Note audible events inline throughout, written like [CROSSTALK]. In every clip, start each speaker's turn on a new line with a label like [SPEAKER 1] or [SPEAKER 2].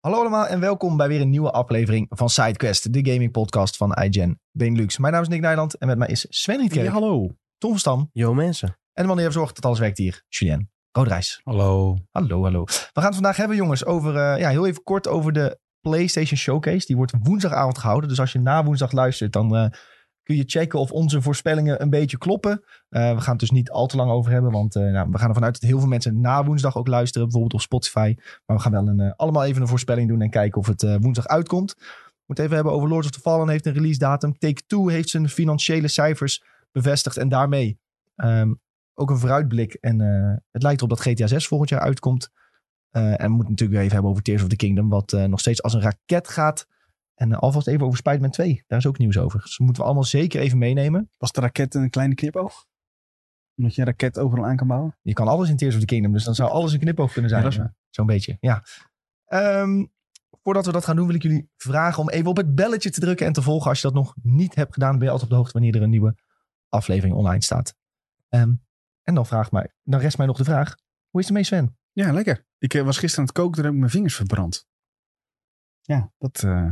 [SPEAKER 1] Hallo allemaal en welkom bij weer een nieuwe aflevering van SideQuest, de gaming podcast van iGen Benelux. Mijn naam is Nick Nijland en met mij is Sven Rietkerk,
[SPEAKER 2] Ja, hallo.
[SPEAKER 1] Tom van Stam
[SPEAKER 3] Yo mensen.
[SPEAKER 1] en de man die ervoor zorgt dat alles werkt hier, Julien Roodrijs.
[SPEAKER 2] Hallo.
[SPEAKER 1] Hallo, hallo. We gaan het vandaag hebben jongens over, eh, ja heel even kort over de PlayStation Showcase. Die wordt woensdagavond gehouden, dus als je na woensdag luistert dan eh, kun je checken of onze voorspellingen een beetje kloppen. Eh, we gaan het dus niet al te lang over hebben, want eh, nou, we gaan ervan uit dat heel veel mensen na woensdag ook luisteren, bijvoorbeeld op Spotify. Maar we gaan wel een, eh, allemaal even een voorspelling doen en kijken of het eh, woensdag uitkomt. We moeten even hebben over Lords of the Fallen heeft een release datum. Take-Two heeft zijn financiële cijfers bevestigd en daarmee ehm, ook een vooruitblik. En eh, het lijkt erop dat GTA 6 volgend jaar uitkomt. Eh, en we moeten natuurlijk weer even hebben over Tears of the Kingdom, wat eh, nog steeds als een raket gaat. En eh, alvast even over Spider-Man 2. Daar is ook nieuws over. Dus dat moeten we allemaal zeker even meenemen.
[SPEAKER 2] Was de raket een kleine knipoog? Omdat je een raket overal aan kan bouwen?
[SPEAKER 1] Je kan alles in Tears of the Kingdom, dus dan zou alles een knipoog kunnen zijn. eh,
[SPEAKER 2] Ja, dat is waar.
[SPEAKER 1] Zo'n beetje, ja. Ehm, voordat we dat gaan doen, wil ik jullie vragen om even op het belletje te drukken en te volgen. Als je dat nog niet hebt gedaan, dan ben je altijd op de hoogte wanneer er een nieuwe aflevering online staat. Ehm, en dan, vraag mij, dan rest mij nog de vraag, hoe is het mee Sven?
[SPEAKER 2] Ja, lekker. Ik eh, was gisteren aan het koken, toen heb ik mijn vingers verbrand. Ja, dat eh,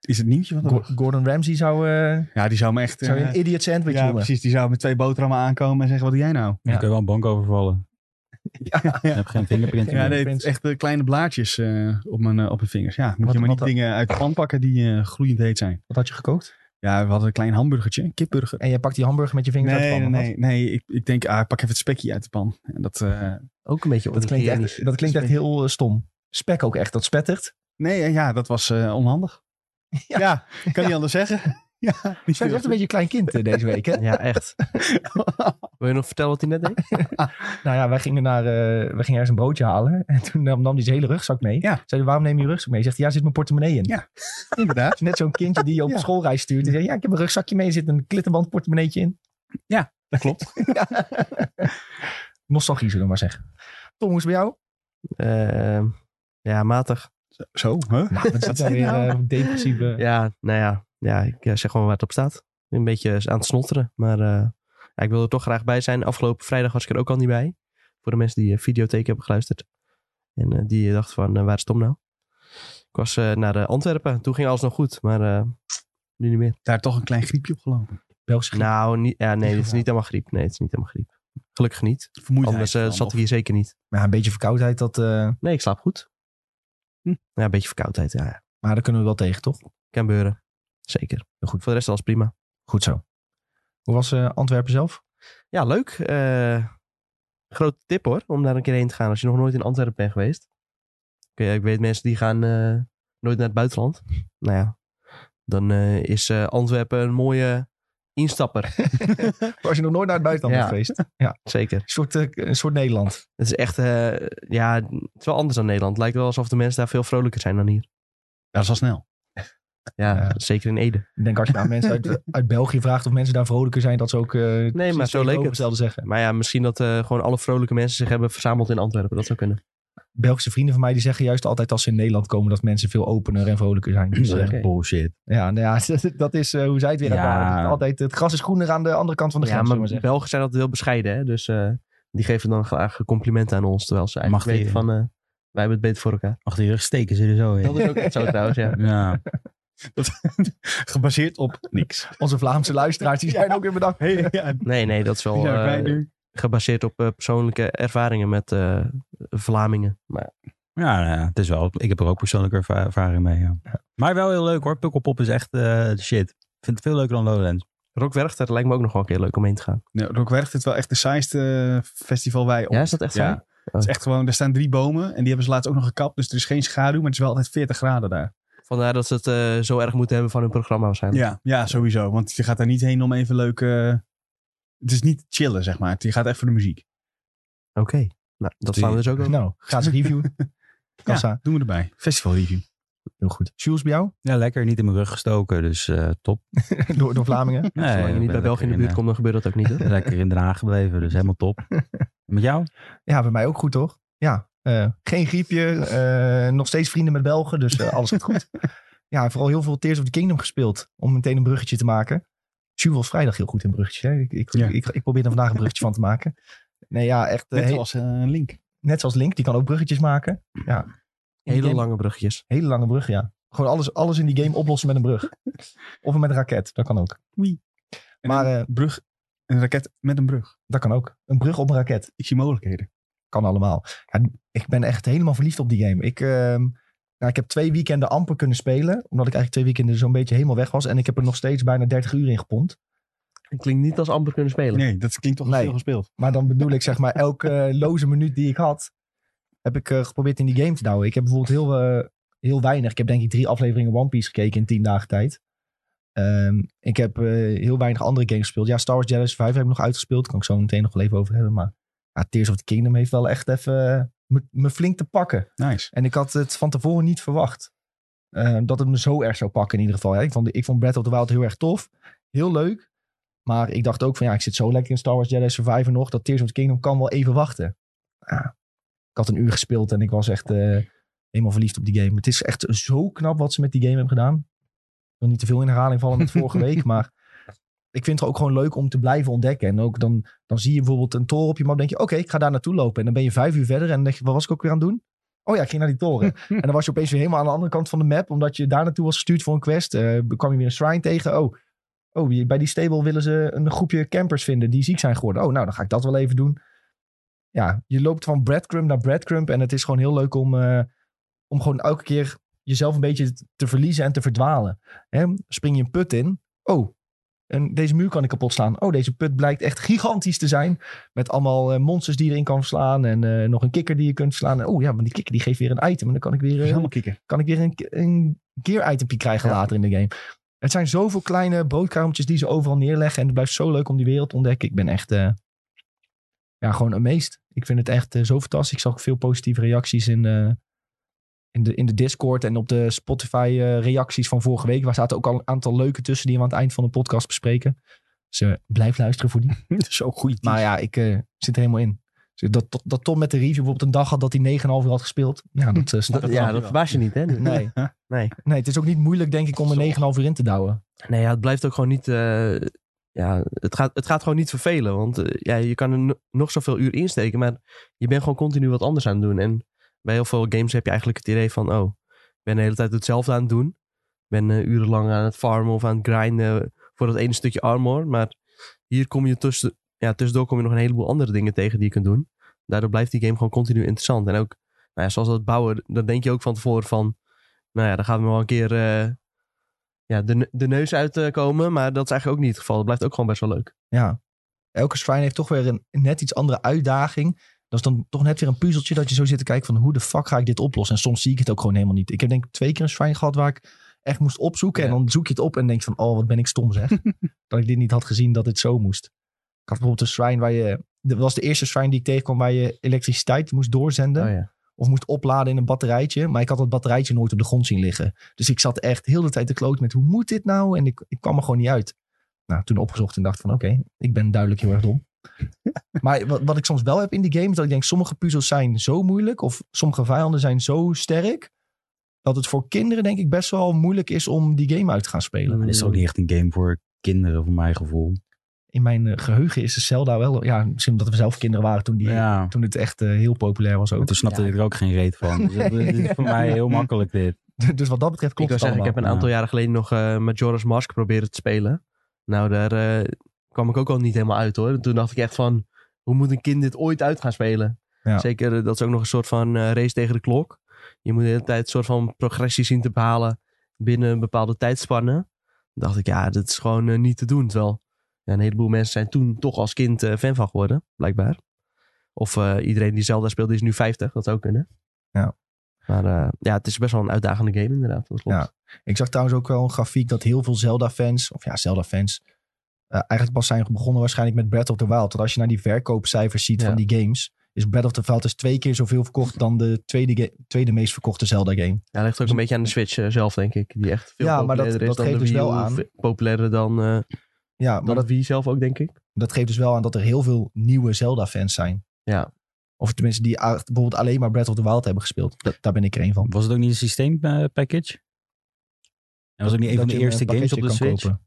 [SPEAKER 2] is het nieuwtje van de
[SPEAKER 1] Go-
[SPEAKER 2] dag.
[SPEAKER 1] Gordon Ramsay zou, eh,
[SPEAKER 2] Ja, die zou me echt...
[SPEAKER 1] zou je
[SPEAKER 2] eh,
[SPEAKER 1] een idiot sandwich
[SPEAKER 2] ja,
[SPEAKER 1] noemen.
[SPEAKER 2] precies. Die zou met twee boterhammen aankomen en zeggen, wat doe jij nou?
[SPEAKER 1] Ja.
[SPEAKER 4] Dan kun je wel een bank
[SPEAKER 2] [LAUGHS]
[SPEAKER 4] overvallen.
[SPEAKER 1] Ja.
[SPEAKER 4] Je hebt geen [LAUGHS] fingerprint
[SPEAKER 1] Ja,
[SPEAKER 2] Ja,
[SPEAKER 4] meer.
[SPEAKER 2] nee, het
[SPEAKER 1] prins.
[SPEAKER 2] is echt eh, kleine blaadjes eh, op, mijn, eh, op mijn vingers. Ja, moet
[SPEAKER 1] Wat-
[SPEAKER 2] je maar niet
[SPEAKER 1] wat-
[SPEAKER 2] dingen uit de pan pakken die eh, gloeiend heet zijn.
[SPEAKER 1] Wat had je gekookt?
[SPEAKER 2] Ja, we hadden een klein hamburgertje, een kipburger.
[SPEAKER 1] En jij pakt die hamburger met je vingers uit de
[SPEAKER 2] Nee, nee,
[SPEAKER 1] pan, of
[SPEAKER 2] nee, nee. Ik, ik denk, ah, ik pak even het spekje uit de pan. En dat, eh,
[SPEAKER 1] wat? Ook een beetje dat klinkt, echt,
[SPEAKER 3] onhygiënisch.
[SPEAKER 1] dat klinkt echt heel eh, stom. Spek ook echt, dat spettert.
[SPEAKER 2] Nee, eh, ja, dat was eh, onhandig.
[SPEAKER 1] Ja.
[SPEAKER 2] [LAUGHS] Ja, kan niet anders zeggen. [LAUGHS] Ja, niet
[SPEAKER 1] Sven is echt een beetje een klein kind eh, deze week, hè?
[SPEAKER 3] Ja, echt. [LAUGHS] Wil je nog vertellen wat hij net deed?
[SPEAKER 1] [LAUGHS] Nou ja, wij gingen, naar, eh, wij gingen ergens een broodje halen. [LAUGHS] En toen nam, nam hij zijn hele rugzak mee.
[SPEAKER 2] Ja.
[SPEAKER 1] Zei hij, waarom neem je je rugzak mee? Zegt hij, ja, er zit mijn portemonnee in.
[SPEAKER 2] Ja. inderdaad.
[SPEAKER 1] Het is Net zo'n kindje die je op
[SPEAKER 2] Ja.
[SPEAKER 1] schoolreis stuurt. Die zegt, ja, ik heb een rugzakje mee. Er zit een klittenband portemonneetje in. [LAUGHS]
[SPEAKER 2] Dat klopt.
[SPEAKER 1] Nostalgie, zullen we maar zeggen. Tom, hoe is het bij jou?
[SPEAKER 3] Ehm, ja, matig.
[SPEAKER 2] Zo, hè?
[SPEAKER 1] Nou, dat
[SPEAKER 3] [LAUGHS]
[SPEAKER 1] zit
[SPEAKER 2] zei
[SPEAKER 1] weer
[SPEAKER 2] hij nou?
[SPEAKER 1] eh, depressieve...
[SPEAKER 3] Ja, nou ja. Ja, ik eh, zeg gewoon waar het op staat. Een beetje aan het snotteren. Maar eh, ja, ik wil er toch graag bij zijn. Afgelopen vrijdag was ik er ook al niet bij. Voor de mensen die eh, videotheek hebben geluisterd. En eh, die dachten van, eh, waar is Tom nou? Ik was eh, naar eh, Antwerpen. Toen ging alles nog goed. Maar eh, nu niet meer.
[SPEAKER 2] Daar toch een klein griepje opgelopen.
[SPEAKER 1] Belgische griep.
[SPEAKER 3] Nou, niet, ja, nee, het is
[SPEAKER 1] gegaan.
[SPEAKER 3] niet helemaal griep. Nee, het is niet helemaal griep. Gelukkig niet.
[SPEAKER 2] Vermoeidheid.
[SPEAKER 3] Anders eh,
[SPEAKER 2] vooral,
[SPEAKER 3] zat
[SPEAKER 2] of-
[SPEAKER 3] ik hier zeker niet.
[SPEAKER 1] Maar een beetje verkoudheid, dat, eh,
[SPEAKER 3] Nee, ik slaap goed.
[SPEAKER 2] Hm.
[SPEAKER 3] Ja, een beetje verkoudheid. Ja, ja.
[SPEAKER 1] maar daar kunnen we wel tegen, toch?
[SPEAKER 3] kan beuren. Zeker. Goed. Voor de rest alles prima.
[SPEAKER 1] Goed zo. Hoe was eh, Antwerpen zelf?
[SPEAKER 3] Ja, leuk. Eh, grote tip hoor, om daar een keer heen te gaan als je nog nooit in Antwerpen bent geweest. Oké, ik weet mensen die gaan eh, nooit naar het buitenland. Nou ja, dan eh, is eh, Antwerpen een mooie instapper. [LAUGHS]
[SPEAKER 1] Maar als je nog nooit naar het buitenland
[SPEAKER 3] Ja.
[SPEAKER 1] bent geweest. Een
[SPEAKER 3] Zeker.
[SPEAKER 1] soort, eh, een soort Nederland.
[SPEAKER 3] Het is echt, eh, ja, het is wel anders dan Nederland. Het lijkt wel alsof de mensen daar veel vrolijker zijn dan hier.
[SPEAKER 2] Ja, dat is al snel.
[SPEAKER 3] Ja,
[SPEAKER 1] Ja.
[SPEAKER 3] zeker in Ede.
[SPEAKER 1] Ik denk als
[SPEAKER 3] [LAUGHS]
[SPEAKER 1] je aan mensen uit, uit België vraagt of mensen daar vrolijker zijn, dat ze ook... nee,
[SPEAKER 3] maar zo leek het.
[SPEAKER 1] zeggen.
[SPEAKER 3] Maar ja, misschien dat eh, gewoon alle vrolijke mensen zich hebben verzameld in Antwerpen. Dat zou kunnen.
[SPEAKER 1] Belgische vrienden van mij die zeggen juist altijd als ze in Nederland komen dat mensen veel opener en vrolijker zijn. Dus, eh,
[SPEAKER 3] Oké.
[SPEAKER 4] bullshit.
[SPEAKER 1] ja, nou ja, [LAUGHS] dat is eh, hoe zij het weer
[SPEAKER 4] Ja.
[SPEAKER 1] ervaren. Altijd het gras is groener aan de andere kant van de grens.
[SPEAKER 3] Ja,
[SPEAKER 1] zullen
[SPEAKER 3] maar
[SPEAKER 1] we zeggen.
[SPEAKER 3] Belgen zijn altijd heel bescheiden, hè? Dus eh, die geven dan graag complimenten aan ons. Terwijl ze eigenlijk
[SPEAKER 4] Mag die,
[SPEAKER 3] weten van, eh, wij hebben het beter voor elkaar.
[SPEAKER 4] Achter je rug steken ze er zo
[SPEAKER 3] Dat
[SPEAKER 4] in.
[SPEAKER 3] is ook echt [LAUGHS] zo trouwens, ja.
[SPEAKER 4] Ja,
[SPEAKER 2] Gebaseerd op niks.
[SPEAKER 1] Onze Vlaamse luisteraars
[SPEAKER 3] [LAUGHS]
[SPEAKER 1] die zijn ook weer bedankt.
[SPEAKER 2] [LAUGHS] Hey, ja, die
[SPEAKER 3] Nee, nee, dat is wel
[SPEAKER 2] zijn
[SPEAKER 3] eh,
[SPEAKER 2] wij nu.
[SPEAKER 3] gebaseerd op eh, persoonlijke ervaringen met eh, Vlamingen. Maar
[SPEAKER 4] ja nou ja, het is wel. Ik heb er ook persoonlijke erva- ervaring mee. Ja. Maar wel heel leuk hoor. Pukkelpop is echt eh, de shit. Ik vind het veel leuker dan Lowlands.
[SPEAKER 3] Rock Werchter lijkt me ook nog wel een keer leuk om heen te gaan.
[SPEAKER 2] Nee, Rockwercht is wel echt de saaiste eh, festival wij op.
[SPEAKER 3] Ja, is dat echt zo?
[SPEAKER 2] Ja. Het is echt gewoon, er staan drie bomen en die hebben ze laatst ook nog gekapt. Dus er is geen schaduw, maar het is wel altijd 40 graden daar.
[SPEAKER 3] Vandaar dat ze het eh, zo erg moeten hebben van hun programma waarschijnlijk.
[SPEAKER 2] Ja, ja sowieso. Want je gaat daar niet heen om even leuk... eh, het is niet chillen, zeg maar. Je gaat echt voor de muziek.
[SPEAKER 3] Oké, nou, dat
[SPEAKER 4] Die-
[SPEAKER 3] slaan we dus ook wel.
[SPEAKER 1] Nou, gratis
[SPEAKER 2] [LAUGHS]
[SPEAKER 1] review. Kassa,
[SPEAKER 2] Ja, doen we erbij. Festival review.
[SPEAKER 1] heel goed. Jules bij jou?
[SPEAKER 4] Ja, lekker. Niet in mijn rug gestoken. Dus eh, top.
[SPEAKER 1] [LAUGHS] door, door Vlamingen?
[SPEAKER 2] [LAUGHS]
[SPEAKER 4] Nee,
[SPEAKER 3] Zolang
[SPEAKER 4] ik
[SPEAKER 3] je
[SPEAKER 4] ben
[SPEAKER 3] niet bij België in de buurt
[SPEAKER 4] lekker
[SPEAKER 3] komt, dan gebeurt dat ook niet.
[SPEAKER 4] [LAUGHS]
[SPEAKER 3] Hoor.
[SPEAKER 4] eh, Lekker in Den Haag gebleven. Dus helemaal top. Met jou?
[SPEAKER 1] Ja, bij mij ook goed toch? Ja, eh, geen griepje. eh, nog steeds vrienden met Belgen, dus eh, alles gaat
[SPEAKER 2] [LAUGHS]
[SPEAKER 1] goed. Ja, vooral heel veel Tears of the Kingdom gespeeld. Om meteen een bruggetje te maken. Jules was vrijdag heel goed in bruggetjes. Hè? Ik, ik,
[SPEAKER 2] Ja.
[SPEAKER 1] ik, ik probeer er vandaag een bruggetje van te maken. Nee, ja, echt. eh,
[SPEAKER 2] Net
[SPEAKER 1] he-
[SPEAKER 2] zoals eh, een link.
[SPEAKER 1] net zoals Link, die kan ook bruggetjes maken. Ja. In die
[SPEAKER 3] Hele
[SPEAKER 1] game-
[SPEAKER 3] lange brugjes.
[SPEAKER 1] Hele lange brug, ja. Gewoon alles, alles in die game oplossen met een
[SPEAKER 2] [LAUGHS]
[SPEAKER 1] brug. of met een raket, dat kan ook. Maar,
[SPEAKER 2] maar een brug, een raket met een brug.
[SPEAKER 1] Dat kan ook. Een brug op een raket.
[SPEAKER 2] Ik zie mogelijkheden.
[SPEAKER 1] Kan allemaal. Ja, ik ben echt helemaal verliefd op die game. Ik, ehm, nou, ik heb twee weekenden amper kunnen spelen. Omdat ik eigenlijk twee weekenden zo'n beetje helemaal weg was. En ik heb er nog steeds bijna 30 uur in gepompt.
[SPEAKER 3] Het klinkt niet als amper kunnen spelen.
[SPEAKER 2] Nee, dat klinkt toch
[SPEAKER 1] Nee.
[SPEAKER 2] veel gespeeld.
[SPEAKER 1] Maar dan bedoel ik zeg maar elke eh, loze minuut die ik had. Heb ik eh, geprobeerd in die game te douwen. Ik heb bijvoorbeeld heel, eh, heel weinig. Ik heb denk ik drie afleveringen One Piece gekeken in tien dagen tijd. Ehm, ik heb eh, heel weinig andere games gespeeld. Ja, Star Wars Jedi Survivor heb ik nog uitgespeeld. Kan ik zo meteen nog wel even over hebben. Maar ja, Tears of the Kingdom heeft wel echt even eh, me- me flink te pakken.
[SPEAKER 2] Nice.
[SPEAKER 1] En ik had het van tevoren niet verwacht. eh, dat het me zo erg zou pakken in ieder geval. Ja, ik, vond, ik vond Breath of the Wild heel erg tof. Heel leuk. Maar ik dacht ook van ja, ik zit zo lekker in Star Wars Jedi Survivor nog. Dat Tears of the Kingdom kan wel even wachten. Ja, ik had een uur gespeeld en ik was echt eh, helemaal verliefd op die game. Het is echt zo knap wat ze met die game hebben gedaan. Ik wil niet te veel in herhaling vallen met vorige week. Maar ik vind het ook gewoon leuk om te blijven ontdekken. En ook dan, dan zie je bijvoorbeeld een toren op je map. denk je oké, ik ga daar naartoe lopen. En dan ben je vijf uur verder en dan denk je wat was ik ook weer aan het doen? Oh ja, ik ging naar die toren. en dan was je opeens weer helemaal aan de andere kant van de map. Omdat je daar naartoe was gestuurd voor een quest. Eh kwam je weer een shrine tegen. Oh, oh, hier- bij die stable willen ze een groepje campers vinden die ziek zijn geworden. Oh, nou, dan ga ik dat wel even doen. Ja, je loopt van breadcrumb naar breadcrumb. En het is gewoon heel leuk om, eh, om gewoon elke keer jezelf een beetje te verliezen en te verdwalen. Hè? Spring je een put in. Oh, en deze muur kan ik kapot slaan. Oh, deze put blijkt echt gigantisch te zijn. Met allemaal eh, monsters die je erin kan verslaan. En eh, nog een kikker die je kunt verslaan. En, oh ja, want die kikker die geeft weer een item. En dan kan ik weer, eh,
[SPEAKER 2] Helemaal kikken.
[SPEAKER 1] kan ik weer een, een gear itempje krijgen
[SPEAKER 3] Ja.
[SPEAKER 1] later in de game. Het zijn zoveel kleine broodkarretjes die ze overal neerleggen. En het blijft zo leuk om die wereld te ontdekken. Ik ben echt eh, ja, gewoon amazed. Ik vind het echt eh, zo fantastisch. Ik zag ook veel positieve reacties in, eh, in, de, in de Discord en op de Spotify eh, reacties van vorige week. Waar zaten ook al een aantal leuke tussen die we aan het eind van de podcast bespreken. Dus eh, blijf luisteren voor die.
[SPEAKER 3] [LAUGHS]
[SPEAKER 2] Zo goed.
[SPEAKER 1] Maar ja, ik eh, zit er helemaal in. Dus Dat, dat Tom met de review bijvoorbeeld een dag had dat hij 9,5 uur had gespeeld. Ja, dat eh, snap
[SPEAKER 3] Dat-
[SPEAKER 1] ik.
[SPEAKER 2] snap
[SPEAKER 3] ja,
[SPEAKER 2] je
[SPEAKER 3] dat
[SPEAKER 2] wel.
[SPEAKER 3] verbaas je niet, hè? [LAUGHS]
[SPEAKER 1] Nee.
[SPEAKER 3] Nee.
[SPEAKER 1] nee, het is ook niet moeilijk, denk ik, om er 9,5 uur in te douwen.
[SPEAKER 3] Nee, ja, het blijft ook gewoon niet. eh, ja, het gaat, het gaat gewoon niet vervelen. Want eh, ja, je kan er no- nog zoveel uur insteken, maar je bent gewoon continu wat anders aan het doen. En bij heel veel games heb je eigenlijk het idee van: oh, ik ben de hele tijd hetzelfde aan het doen. Ik ben eh, urenlang aan het farmen of aan het grinden voor dat ene stukje armor. Maar hier kom je tussen, ja, tussendoor kom je nog een heleboel andere dingen tegen die je kunt doen. Daardoor blijft die game gewoon continu interessant. En ook, nou ja, zoals dat bouwen, dan denk je ook van tevoren van: nou ja, dan gaan we wel een keer. eh, ja, de, ne- de neus uitkomen. Maar dat is eigenlijk ook niet het geval. Dat blijft ook gewoon best wel leuk.
[SPEAKER 1] Ja. Elke shrine heeft toch weer een net iets andere uitdaging. Dat is dan toch net weer een puzzeltje dat je zo zit te kijken van hoe de fuck ga ik dit oplossen. En soms zie ik het ook gewoon helemaal niet. Ik heb denk ik twee keer een shrine gehad waar ik echt moest opzoeken. En
[SPEAKER 3] Ja.
[SPEAKER 1] dan zoek je het op en denk van oh wat ben ik stom
[SPEAKER 3] [LAUGHS]
[SPEAKER 1] zeg. dat ik dit niet had gezien dat dit zo moest. Ik had bijvoorbeeld een shrine waar je... Dat was de eerste shrine die ik tegenkwam waar je elektriciteit moest doorzenden.
[SPEAKER 3] ja.
[SPEAKER 1] Of moest opladen in een batterijtje. Maar ik had dat batterijtje nooit op de grond zien liggen. Dus ik zat echt heel de tijd te kloot met hoe moet dit nou? En ik, ik kwam er gewoon niet uit. Nou, toen opgezocht en dacht van oké, ik ben duidelijk heel erg dom. [LAUGHS] maar wat, wat ik soms wel heb in die game is dat ik denk sommige puzzels zijn zo moeilijk. Of sommige vijanden zijn zo sterk. Dat het voor kinderen denk ik best wel moeilijk is om die game uit te gaan spelen.
[SPEAKER 4] Het is ook niet echt een game voor kinderen, voor mijn gevoel.
[SPEAKER 1] In mijn eh, geheugen is de Zelda wel... Ja, misschien omdat we zelf kinderen waren toen, die,
[SPEAKER 4] Ja,
[SPEAKER 1] toen het echt eh, heel populair was ook.
[SPEAKER 4] toen snapte
[SPEAKER 3] Ja.
[SPEAKER 4] ik er ook geen reet van. Dus het het is voor mij heel makkelijk dit.
[SPEAKER 1] [LAUGHS] dus wat dat betreft
[SPEAKER 3] Ik
[SPEAKER 1] klopt het
[SPEAKER 3] wil zeggen,
[SPEAKER 1] allemaal.
[SPEAKER 3] ik heb een
[SPEAKER 4] Ja.
[SPEAKER 3] aantal jaren geleden nog eh, Majora's Mask proberen te spelen. Nou, daar eh, kwam ik ook al niet helemaal uit hoor. Toen dacht ik echt van, hoe moet een kind dit ooit uit gaan spelen?
[SPEAKER 1] Ja.
[SPEAKER 3] Zeker, eh, dat is ook nog een soort van eh, race tegen de klok. Je moet de hele tijd een soort van progressie zien te behalen binnen een bepaalde tijdspanne. Dan dacht ik, ja, dat is gewoon eh, niet te doen. Terwijl ja, een heleboel mensen zijn toen toch als kind eh, fan van geworden, blijkbaar. Of eh, iedereen die Zelda speelt, die is nu 50. Dat zou kunnen.
[SPEAKER 1] Ja.
[SPEAKER 3] Maar eh, ja, het is best wel een uitdagende game inderdaad. Dat klopt.
[SPEAKER 1] Ja. Ik zag trouwens ook wel een grafiek dat heel veel Zelda-fans, of ja, Zelda-fans, eh, eigenlijk pas zijn begonnen waarschijnlijk met Breath of the Wild. Want als je naar die verkoopcijfers ziet
[SPEAKER 3] Ja.
[SPEAKER 1] van die games, is Breath of the Wild is twee keer zoveel verkocht dan de tweede, ga- tweede meest verkochte Zelda-game.
[SPEAKER 3] Ja, dat ligt ook een beetje aan de Switch eh, zelf, denk ik. Die echt veel
[SPEAKER 1] Dus- Ja, maar dat-
[SPEAKER 3] populairder is
[SPEAKER 1] dat
[SPEAKER 3] dan
[SPEAKER 1] geeft
[SPEAKER 3] de
[SPEAKER 1] dus
[SPEAKER 3] Wii
[SPEAKER 1] wel
[SPEAKER 3] U,
[SPEAKER 1] aan.
[SPEAKER 3] v- Populairder dan, eh
[SPEAKER 1] Ja,
[SPEAKER 3] dan
[SPEAKER 1] maar
[SPEAKER 3] de
[SPEAKER 1] dat,
[SPEAKER 3] Wii zelf ook, denk ik.
[SPEAKER 1] dat geeft dus wel aan dat er heel veel nieuwe Zelda-fans zijn.
[SPEAKER 3] Ja.
[SPEAKER 1] Of tenminste, die a- bijvoorbeeld alleen maar Breath of the Wild hebben gespeeld. Dat, daar ben ik er een van.
[SPEAKER 4] Was het ook niet een systeempackage? En was ook niet een
[SPEAKER 1] Dat
[SPEAKER 4] van de
[SPEAKER 1] je hem
[SPEAKER 4] eerste
[SPEAKER 1] een
[SPEAKER 4] games op de
[SPEAKER 1] pakketje kan
[SPEAKER 4] Switch?
[SPEAKER 1] kopen.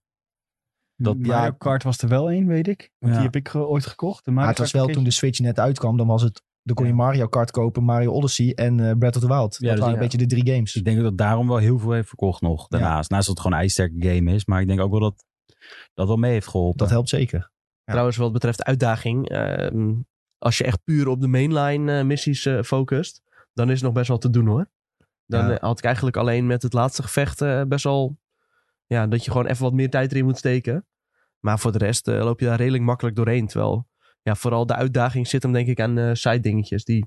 [SPEAKER 4] Dat-
[SPEAKER 2] Mario
[SPEAKER 1] ja.
[SPEAKER 2] Kart was er wel één, weet ik. Want
[SPEAKER 4] Ja.
[SPEAKER 2] die heb ik ge- ooit gekocht. De Mario
[SPEAKER 1] Maar het was
[SPEAKER 2] Kart
[SPEAKER 1] wel
[SPEAKER 2] Arcade.
[SPEAKER 1] toen de Switch net uitkwam, dan was het Dan kon je
[SPEAKER 4] Ja.
[SPEAKER 1] Mario Kart kopen, Mario Odyssey en eh Breath of the Wild. dat
[SPEAKER 4] Ja, dus
[SPEAKER 1] waren
[SPEAKER 3] ja.
[SPEAKER 1] een beetje de drie games.
[SPEAKER 4] Dus ik denk dat het daarom wel heel veel heeft verkocht nog. Daarnaast, naast dat het gewoon een ijsterke game is. Maar ik denk ook wel dat dat wel mee heeft geholpen.
[SPEAKER 1] Dat helpt zeker. Ja.
[SPEAKER 3] Trouwens, wat betreft uitdaging. ehm, als je echt puur op de mainline eh, missies eh, focust. Dan is het nog best wel te doen hoor. Dan
[SPEAKER 1] Ja.
[SPEAKER 3] eh, had ik eigenlijk alleen met het laatste gevecht eh, best wel... Ja, dat je gewoon even wat meer tijd erin moet steken. Maar voor de rest eh, loop je daar redelijk makkelijk doorheen. Terwijl ja, vooral de uitdaging zit hem denk ik aan eh side dingetjes. Die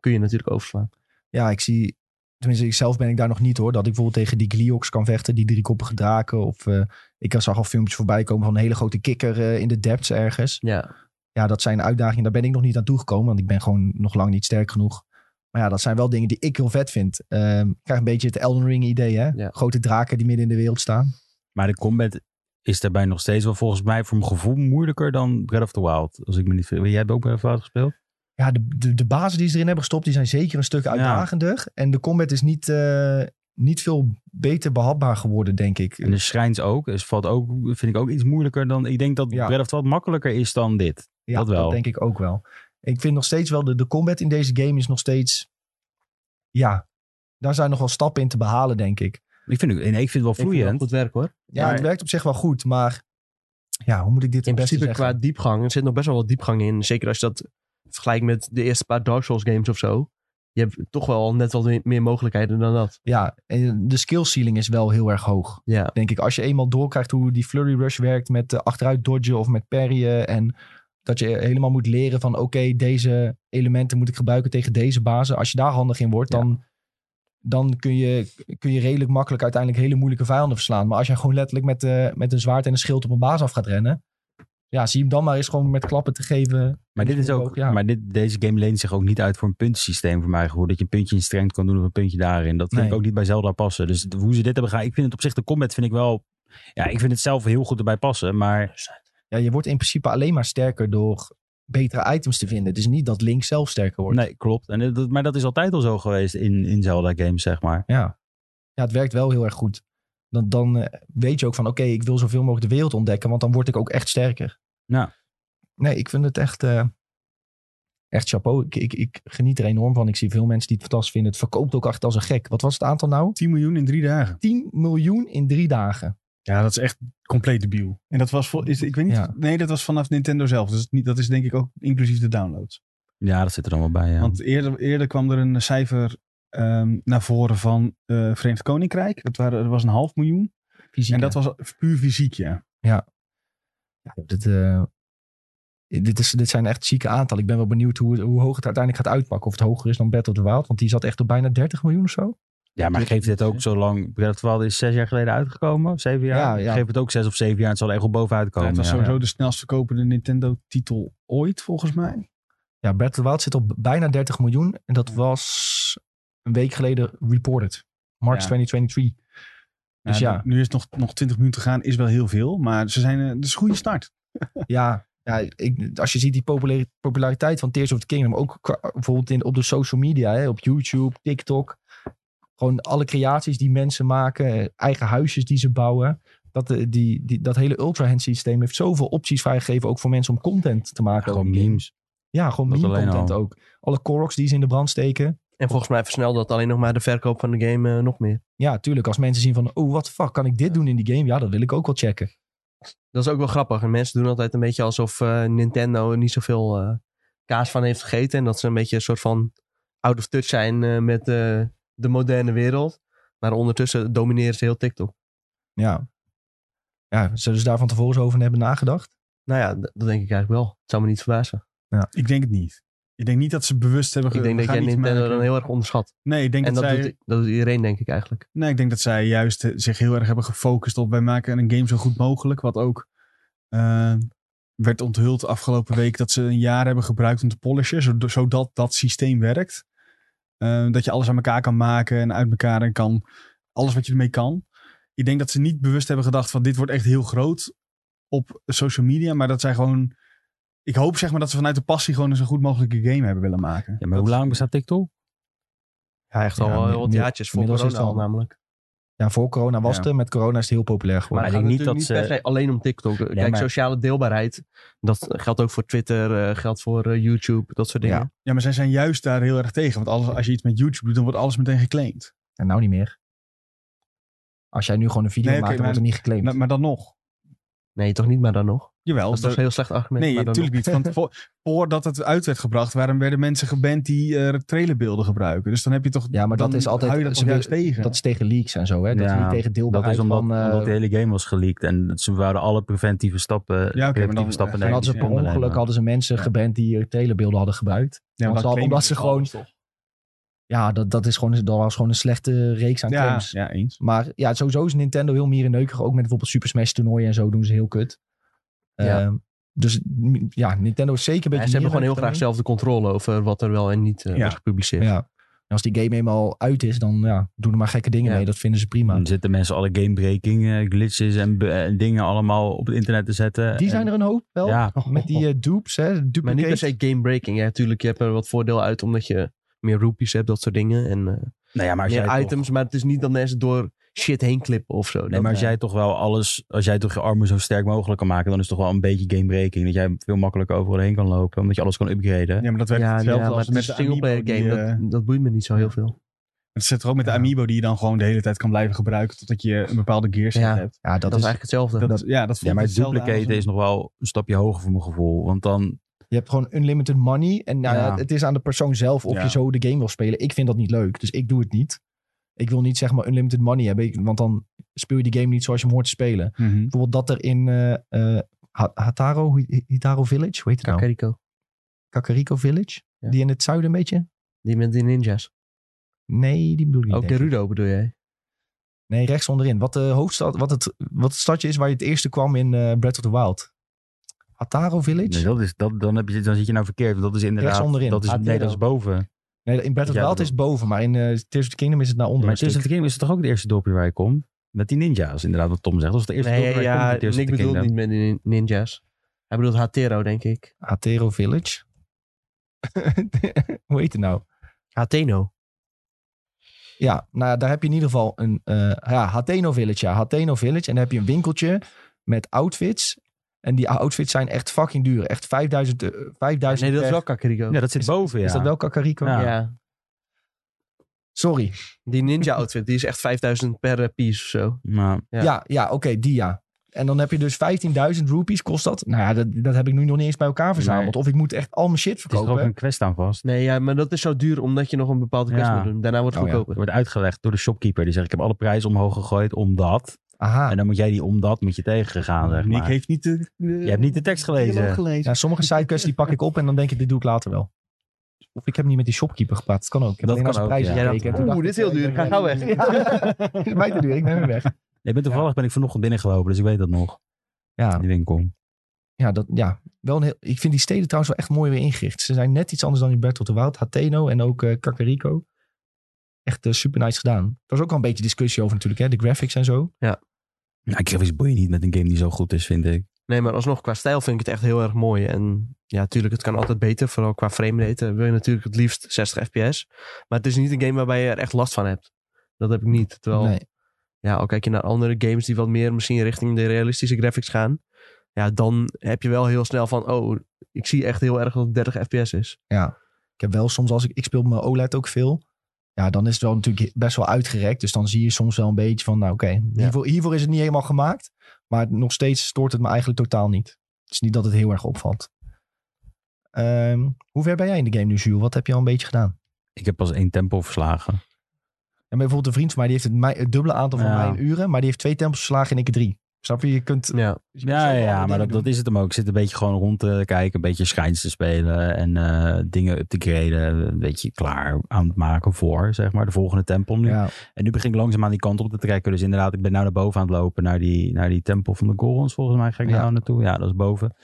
[SPEAKER 3] kun je natuurlijk overslaan.
[SPEAKER 1] Ja, ik zie... Tenminste, ik zelf ben ik daar nog niet hoor. Dat ik bijvoorbeeld tegen die Gliox kan vechten, die driekoppige draken. Of eh, ik zag al filmpjes voorbij komen van een hele grote kikker eh, in de depths ergens.
[SPEAKER 3] Ja,
[SPEAKER 1] ja, dat zijn uitdagingen. Daar ben ik nog niet aan toegekomen, want ik ben gewoon nog lang niet sterk genoeg. Maar ja, dat zijn wel dingen die ik heel vet vind. Ehm, ik krijg een beetje het Elden Ring idee, hè?
[SPEAKER 3] Ja.
[SPEAKER 1] Grote draken die midden in de wereld staan.
[SPEAKER 4] Maar de combat is daarbij nog steeds wel volgens mij voor mijn gevoel moeilijker dan Breath of the Wild. Als ik me niet ver- Jij hebt ook Breath of the Wild gespeeld?
[SPEAKER 1] Ja, de, de, de bazen die ze erin hebben gestopt, die zijn zeker een stuk uitdagender. En de combat is niet, eh, niet veel beter behapbaar geworden, denk ik.
[SPEAKER 4] En de shrines ook. Dus valt ook, vind ik ook iets moeilijker dan... Ik denk dat
[SPEAKER 1] Ja.
[SPEAKER 4] Breath of the Wild makkelijker is dan dit.
[SPEAKER 1] ja,
[SPEAKER 4] dat wel.
[SPEAKER 1] denk ik ook wel. Ik vind nog steeds wel, de, de combat in deze game is nog steeds... Ja, daar zijn nog wel stappen in te behalen, denk ik.
[SPEAKER 4] Ik vind, het- en ik vind het wel
[SPEAKER 3] ik vind het wel
[SPEAKER 4] vloeiend.
[SPEAKER 3] goed werk hoor.
[SPEAKER 1] Ja,
[SPEAKER 2] Maar-
[SPEAKER 1] het werkt op zich wel goed, maar... Ja, hoe moet ik dit
[SPEAKER 3] in
[SPEAKER 1] het beste
[SPEAKER 3] principe
[SPEAKER 1] zeggen?
[SPEAKER 3] qua diepgang, er zit nog best wel wat diepgang in. Zeker als je dat vergelijkt met de eerste paar Dark Souls games of zo. Je hebt toch wel net wat meer- meer mogelijkheden dan dat.
[SPEAKER 1] Ja, en de skill ceiling is wel heel erg hoog.
[SPEAKER 3] Ja,
[SPEAKER 1] Denk ik, als je eenmaal doorkrijgt hoe die flurry rush werkt met eh, achteruit dodgen of met parryen. En dat je helemaal moet leren van oké, deze elementen moet ik gebruiken tegen deze bazen. Als je daar handig in wordt,
[SPEAKER 3] Ja.
[SPEAKER 1] dan, dan kun, je, kun je redelijk makkelijk uiteindelijk hele moeilijke vijanden verslaan. Maar als je gewoon letterlijk met, eh, met een zwaard en een schild op een baas af gaat rennen. Ja, zie hem dan maar eens gewoon met klappen te geven.
[SPEAKER 4] Maar, dit is ook,
[SPEAKER 1] Ja.
[SPEAKER 4] maar dit, deze game leent zich ook niet uit voor een puntensysteem voor mij gevoel. Dat je een puntje in strength kan doen of een puntje daarin. Dat vind
[SPEAKER 1] Nee.
[SPEAKER 4] ik ook niet bij Zelda passen. Dus hoe ze dit hebben gedaan. Ik vind het op zich de combat vind ik wel... Ja, ik vind het zelf heel goed erbij passen. Maar
[SPEAKER 1] Ja, je wordt in principe alleen maar sterker door betere items te vinden. Het is niet dat Link zelf sterker wordt.
[SPEAKER 4] nee, klopt. En eh, dat, maar dat is altijd al zo geweest in, in Zelda games, zeg maar.
[SPEAKER 1] Ja. ja, het werkt wel heel erg goed. Dan, dan eh, weet je ook van, oké, ik wil zoveel mogelijk de wereld ontdekken, want dan word ik ook echt sterker.
[SPEAKER 4] Ja.
[SPEAKER 1] Nee, ik vind het echt, eh, echt chapeau. Ik, ik, ik geniet er enorm van. Ik zie veel mensen die het fantastisch vinden. Het verkoopt ook echt als een gek. Wat was het aantal nou?
[SPEAKER 2] 10 miljoen in drie dagen.
[SPEAKER 1] 10 miljoen in drie dagen.
[SPEAKER 2] Ja, dat is echt compleet debiel. En dat was, vol, is, ik weet niet,
[SPEAKER 1] Ja.
[SPEAKER 2] nee, dat was vanaf Nintendo zelf. Dus niet, dat is denk ik ook inclusief de downloads.
[SPEAKER 4] Ja, dat zit er dan wel bij. Ja.
[SPEAKER 2] Want eerder, eerder kwam er een cijfer ehm, naar voren van eh Verenigd Koninkrijk. Dat, waren, dat was een half miljoen.
[SPEAKER 1] Fysiek,
[SPEAKER 2] En
[SPEAKER 1] hè?
[SPEAKER 2] dat was puur fysiek, ja.
[SPEAKER 1] Ja, dit, eh, dit, is, dit zijn echt zieke aantallen. Ik ben wel benieuwd hoe, het- hoe hoog het uiteindelijk gaat uitpakken. Of het hoger is dan Battle of the Wild. Want die zat echt op bijna 30 miljoen of zo.
[SPEAKER 4] ja, maar geeft dit ook zo lang. Breath of the Wild is zes jaar geleden uitgekomen, of zeven jaar.
[SPEAKER 1] Ja, ja.
[SPEAKER 4] Geef het ook zes of zeven jaar. Het zal er echt wel bovenuit komen.
[SPEAKER 2] het was
[SPEAKER 4] ja.
[SPEAKER 2] sowieso de snelst verkopende Nintendo-titel ooit, volgens mij.
[SPEAKER 1] Ja, Breath of the Wild zit op bijna 30 miljoen. En dat was een week geleden reported. March
[SPEAKER 2] Ja.
[SPEAKER 4] [LAUGHS]
[SPEAKER 1] 2023. Dus ja.
[SPEAKER 2] Nu is het nog, nog 20 minuten te gaan, is wel heel veel. Maar ze zijn, eh, het is een goede start.
[SPEAKER 1] Ja, ja ik, als je ziet die populair- populariteit van Tears of the Kingdom. Ook qua- bijvoorbeeld in, op de social media. Hè, op YouTube, TikTok. Gewoon alle creaties die mensen maken. eh, Eigen huisjes die ze bouwen. Dat, eh, die, die, dat hele Ultra Hand systeem heeft zoveel opties vrijgegeven. Ook voor mensen om content te maken.
[SPEAKER 4] Gewoon memes.
[SPEAKER 1] Ja, gewoon
[SPEAKER 4] Dat
[SPEAKER 1] meme
[SPEAKER 4] alleen
[SPEAKER 1] content
[SPEAKER 4] al.
[SPEAKER 1] ook. Alle Koroks die ze in de brand steken.
[SPEAKER 3] en volgens mij versnelde dat alleen nog maar de verkoop van de game eh, nog meer.
[SPEAKER 1] Ja, tuurlijk. Als mensen zien van, oh, wat fuck, kan ik dit doen in die game? Ja, dat wil ik ook wel checken.
[SPEAKER 3] Dat is ook wel grappig. En mensen doen altijd een beetje alsof eh, Nintendo er niet zoveel eh, kaas van heeft gegeten. En dat ze een beetje een soort van out of touch zijn eh, met eh, de moderne wereld. Maar ondertussen domineren ze heel TikTok.
[SPEAKER 1] Ja. Ja, zullen ze daar van tevoren over hebben nagedacht?
[SPEAKER 3] Nou ja, d- dat denk ik eigenlijk wel. Het zou me niet verbazen.
[SPEAKER 2] Ik denk het niet. Ik denk niet dat ze bewust hebben... ge-
[SPEAKER 3] Ik denk
[SPEAKER 2] we
[SPEAKER 3] dat
[SPEAKER 2] gaan
[SPEAKER 3] jij
[SPEAKER 2] iets
[SPEAKER 3] Nintendo
[SPEAKER 2] maken.
[SPEAKER 3] dan heel erg onderschat.
[SPEAKER 2] Nee, ik denk
[SPEAKER 3] En
[SPEAKER 2] dat,
[SPEAKER 3] dat,
[SPEAKER 2] zij...
[SPEAKER 3] doet, dat doet iedereen, denk ik eigenlijk.
[SPEAKER 2] Nee, ik denk dat zij juist eh, zich heel erg hebben gefocust op wij maken een game zo goed mogelijk. Wat ook eh, werd onthuld afgelopen week dat ze een jaar hebben gebruikt om te polishen, zod- zodat dat systeem werkt. Eh, dat je alles aan elkaar kan maken en uit elkaar en kan alles wat je ermee kan. Ik denk dat ze niet bewust hebben gedacht van dit wordt echt heel groot op social media, maar dat zij gewoon. Ik hoop zeg maar dat ze vanuit de passie gewoon een zo goed mogelijke game hebben willen maken.
[SPEAKER 4] Ja, maar hoe lang bestaat TikTok?
[SPEAKER 3] Ja, echt
[SPEAKER 1] Ja,
[SPEAKER 3] al wel
[SPEAKER 1] mi-
[SPEAKER 3] heel wat
[SPEAKER 1] mi-
[SPEAKER 3] jaartjes voor
[SPEAKER 1] inmiddels is
[SPEAKER 3] corona
[SPEAKER 1] het
[SPEAKER 3] al
[SPEAKER 1] al-
[SPEAKER 3] namelijk.
[SPEAKER 1] Ja, voor corona was
[SPEAKER 2] Ja.
[SPEAKER 1] het er. Met corona is het heel populair
[SPEAKER 3] Maar
[SPEAKER 1] geworden.
[SPEAKER 4] ik
[SPEAKER 3] het
[SPEAKER 4] denk
[SPEAKER 3] gaat
[SPEAKER 4] niet
[SPEAKER 3] niet,
[SPEAKER 4] dat
[SPEAKER 3] dat niet
[SPEAKER 4] ze-
[SPEAKER 3] per se alleen om TikTok. Kijk,
[SPEAKER 4] maar-
[SPEAKER 3] sociale deelbaarheid. Dat geldt ook voor Twitter, eh, geldt voor eh, YouTube, dat soort dingen.
[SPEAKER 1] Ja.
[SPEAKER 2] Ja, maar zij zijn juist daar heel erg tegen. Want alles, als je iets met YouTube doet, dan wordt alles meteen geclaimd.
[SPEAKER 1] En nou niet meer. Als jij nu gewoon een video
[SPEAKER 2] Nee, oké,
[SPEAKER 1] maakt, dan wordt
[SPEAKER 2] maar-
[SPEAKER 1] het niet geclaimd.
[SPEAKER 2] Maar, maar dan nog.
[SPEAKER 3] Nee, toch niet, maar dan nog.
[SPEAKER 2] Jawel.
[SPEAKER 3] Dat was een heel slecht argument.
[SPEAKER 2] nee,
[SPEAKER 3] maar dan
[SPEAKER 2] natuurlijk niet. Want voor, voordat het uit werd gebracht, waren, werden mensen geband die eh trailerbeelden gebruiken. Dus dan heb je toch...
[SPEAKER 1] ja, maar dat
[SPEAKER 2] dan
[SPEAKER 1] is altijd...
[SPEAKER 2] hou je dat
[SPEAKER 1] ze
[SPEAKER 2] toch
[SPEAKER 1] wil-
[SPEAKER 2] juist tegen.
[SPEAKER 1] dat is tegen leaks en zo, hè? Dat
[SPEAKER 4] Ja,
[SPEAKER 1] is niet tegen
[SPEAKER 4] Dat
[SPEAKER 1] deelbaarheid
[SPEAKER 4] is omdat,
[SPEAKER 1] van... eh,
[SPEAKER 4] omdat de hele game was geleakt en ze wouden alle preventieve stappen,
[SPEAKER 2] maar dan-
[SPEAKER 4] preventieve stappen
[SPEAKER 1] en
[SPEAKER 2] dan Nee,
[SPEAKER 1] hadden ze
[SPEAKER 2] ja,
[SPEAKER 1] per
[SPEAKER 4] ondernemen.
[SPEAKER 1] ongeluk hadden ze mensen
[SPEAKER 2] Ja.
[SPEAKER 1] geband die eh, trailerbeelden hadden gebruikt.
[SPEAKER 2] Ja,
[SPEAKER 1] want
[SPEAKER 2] dan
[SPEAKER 1] al- omdat ze
[SPEAKER 2] claimen
[SPEAKER 3] Oh,
[SPEAKER 1] gewoon-
[SPEAKER 2] alles toch?
[SPEAKER 1] Ja, dat, dat, is gewoon, dat was gewoon een slechte reeks aan
[SPEAKER 2] Ja,
[SPEAKER 1] claims.
[SPEAKER 2] ja, eens.
[SPEAKER 1] Maar ja, sowieso is Nintendo heel mierenneukig. Ook met bijvoorbeeld Super Smash toernooien en zo doen ze heel kut.
[SPEAKER 3] Ja.
[SPEAKER 1] Ehm, dus m- ja, Nintendo is zeker een beetje...
[SPEAKER 3] Ja, ze hebben gewoon heel
[SPEAKER 1] mierenneukig
[SPEAKER 3] graag zelf de controle over wat er wel en niet eh,
[SPEAKER 2] Ja.
[SPEAKER 3] wordt gepubliceerd.
[SPEAKER 1] daarin. Ja. En als die game eenmaal uit is, dan ja, doen er maar gekke dingen
[SPEAKER 3] Ja. Mm.
[SPEAKER 1] mee. Dat vinden ze prima.
[SPEAKER 4] Dan zitten mensen alle gamebreaking, eh, glitches en be- en dingen allemaal op het internet te zetten.
[SPEAKER 1] Die zijn
[SPEAKER 4] En-
[SPEAKER 1] er een hoop wel.
[SPEAKER 4] Ja,
[SPEAKER 1] Met die eh, dupes, hè.
[SPEAKER 3] Maar niet per
[SPEAKER 1] duplicates.
[SPEAKER 3] se game-breaking. Ja, natuurlijk, je hebt er wat voordeel uit omdat je meer rupees hebt, dat soort dingen. En eh,
[SPEAKER 4] nou ja, maar als jij
[SPEAKER 3] meer
[SPEAKER 4] toch-
[SPEAKER 3] items, maar het is niet dat mensen door shit heen klippen of zo.
[SPEAKER 4] Nee, maar als jij toch wel alles, als jij toch je armen zo sterk mogelijk kan maken, dan is het toch wel een beetje gamebreaking. Dat jij veel makkelijker overal heen kan lopen, omdat je alles kan upgraden.
[SPEAKER 2] Ja, maar dat werd
[SPEAKER 3] ja,
[SPEAKER 2] hetzelfde
[SPEAKER 3] ja, maar
[SPEAKER 2] als
[SPEAKER 3] het
[SPEAKER 2] met
[SPEAKER 3] is
[SPEAKER 2] de
[SPEAKER 3] een singleplayer
[SPEAKER 2] Amiibo. Die,
[SPEAKER 3] game.
[SPEAKER 2] eh,
[SPEAKER 3] dat, dat boeit me niet zo heel veel.
[SPEAKER 2] Het zit er ook met de
[SPEAKER 1] Ja.
[SPEAKER 2] Amiibo die je dan gewoon de hele tijd kan blijven gebruiken totdat je een bepaalde gearset
[SPEAKER 3] Ja.
[SPEAKER 2] hebt.
[SPEAKER 1] Ja, dat,
[SPEAKER 3] Dat, is
[SPEAKER 1] is...
[SPEAKER 3] eigenlijk hetzelfde.
[SPEAKER 2] Dat, ja, dat voelt
[SPEAKER 4] Ja, maar
[SPEAKER 2] hetzelfde aan als
[SPEAKER 4] duplicaten
[SPEAKER 2] een-
[SPEAKER 4] is nog wel een stapje hoger voor mijn gevoel. Want dan,
[SPEAKER 1] Je hebt gewoon unlimited money. En nou, ja.
[SPEAKER 4] Ja.
[SPEAKER 1] het is aan de persoon zelf of
[SPEAKER 2] Ja.
[SPEAKER 1] je zo de game wil spelen. Ik vind dat niet leuk, dus ik doe het niet. Ik wil niet zeg maar unlimited money hebben. ik- Want dan speel je die game niet zoals je hem hoort te spelen.
[SPEAKER 2] Mhm.
[SPEAKER 1] Bijvoorbeeld dat er in eh eh, Ha- Hataro, hoe- Hitaro Village, hoe heet het nou?
[SPEAKER 3] Kakariko.
[SPEAKER 1] Kakariko Village?
[SPEAKER 3] Ja.
[SPEAKER 1] Die in het zuiden een beetje?
[SPEAKER 3] Die met die ninjas.
[SPEAKER 1] Nee, die bedoel ik niet.
[SPEAKER 3] Ook
[SPEAKER 1] denk ik.
[SPEAKER 3] Gerudo bedoel jij?
[SPEAKER 1] Nee, rechts onderin. Wat de hoofdstad, wat het, wat het stadje is waar je het eerste kwam in eh Breath of the Wild. Hataro Village?
[SPEAKER 4] nee, dat is, dat, dan, heb je, dan zit je nou verkeerd. want Dat is inderdaad,
[SPEAKER 1] Rechtsonderin.
[SPEAKER 4] dat is, nee,
[SPEAKER 3] Atero.
[SPEAKER 4] dat is boven.
[SPEAKER 1] Nee, in Breath of the
[SPEAKER 4] Ja,
[SPEAKER 1] Wild is
[SPEAKER 4] dat-
[SPEAKER 1] het boven, maar in eh Tears of the Kingdom is het naar onder.
[SPEAKER 4] Maar
[SPEAKER 1] een stuk.
[SPEAKER 4] Tears of the Kingdom is het toch ook het eerste dorpje waar je komt? Met die ninja's, inderdaad, wat Tom zegt. Dat is het eerste
[SPEAKER 3] Nee,
[SPEAKER 4] dorpje waar je
[SPEAKER 3] ja,
[SPEAKER 4] komt in Tears of
[SPEAKER 3] ik
[SPEAKER 4] the
[SPEAKER 3] bedoel
[SPEAKER 4] Kingdom.
[SPEAKER 3] niet met die nin- ninjas. Hij bedoelt Hatero, denk ik.
[SPEAKER 1] Hatero Village. [LAUGHS] Hoe heet het nou?
[SPEAKER 3] Hateno.
[SPEAKER 1] Ja, nou ja, daar heb je in ieder geval een eh, ja, Hateno Village. Ja, Hateno Village. En dan heb je een winkeltje met outfits. En die outfits zijn echt fucking duur. Echt 5000 eh, 5000
[SPEAKER 3] Ah, Nee, dat is
[SPEAKER 1] per-
[SPEAKER 3] wel Kakariko.
[SPEAKER 4] Ja, dat zit boven, ja.
[SPEAKER 1] Is dat wel Kakariko?
[SPEAKER 4] Ja.
[SPEAKER 3] Ja.
[SPEAKER 1] Sorry.
[SPEAKER 3] Die ninja outfit, die is echt 5000 per eh, piece of zo.
[SPEAKER 4] Nou,
[SPEAKER 1] Ja,
[SPEAKER 3] Ja.
[SPEAKER 1] ja, oké, die ja. En dan heb je dus 15.000 roepies kost dat. Nou ja, dat, dat heb ik nu nog niet eens bij elkaar verzameld. Of ik moet echt al mijn shit
[SPEAKER 4] het is er ook
[SPEAKER 1] verkopen.
[SPEAKER 4] een quest aan vast.
[SPEAKER 3] Nee, ja, maar dat is zo duur omdat je nog een bepaalde quest
[SPEAKER 4] Ja.
[SPEAKER 3] moet doen. Daarna wordt het
[SPEAKER 1] Oh, ja.
[SPEAKER 4] Het
[SPEAKER 3] goedkoper.
[SPEAKER 4] wordt uitgelegd door de shopkeeper. Die zegt, ik heb alle prijzen omhoog gegooid omdat.
[SPEAKER 1] Aha.
[SPEAKER 4] En dan moet jij die omdat moet je tegengegaan, zeg
[SPEAKER 2] Nick
[SPEAKER 4] maar.
[SPEAKER 2] heeft niet de, de
[SPEAKER 4] Je hebt niet de tekst
[SPEAKER 2] dialoog
[SPEAKER 4] gelezen.
[SPEAKER 2] gelezen.
[SPEAKER 1] Ja, sommige sidequests die pak ik op en dan denk ik, dit doe ik later wel. Of ik heb niet met die shopkeeper gepraat. Dat kan ook. Ik heb
[SPEAKER 4] Dat
[SPEAKER 1] alleen
[SPEAKER 4] kan
[SPEAKER 1] naar zijn
[SPEAKER 4] ook,
[SPEAKER 1] prijzen gekeken.
[SPEAKER 4] ja. Ja,
[SPEAKER 1] en
[SPEAKER 4] dat-
[SPEAKER 1] toen
[SPEAKER 3] Oeh,
[SPEAKER 1] dacht
[SPEAKER 3] dit
[SPEAKER 1] ik,
[SPEAKER 3] is heel
[SPEAKER 1] eh, ik ben
[SPEAKER 3] duur. Ga gauw
[SPEAKER 1] weer-
[SPEAKER 3] weg.
[SPEAKER 1] [LAUGHS]
[SPEAKER 4] [LAUGHS]
[SPEAKER 1] Ja. Is mij te duur. Ik ben weer weg.
[SPEAKER 4] Ik ben toevallig ben ik vanochtend binnengelopen, dus ik weet dat nog.
[SPEAKER 1] Ja,
[SPEAKER 4] In die winkel.
[SPEAKER 1] ja, dat, ja. Wel een heel, ik vind die steden trouwens wel echt mooi weer ingericht. Ze zijn net iets anders dan in Battle of the Wild. Hateno en ook eh Kakariko. Echt eh, super nice gedaan. Er was ook al een beetje discussie over natuurlijk. Hè? De graphics en zo.
[SPEAKER 4] Nou, graphics boeien niet met een game die zo goed is, vind ik.
[SPEAKER 3] Nee, maar alsnog, qua stijl vind ik het echt heel erg mooi. En ja, natuurlijk, het kan altijd beter. Vooral qua framerate eh, wil je natuurlijk het liefst 60 fps. Maar het is niet een game waarbij je er echt last van hebt. Dat heb ik niet. Terwijl,
[SPEAKER 1] Nee.
[SPEAKER 3] ja, al kijk je naar andere games die wat meer misschien richting de realistische graphics gaan. Ja, dan heb je wel heel snel van, oh, ik zie echt heel erg dat het 30 fps is.
[SPEAKER 1] Ik heb wel soms, als ik, ik speel op mijn OLED ook veel. Ja, dan is het wel natuurlijk best wel uitgerekt. Dus dan zie je soms wel een beetje van, nou oké, hiervoor, hiervoor is het niet helemaal gemaakt. Maar nog steeds stoort het me eigenlijk totaal niet. Het is niet dat het heel erg opvalt. Ehm, hoe ver ben jij in de game nu, Jules? Wat heb je al een beetje gedaan?
[SPEAKER 4] Ik heb pas één tempo verslagen.
[SPEAKER 1] En bijvoorbeeld een vriend van mij, die heeft het, mij, het dubbele aantal van
[SPEAKER 4] Ja.
[SPEAKER 1] mijn uren. Maar die heeft twee tempels verslagen en ik drie. Snap Dus je? Je kunt...
[SPEAKER 3] Ja,
[SPEAKER 4] Ja, ja, ja, maar dat, dat is het hem ook. Ik zit een beetje gewoon rond te kijken, een beetje schijns te spelen en eh, dingen up te graden. Een beetje klaar aan het maken voor, zeg maar, de volgende tempel nu.
[SPEAKER 1] Ja,
[SPEAKER 4] En nu begin ik langzaam aan die kant op te trekken. Dus inderdaad, ik ben nou naar boven aan het lopen, naar die, naar die tempel van de Gorons volgens mij ga ik
[SPEAKER 1] Ja.
[SPEAKER 4] nou naartoe. Ja, dat is boven.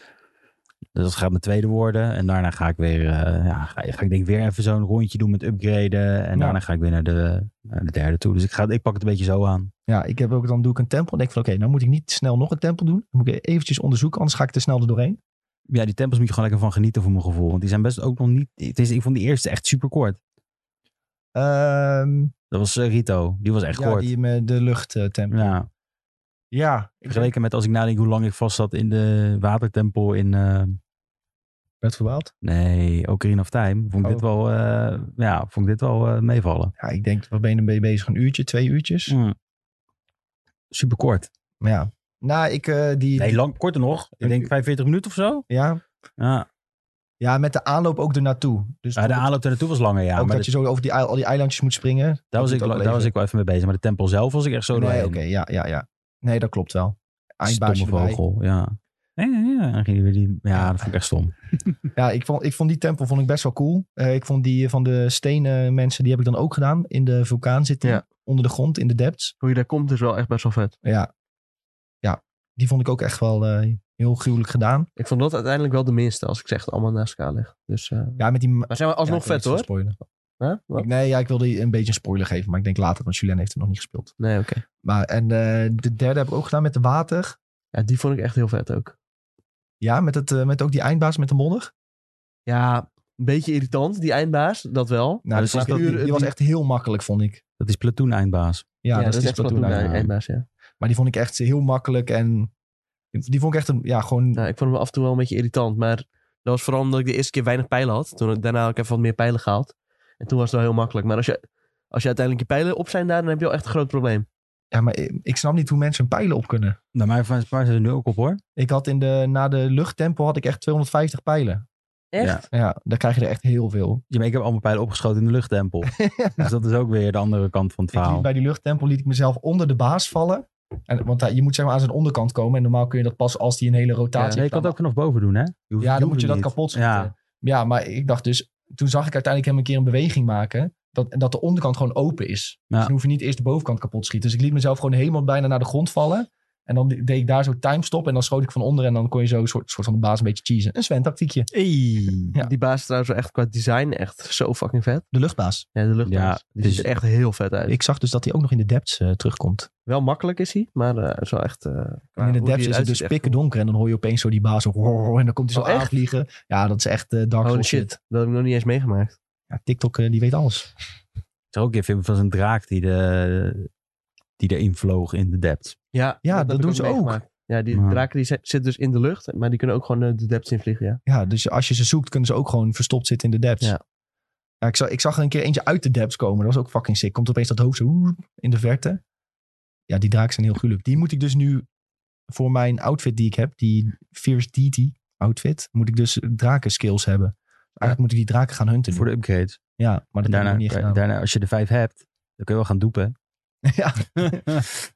[SPEAKER 4] Dus dat gaat mijn tweede worden. En daarna ga ik weer, eh, ja, ga, ga ik denk ik weer even zo'n rondje doen met upgraden. En
[SPEAKER 1] Ja.
[SPEAKER 4] daarna ga ik weer naar de, naar de derde toe. Dus ik, ga, ik pak het een beetje zo aan.
[SPEAKER 1] ja, ik heb ook, dan doe ik een tempel. En denk ik van, oké, nou moet ik niet snel nog een tempel doen. Dan moet ik eventjes onderzoeken, anders ga ik te snel er doorheen.
[SPEAKER 4] Ja, die tempels moet je gewoon lekker van genieten voor mijn gevoel. Want die zijn best ook nog niet... Het is, ik vond die eerste echt super kort.
[SPEAKER 1] Ehm,
[SPEAKER 4] Dat was eh, Rito. Die was echt
[SPEAKER 1] ja,
[SPEAKER 4] kort.
[SPEAKER 1] die met de luchttemp. Ja,
[SPEAKER 4] Ja,
[SPEAKER 1] ik
[SPEAKER 4] vergeleken met als ik nadenk hoe lang ik vast zat in de watertempel in... eh,
[SPEAKER 1] werd verwaald.
[SPEAKER 4] nee, Ocarina of Time. Vond ik
[SPEAKER 1] Oh.
[SPEAKER 4] dit wel, eh, ja, vond ik dit wel eh, meevallen.
[SPEAKER 1] Ja, ik denk, wat ben je ermee bezig? Een uurtje, twee uurtjes?
[SPEAKER 4] Mm. Super kort.
[SPEAKER 1] Maar ja. Nou, ik eh, die...
[SPEAKER 4] Nee, lang, korter nog. Ik denk 45 minuten of zo.
[SPEAKER 1] ja,
[SPEAKER 4] Ja,
[SPEAKER 1] ja, met de aanloop ook ernaartoe. Dus
[SPEAKER 4] Ja, de
[SPEAKER 1] ook
[SPEAKER 4] aanloop er naartoe was langer, ja.
[SPEAKER 1] dat
[SPEAKER 4] Maar
[SPEAKER 1] je zo over die, ei- al die eilandjes moet springen.
[SPEAKER 4] daar, was
[SPEAKER 1] doet
[SPEAKER 4] ik,
[SPEAKER 1] ook
[SPEAKER 4] daar
[SPEAKER 1] leven.
[SPEAKER 4] was ik wel even mee bezig. Maar de tempel zelf was ik echt zo
[SPEAKER 1] nee,
[SPEAKER 4] doorheen.
[SPEAKER 1] oké, ja, ja, ja. Nee, dat klopt wel. Eindbaasje
[SPEAKER 4] Stomme
[SPEAKER 1] erbij.
[SPEAKER 4] vogel, ja. Ja, ja, ja. Dan ging hij weer die, ja, dat vond ik echt stom.
[SPEAKER 1] Ja, ik vond, ik vond die tempel vond ik best wel cool. Eh, ik vond die van de stenen mensen, die heb ik dan ook gedaan. In de vulkaan zitten,
[SPEAKER 3] Ja.
[SPEAKER 1] onder de grond, in de depths.
[SPEAKER 3] Hoe je daar komt is wel echt best wel vet.
[SPEAKER 1] Ja, ja die vond ik ook echt wel eh, heel gruwelijk gedaan.
[SPEAKER 3] Ik vond dat uiteindelijk wel de minste, als ik zeg het allemaal naast elkaar leg. Dus, eh,
[SPEAKER 1] Ja, met die...
[SPEAKER 3] maar zijn we
[SPEAKER 1] Ja,
[SPEAKER 3] alsnog
[SPEAKER 1] ik wil
[SPEAKER 3] vet
[SPEAKER 1] niet veel
[SPEAKER 3] hoor.
[SPEAKER 1] spoilen.
[SPEAKER 3] Huh? Wat?
[SPEAKER 1] Ik- nee, ja, ik wilde een beetje een spoiler geven, maar ik denk later, want Julien heeft het nog niet gespeeld.
[SPEAKER 3] Nee, oké.
[SPEAKER 1] Maar, en eh, de derde heb ik ook gedaan met de water.
[SPEAKER 3] Ja, die vond ik echt heel vet ook.
[SPEAKER 1] Ja, met, het, eh, met ook die eindbaas met de modder. Nou,
[SPEAKER 3] Ja, een beetje irritant, die eindbaas, dat wel.
[SPEAKER 1] Nou,
[SPEAKER 4] dus
[SPEAKER 1] die,
[SPEAKER 4] is
[SPEAKER 1] was-
[SPEAKER 4] dat-
[SPEAKER 1] die- die was echt heel makkelijk, vond ik.
[SPEAKER 4] Dat is platoon eindbaas.
[SPEAKER 1] Ja, dat, is
[SPEAKER 3] echt
[SPEAKER 1] echt wat
[SPEAKER 3] Platoon,
[SPEAKER 1] toen.
[SPEAKER 4] aan.
[SPEAKER 3] de eindbaas, ja.
[SPEAKER 1] Maar die vond ik echt heel makkelijk en die vond ik echt een, ja, gewoon...
[SPEAKER 3] Nou, ik vond hem af en toe wel een beetje irritant, maar dat was vooral omdat ik de eerste keer weinig pijlen had. Toen daarna had ik even wat meer pijlen gehaald. En toen was het wel heel makkelijk. Maar als je, als je uiteindelijk je pijlen op zijn daar, dan heb je wel echt een groot probleem.
[SPEAKER 1] Ja, maar ik, ik snap niet hoe mensen hun pijlen op kunnen.
[SPEAKER 4] Nou, maar van Spaar zijn er nu ook op hoor.
[SPEAKER 1] Ik had in de, na de luchttempo had ik echt 250 pijlen.
[SPEAKER 4] Echt?
[SPEAKER 1] Ja, daar krijg je er echt heel veel.
[SPEAKER 4] Ja, maar ik heb allemaal pijlen opgeschoten in de
[SPEAKER 1] [LAUGHS]
[SPEAKER 4] luchttempel. Dus dat is ook weer de andere kant van het
[SPEAKER 1] Ik liet
[SPEAKER 4] verhaal.
[SPEAKER 1] bij die luchttempo liet ik mezelf onder de baas vallen. En, want hij- je moet zeg maar aan zijn onderkant komen. En normaal kun je dat pas als die een hele rotatie
[SPEAKER 4] Nee, je
[SPEAKER 1] heeft.
[SPEAKER 4] kan het ook vanaf boven doen, hè? Je hoeft-
[SPEAKER 1] Ja, dan
[SPEAKER 4] je
[SPEAKER 1] moet
[SPEAKER 4] hoeft
[SPEAKER 1] je dat
[SPEAKER 4] niet.
[SPEAKER 1] kapot schieten.
[SPEAKER 4] Ja.
[SPEAKER 1] Ja. maar ik dacht dus... Toen zag ik uiteindelijk hem een keer een beweging maken. Dat, en dat de onderkant gewoon open is.
[SPEAKER 4] Ja.
[SPEAKER 1] Dus dan hoef je niet eerst de bovenkant kapot te schieten. Dus ik liet mezelf gewoon helemaal bijna naar de grond vallen. En dan deed ik daar zo timestop. En dan schoot ik van onder. En dan kon je zo een soort, soort van de baas een beetje cheesen. Een Sven-tactiekje.
[SPEAKER 4] Hey.
[SPEAKER 1] Ja.
[SPEAKER 3] Die baas is trouwens wel echt qua design echt zo fucking vet.
[SPEAKER 1] De luchtbaas.
[SPEAKER 3] Ja, de luchtbaas.
[SPEAKER 4] Ja,
[SPEAKER 3] die
[SPEAKER 4] dus-
[SPEAKER 3] ziet er echt heel vet uit.
[SPEAKER 1] Ik zag dus dat hij ook nog in de depths eh, terugkomt.
[SPEAKER 3] Wel makkelijk is hij, maar eh, het is wel echt... eh, qua
[SPEAKER 1] En in de
[SPEAKER 3] hoe die
[SPEAKER 1] depths is het
[SPEAKER 3] eruit
[SPEAKER 1] dus
[SPEAKER 3] ziet, echt
[SPEAKER 1] pikken donker. En dan hoor je opeens zo die baas. zo, [LAUGHS] "Wow", En dan komt hij zo
[SPEAKER 3] Oh, echt?
[SPEAKER 1] aanvliegen. Ja, dat is echt eh, Dark
[SPEAKER 3] cool. Holy
[SPEAKER 1] Souls
[SPEAKER 3] shit,
[SPEAKER 1] shit.
[SPEAKER 3] dat heb ik nog niet eens meegemaakt.
[SPEAKER 1] Ja, TikTok, eh, die weet alles.
[SPEAKER 4] Er is ook een film van zo'n draak die, de, die erin vloog in de depth.
[SPEAKER 3] Ja,
[SPEAKER 1] Ja, dat
[SPEAKER 3] heb ik
[SPEAKER 1] doen ze ook.
[SPEAKER 3] meegemaakt. Ja, die
[SPEAKER 4] Ja.
[SPEAKER 3] draken die zi- zitten dus in de lucht, maar die kunnen ook gewoon eh, de depths in vliegen, ja.
[SPEAKER 1] Ja, dus als je ze zoekt, kunnen ze ook gewoon verstopt zitten in de depths.
[SPEAKER 3] Ja.
[SPEAKER 1] Ja. ik, zag, ik zag er een keer eentje uit de depths komen. Dat was ook fucking sick. Komt opeens dat hoofd zo "Oeh", in de verte. Ja, die draak zijn heel gruwelijk. Die moet ik dus nu voor mijn outfit die ik heb, die Fierce Deity outfit, moet ik dus draken skills hebben. Eigenlijk moet ik die draken gaan hunten. nu.
[SPEAKER 4] Voor de upgrades.
[SPEAKER 1] Ja, maar
[SPEAKER 4] En
[SPEAKER 1] dat Mhm. heb ik nog
[SPEAKER 4] daarna,
[SPEAKER 1] niet gedaan.
[SPEAKER 4] daarna, als je de vijf hebt, dan kun je wel gaan doepen.
[SPEAKER 1] [LAUGHS] ja,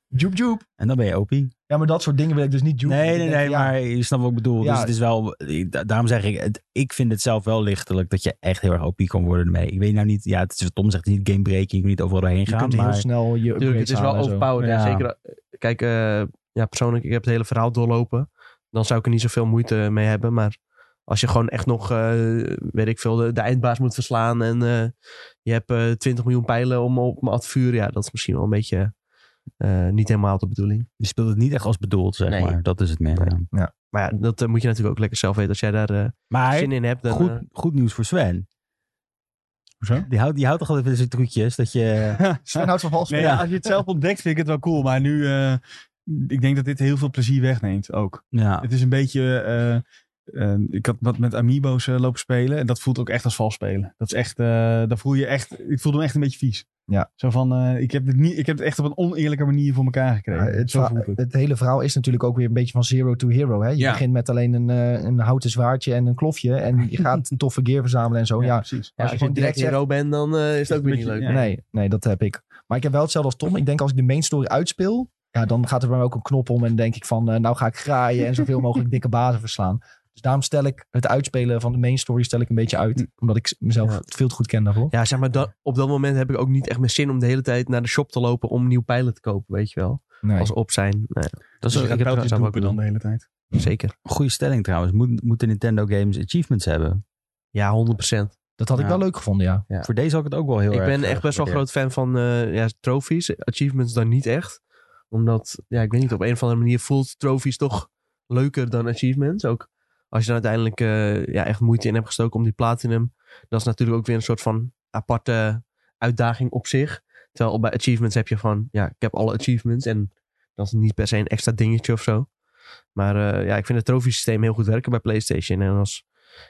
[SPEAKER 1] joep joep.
[SPEAKER 4] En dan ben je opie.
[SPEAKER 1] Ja, maar dat soort dingen wil ik dus niet doen.
[SPEAKER 4] Nee,
[SPEAKER 1] Ik
[SPEAKER 4] nee,
[SPEAKER 1] denk,
[SPEAKER 4] nee,
[SPEAKER 1] ja,
[SPEAKER 4] maar je snapt wat ik bedoel.
[SPEAKER 1] Ja.
[SPEAKER 4] Dus het is wel, ik- da- daarom zeg ik, het- ik vind het zelf wel lichtelijk dat je echt heel erg OP kan worden ermee. Ik weet nou niet, ja, het is wat Tom zegt, het is niet gamebreaking, je moet niet overal doorheen
[SPEAKER 1] Je
[SPEAKER 4] gaan.
[SPEAKER 1] kunt heel
[SPEAKER 4] Maar
[SPEAKER 1] snel je
[SPEAKER 3] Tuurlijk,
[SPEAKER 1] upgrades
[SPEAKER 3] het is wel
[SPEAKER 1] halen en zo.
[SPEAKER 3] overpowered. en
[SPEAKER 4] Ja.
[SPEAKER 3] Zeker, eh, kijk, eh, ja, persoonlijk, ik heb het hele verhaal doorlopen. Dan zou ik er niet zoveel moeite mee hebben. Maar als je gewoon echt nog, eh, weet ik veel, de, de eindbaas moet verslaan. En eh, je hebt eh 20 miljoen pijlen om op me af te vuren. Ja, dat is misschien wel een beetje eh, niet helemaal de bedoeling.
[SPEAKER 4] je speelt het niet echt als bedoeld, zeg
[SPEAKER 3] Nee.
[SPEAKER 4] maar. Dat is het meer. ja.
[SPEAKER 3] Maar ja, dat eh, moet je natuurlijk ook lekker zelf weten. Als jij daar eh,
[SPEAKER 4] Maar
[SPEAKER 3] zin in hebt, dan...
[SPEAKER 4] goed,
[SPEAKER 3] eh,
[SPEAKER 4] goed nieuws voor Sven.
[SPEAKER 2] Hoezo?
[SPEAKER 4] Die houdt, die houdt toch altijd van zijn trucjes, dat je...
[SPEAKER 1] Sven houdt van vals
[SPEAKER 2] Nee, ja, als je het zelf ontdekt, vind ik het wel cool. Maar nu, eh, ik denk dat dit heel veel plezier wegneemt ook.
[SPEAKER 4] Ja,
[SPEAKER 2] Het is een beetje. eh, eh, ik had wat met Amiibo's eh, lopen spelen. En dat voelt ook echt als vals spelen. Dat is echt. eh dat voel je echt. Ik voelde me echt een beetje vies.
[SPEAKER 1] Ja.
[SPEAKER 2] Zo van. eh, ik, heb het niet, ik heb het echt op een oneerlijke manier voor elkaar gekregen.
[SPEAKER 1] Ja, het,
[SPEAKER 2] Zo
[SPEAKER 1] verha-
[SPEAKER 2] voelt het.
[SPEAKER 1] het hele verhaal is natuurlijk ook weer een beetje van zero to hero. Hè? Je
[SPEAKER 2] Ja.
[SPEAKER 1] begint met alleen een, eh, een houten zwaardje en een klofje. En je gaat een toffe gear verzamelen en zo. Ja,
[SPEAKER 2] precies.
[SPEAKER 3] ja, als
[SPEAKER 1] gewoon
[SPEAKER 3] je gewoon direct
[SPEAKER 1] direct
[SPEAKER 3] in row bent, dan eh, is het ook weer niet leuk.
[SPEAKER 2] Ja.
[SPEAKER 1] Nee, nee, dat heb ik. Maar ik heb wel hetzelfde als Tom. Ik denk als ik de main story uitspeel, ja, dan gaat er bij mij ook een knop om. En denk ik van, eh, nou ga ik graaien en
[SPEAKER 3] [LAUGHS]
[SPEAKER 1] zoveel mogelijk dikke bazen verslaan. Dus daarom stel ik het uitspelen van de main story stel ik een beetje uit. Omdat ik mezelf
[SPEAKER 3] Mm. Ja.
[SPEAKER 1] veel te goed ken daarvoor.
[SPEAKER 3] Ja, zeg maar, dat, op dat moment heb ik ook niet echt meer zin om de hele tijd naar de shop te lopen om nieuw pijlen te kopen, weet je wel.
[SPEAKER 1] Nee.
[SPEAKER 3] Als op zijn. Nee, dat
[SPEAKER 2] Dus je
[SPEAKER 3] is
[SPEAKER 2] gaat
[SPEAKER 3] ik heb
[SPEAKER 2] pijltjes
[SPEAKER 3] zelf ook
[SPEAKER 2] doepen dan de hele tijd.
[SPEAKER 3] doen. Zeker.
[SPEAKER 4] goede stelling trouwens. Moet, moeten Nintendo games achievements hebben?
[SPEAKER 3] Ja, 100%.
[SPEAKER 1] Dat had ik
[SPEAKER 4] Ja.
[SPEAKER 1] wel leuk gevonden, ja.
[SPEAKER 3] Ja.
[SPEAKER 4] Voor deze had ik het ook wel heel
[SPEAKER 3] ik
[SPEAKER 4] erg...
[SPEAKER 3] ben
[SPEAKER 4] eh,
[SPEAKER 3] echt best wel
[SPEAKER 4] gewaardeerd.
[SPEAKER 3] groot fan van eh ja, trophies. Achievements dan niet echt. Omdat, ja, ik weet niet, op een of andere manier voelt trophies toch leuker dan achievements. Ook als je er uiteindelijk eh, ja, echt moeite in hebt gestoken om die platinum. Dat is natuurlijk ook weer een soort van aparte uitdaging op zich. Terwijl bij achievements heb je van, ja, ik heb alle achievements en dat is niet per se een extra dingetje of zo. Maar eh, ja, ik vind het trofiesysteem heel goed werken bij PlayStation. En als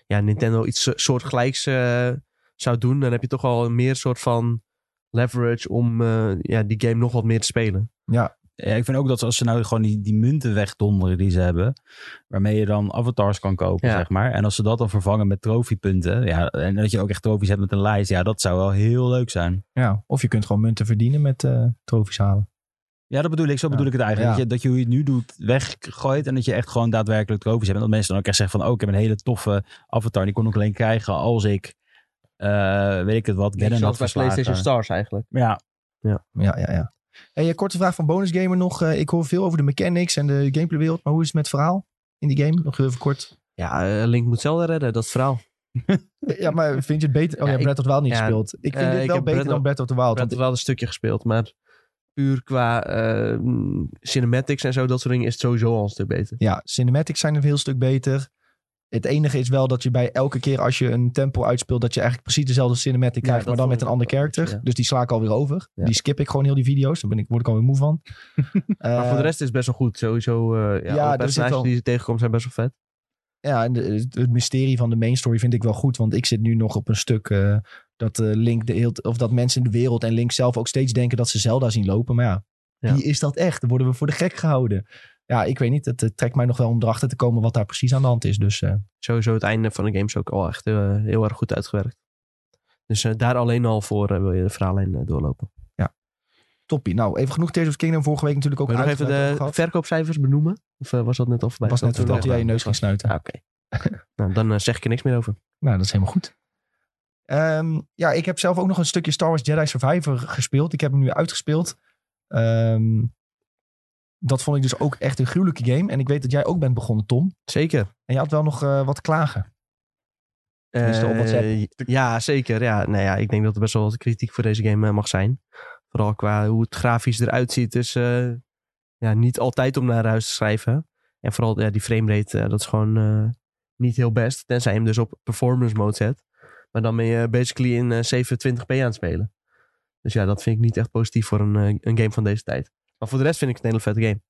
[SPEAKER 3] ja, Nintendo iets so- soortgelijks eh, zou doen, dan heb je toch al meer soort van leverage om eh, ja, die game nog wat meer te spelen.
[SPEAKER 4] Ja, ik vind ook dat ze- als ze nou gewoon die, die munten wegdonderen die ze hebben, waarmee je dan avatars kan kopen,
[SPEAKER 3] Ja.
[SPEAKER 4] zeg maar. En als ze dat dan vervangen met trofiepunten, ja, en dat je ook echt trofies hebt met een lijst, ja, dat zou wel heel leuk zijn.
[SPEAKER 1] Ja, of je kunt gewoon munten verdienen met eh trofies halen.
[SPEAKER 4] Ja, dat bedoel ik, zo
[SPEAKER 1] Ja.
[SPEAKER 4] bedoel ik het eigenlijk.
[SPEAKER 1] Ja.
[SPEAKER 4] Dat, je, dat je hoe je het nu doet weggooit en dat je echt gewoon daadwerkelijk trofies hebt. En dat mensen dan ook echt zeggen van, oh, ik heb een hele toffe avatar, die kon ik alleen krijgen als ik, eh, weet ik het wat, ben eh. en dat
[SPEAKER 3] Zoals bij
[SPEAKER 4] verslagen.
[SPEAKER 3] PlayStation Stars eigenlijk.
[SPEAKER 4] Ja,
[SPEAKER 1] Ja, ja, ja. Hey, eh, korte vraag van Bonus Gamer nog. Eh, ik hoor veel over de mechanics en de gameplaywereld, maar hoe is het met het verhaal in die game? Nog heel even kort.
[SPEAKER 3] Ja, eh, Link moet Zelda redden, dat verhaal.
[SPEAKER 1] Ja, maar vind je het beter? Oh
[SPEAKER 3] Eh, Ja,
[SPEAKER 1] ja,
[SPEAKER 3] ik-
[SPEAKER 1] Breath of the Wild niet
[SPEAKER 3] ja,
[SPEAKER 1] gespeeld. Ik vind
[SPEAKER 3] eh,
[SPEAKER 1] dit
[SPEAKER 3] ik
[SPEAKER 1] wel beter
[SPEAKER 3] heb Breath
[SPEAKER 1] dan
[SPEAKER 3] of-
[SPEAKER 1] Breath of the Wild.
[SPEAKER 3] Ik had
[SPEAKER 1] want-
[SPEAKER 3] wel een stukje gespeeld, maar puur qua eh, cinematics en zo, dat soort dingen, is het sowieso al een stuk beter.
[SPEAKER 1] Ja, cinematics zijn een heel stuk beter. Het enige is wel dat je bij elke keer als je een tempo uitspeelt, dat je eigenlijk precies dezelfde cinematic krijgt,
[SPEAKER 3] dat
[SPEAKER 1] maar dan
[SPEAKER 3] vond
[SPEAKER 1] met
[SPEAKER 3] ik
[SPEAKER 1] een ander
[SPEAKER 3] ook wel een beetje,
[SPEAKER 1] character.
[SPEAKER 3] ja.
[SPEAKER 1] Dus die sla ik alweer over.
[SPEAKER 3] Ja.
[SPEAKER 1] Die skip ik gewoon heel die video's. Daar ben ik, word ik alweer moe
[SPEAKER 3] [LAUGHS]
[SPEAKER 1] van.
[SPEAKER 3] Maar voor de
[SPEAKER 1] Eh,
[SPEAKER 3] rest is het best wel goed. Sowieso, eh, ja,
[SPEAKER 1] Ja,
[SPEAKER 3] alle
[SPEAKER 1] er zit
[SPEAKER 3] personages
[SPEAKER 1] wel-
[SPEAKER 3] die je tegenkomt zijn best wel vet.
[SPEAKER 1] Ja, en de- het mysterie van de main story vind ik wel goed. Want ik zit nu nog op een stuk eh, dat eh, Link de heel, of dat mensen in de wereld en Link zelf ook steeds denken dat ze Zelda zien lopen. Maar ja,
[SPEAKER 3] Ja.
[SPEAKER 1] wie is dat echt? Dan worden we voor de gek gehouden. Ja, ik weet niet. Het eh, trekt mij nog wel om erachter te komen wat daar precies aan de hand is. Dus eh,
[SPEAKER 3] Sowieso het einde van de game is ook al echt eh, heel erg goed uitgewerkt. Dus eh, daar alleen al voor eh, wil je de verhaallijn eh, doorlopen.
[SPEAKER 1] toppie. Nou, even genoeg Tears of the Kingdom. Vorige week natuurlijk ook
[SPEAKER 3] Wil je nog even
[SPEAKER 1] uitgebreid
[SPEAKER 3] de
[SPEAKER 1] over gehad.
[SPEAKER 3] verkoopcijfers benoemen? Of eh, was dat net al voorbij?
[SPEAKER 1] was net
[SPEAKER 3] Toen
[SPEAKER 1] verteld dat jij je neus ging snuiten.
[SPEAKER 3] Ah, Oké. [LAUGHS] nou, dan eh, zeg ik er niks meer over.
[SPEAKER 1] Nou, dat is helemaal goed. Ehm, ja, ik heb zelf ook nog een stukje Star Wars Jedi Survivor gespeeld. Ik heb hem nu uitgespeeld. Ehm, dat vond ik dus ook echt een gruwelijke game. En ik weet dat jij ook bent begonnen, Tom.
[SPEAKER 3] Zeker.
[SPEAKER 1] En je had wel nog eh, wat klagen. Tenminste, op
[SPEAKER 3] Eh,
[SPEAKER 1] WhatsApp.
[SPEAKER 3] ja, zeker. Ja. Nou ja, ik denk dat er best wel wat kritiek voor deze game eh, mag zijn. Vooral qua hoe het grafisch eruit ziet. Dus eh, ja, niet altijd om naar huis te schrijven. En vooral ja, die framerate, eh, dat is gewoon eh, niet heel best. Tenzij je hem dus op performance mode zet. Maar dan ben je basically in eh, 720p aan het spelen. Dus ja, dat vind ik niet echt positief voor een, eh, een game van deze tijd. Maar voor de rest vind ik het een hele vette game.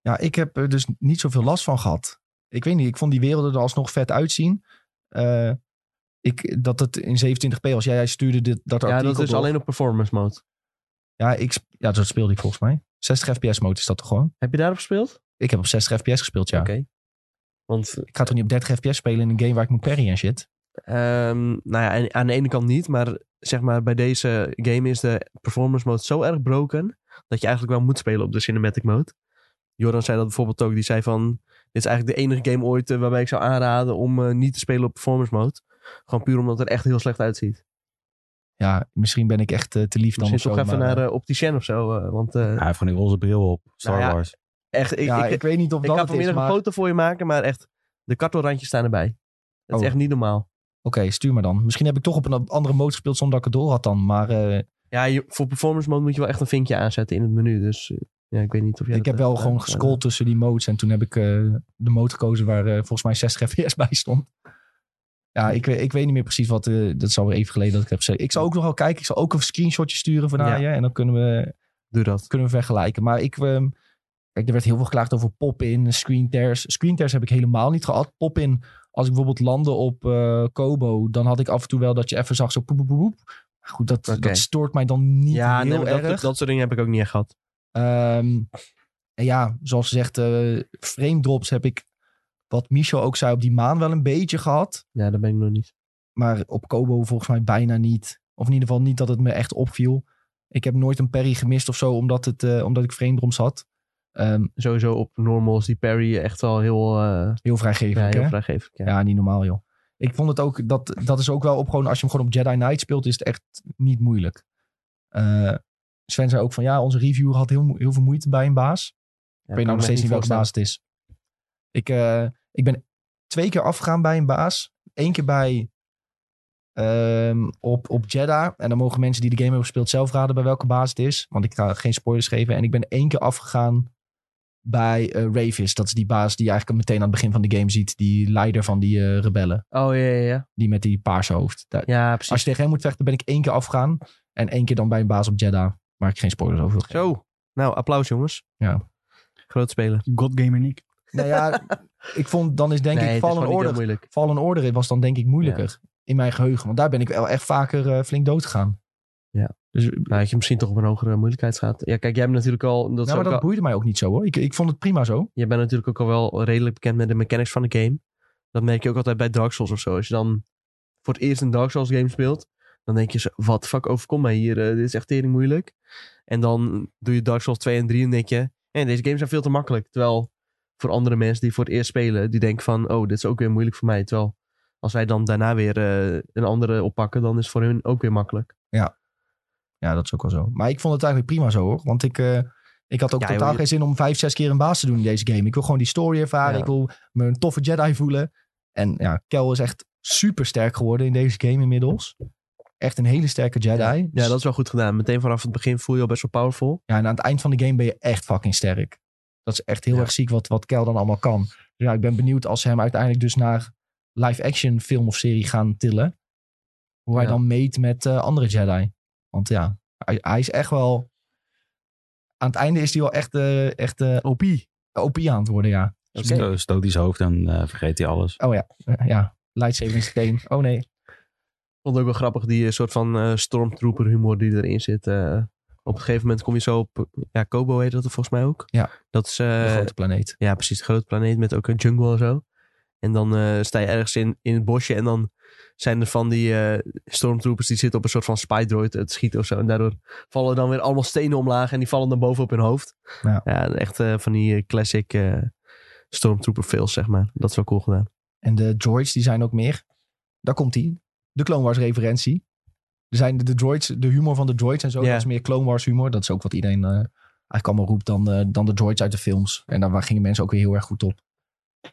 [SPEAKER 1] Ja, ik heb er dus niet zoveel last van gehad. Ik weet niet, ik vond die werelden er alsnog vet uitzien. Eh, ik, dat het in 27p was. Jij, jij stuurde dit, dat
[SPEAKER 3] ja,
[SPEAKER 1] artikel
[SPEAKER 3] dat is
[SPEAKER 1] door.
[SPEAKER 3] alleen op performance mode.
[SPEAKER 1] Ja, ik, sp- ja, dat speelde ik volgens mij. 60 fps mode is dat toch gewoon?
[SPEAKER 3] Heb je daarop gespeeld?
[SPEAKER 1] Ik heb op 60 fps gespeeld, ja.
[SPEAKER 3] Oké. Want
[SPEAKER 1] Ik ga toch niet op 30 fps spelen in een game waar ik moet parry en shit?
[SPEAKER 3] Ehm, nou ja, en- aan de ene kant niet, maar zeg maar bij deze game is de performance mode zo erg broken dat je eigenlijk wel moet spelen op de cinematic mode. Joran zei dat bijvoorbeeld ook, die zei van dit is eigenlijk de enige game ooit eh, waarbij ik zou aanraden om eh, niet te spelen op performance mode. Gewoon puur omdat het er echt heel slecht uitziet.
[SPEAKER 1] Ja, misschien ben ik echt eh, te lief dan
[SPEAKER 3] Misschien
[SPEAKER 1] of zo,
[SPEAKER 3] toch even
[SPEAKER 1] maar,
[SPEAKER 3] naar
[SPEAKER 1] eh,
[SPEAKER 3] eh, opticien of zo, eh, want eh,
[SPEAKER 4] hij heeft gewoon die roze bril op, Star
[SPEAKER 3] Nou ja,
[SPEAKER 4] Wars.
[SPEAKER 3] echt, ik,
[SPEAKER 1] ja,
[SPEAKER 3] ik,
[SPEAKER 1] ik,
[SPEAKER 3] ik,
[SPEAKER 1] weet niet of dat
[SPEAKER 3] ga
[SPEAKER 1] het is,
[SPEAKER 3] vanmiddag
[SPEAKER 1] maar...
[SPEAKER 3] een foto voor je maken, maar echt, de kartelrandjes staan erbij. Dat
[SPEAKER 1] Oh.
[SPEAKER 3] is echt niet normaal.
[SPEAKER 1] Oké, stuur maar dan. Misschien heb ik toch op een andere mode gespeeld zonder dat ik het door had dan. Maar eh,
[SPEAKER 3] Ja, je- voor performance mode moet je wel echt een vinkje aanzetten in het menu, dus eh, ja, ik weet niet of jij
[SPEAKER 1] ik
[SPEAKER 3] dat
[SPEAKER 1] heb wel
[SPEAKER 3] hebt
[SPEAKER 1] gewoon
[SPEAKER 3] gedaan, maar, eh,
[SPEAKER 1] gescrolld tussen die modes. En toen heb ik eh, de mode gekozen waar eh, volgens mij 60 fps [LAUGHS] bij stond. Ja, ik, weet- ik weet niet meer precies wat... eh, dat is alweer even geleden dat ik heb gezegd. Ik zal ook nog wel kijken. Ik zal ook een screenshotje sturen van
[SPEAKER 3] Ja.
[SPEAKER 1] naar je. En dan kunnen we
[SPEAKER 3] Doe dat.
[SPEAKER 1] kunnen we vergelijken. Maar ik, ehm, kijk, er werd heel veel geklaagd over pop-in, screen tears. Screen tears heb ik helemaal niet gehad. Pop-in, als ik bijvoorbeeld landde op eh, Kobo, dan had ik af en toe wel dat je even zag zo poep, poep, poep, poep. Maar Goed, dat,
[SPEAKER 3] Oké.
[SPEAKER 1] dat stoort mij dan niet
[SPEAKER 3] ja,
[SPEAKER 1] heel
[SPEAKER 3] nee, maar dat,
[SPEAKER 1] erg.
[SPEAKER 3] dat soort dingen heb ik ook niet echt gehad.
[SPEAKER 1] Ehm, en ja, zoals gezegd, eh frame drops heb ik, wat Michel ook zei, op die maan wel een beetje gehad.
[SPEAKER 3] Ja, dat ben ik nog niet.
[SPEAKER 1] Maar op Kobo volgens mij bijna niet. Of in ieder geval niet dat het me echt opviel. Ik heb nooit een parry gemist of zo, omdat, het, eh, omdat ik frame drops had. Ehm,
[SPEAKER 3] Sowieso op normals die parry echt wel heel, eh
[SPEAKER 1] Heel
[SPEAKER 3] ja,
[SPEAKER 1] vrijgevend,
[SPEAKER 3] heel
[SPEAKER 1] hè?
[SPEAKER 3] vrijgevend. Ja.
[SPEAKER 1] Ja, niet normaal, joh. Ik vond het ook, dat, dat is ook wel op gewoon, als je hem gewoon op Jedi Knight speelt, is het echt niet moeilijk. Eh, Sven zei ook van, ja, onze reviewer had heel, mo- heel veel moeite bij een baas.
[SPEAKER 3] Ja,
[SPEAKER 1] ik weet
[SPEAKER 3] kan
[SPEAKER 1] nou
[SPEAKER 3] me
[SPEAKER 1] nog steeds niet
[SPEAKER 3] echt
[SPEAKER 1] welke baas
[SPEAKER 3] voorstellen.
[SPEAKER 1] het is. Ik, eh, ik ben twee keer afgegaan bij een baas. Eén keer bij, ehm, op, op Jedi. En dan mogen mensen die de game hebben gespeeld zelf raden bij welke baas het is. Want ik ga geen spoilers geven. En ik ben één keer afgegaan bij eh, Ravis. Dat is die baas die je eigenlijk meteen aan het begin van de game ziet. Die leider van die eh, rebellen.
[SPEAKER 3] Oh ja, ja, ja.
[SPEAKER 1] Die met die paarse hoofd. Daar-
[SPEAKER 3] Ja, precies.
[SPEAKER 1] Als je tegen hem moet vechten, ben ik één keer afgegaan. En één keer dan bij een baas op Jeddah, waar ik geen spoilers over wil geven.
[SPEAKER 3] Zo. Nou, applaus jongens.
[SPEAKER 1] Ja.
[SPEAKER 3] Groot spelen.
[SPEAKER 2] God Gamer Nick.
[SPEAKER 1] Nou ja, ik vond, dan is denk ik Fallen Order
[SPEAKER 3] moeilijk.
[SPEAKER 1] Fallen Order was dan denk ik moeilijker in mijn geheugen. Want daar ben ik wel echt vaker eh, flink dood gegaan.
[SPEAKER 3] Ja.
[SPEAKER 1] Dus,
[SPEAKER 3] Nou, had je misschien toch op een hogere moeilijkheidsgraad. Ja, kijk, jij bent natuurlijk al... Dat
[SPEAKER 1] nou, maar
[SPEAKER 3] zou ik
[SPEAKER 1] dat
[SPEAKER 3] al-
[SPEAKER 1] boeide mij ook niet zo hoor. Ik, ik vond het prima zo.
[SPEAKER 3] je bent natuurlijk ook al wel redelijk bekend met de mechanics van de game. Dat merk je ook altijd bij Dark Souls of zo. Als je dan voor het eerst een Dark Souls game speelt, dan denk je zo, wat fuck overkomt mij hier? Eh, dit is echt tering moeilijk. En dan doe je Dark Souls 2 en 3 en denk je, hé, deze games zijn veel te makkelijk. Terwijl voor andere mensen die voor het eerst spelen, die denken van, oh, dit is ook weer moeilijk voor mij. Terwijl als wij dan daarna weer eh, een andere oppakken, dan is het voor hun ook weer makkelijk.
[SPEAKER 1] Ja, dat is ook wel zo. Maar ik vond het eigenlijk prima zo hoor. Want ik, eh, ik had ook
[SPEAKER 3] Ja,
[SPEAKER 1] totaal
[SPEAKER 3] joh, je-
[SPEAKER 1] geen zin om vijf, zes keer een baas te doen in deze game. Ik wil gewoon die story ervaren.
[SPEAKER 3] Ja.
[SPEAKER 1] Ik wil me een toffe Jedi voelen. En ja, Kel is echt super sterk geworden in deze game inmiddels. Echt een hele sterke Jedi. Dus
[SPEAKER 3] Ja, dat is wel goed gedaan. Meteen vanaf het begin voel je al best wel powerful.
[SPEAKER 1] Ja, en aan het eind van de game ben je echt fucking sterk. Dat is echt heel
[SPEAKER 3] Ja.
[SPEAKER 1] erg ziek wat, wat Kel dan allemaal kan. Dus ja, ik ben benieuwd als ze hem uiteindelijk dus naar live-action film of serie gaan tillen. Hoe hij
[SPEAKER 3] Ja.
[SPEAKER 1] dan meet met eh, andere Jedi. Want ja, hij, hij is echt wel... Aan het einde is hij wel echt, eh echt eh,
[SPEAKER 3] OP.
[SPEAKER 1] OP aan het worden, ja. Dus
[SPEAKER 4] Sto- Stoot hij zijn hoofd en eh, vergeet hij alles.
[SPEAKER 1] Oh ja, [LAUGHS] eh, ja. Lightsaber is steen. Oh nee.
[SPEAKER 3] vond het ook wel grappig, die eh, soort van eh, stormtrooper humor die erin zit. eh. op een gegeven moment kom je zo op... Ja, Kobo heet dat er volgens mij ook.
[SPEAKER 1] Ja.
[SPEAKER 3] Dat is... eh,
[SPEAKER 1] De grote planeet.
[SPEAKER 3] ja, precies. De grote planeet met ook een jungle en zo. En dan eh, sta je ergens in, in het bosje en dan zijn er van die eh, stormtroopers die zitten op een soort van spydroid het schieten of zo. En daardoor vallen dan weer allemaal stenen omlaag en die vallen dan boven op hun hoofd.
[SPEAKER 1] Ja.
[SPEAKER 3] echt eh, van die eh, classic eh, stormtrooper fails, zeg maar. Dat is wel cool gedaan.
[SPEAKER 1] En de droids, die zijn ook meer. Daar komt die. De Clone Wars referentie. Er zijn de, de droids, de humor van de droids en zo.
[SPEAKER 3] Ja.
[SPEAKER 1] Dat is meer Clone Wars humor. Dat is ook wat iedereen eh, eigenlijk allemaal roept dan, eh, dan de droids uit de films. En daar wa- gingen mensen ook weer heel erg goed op.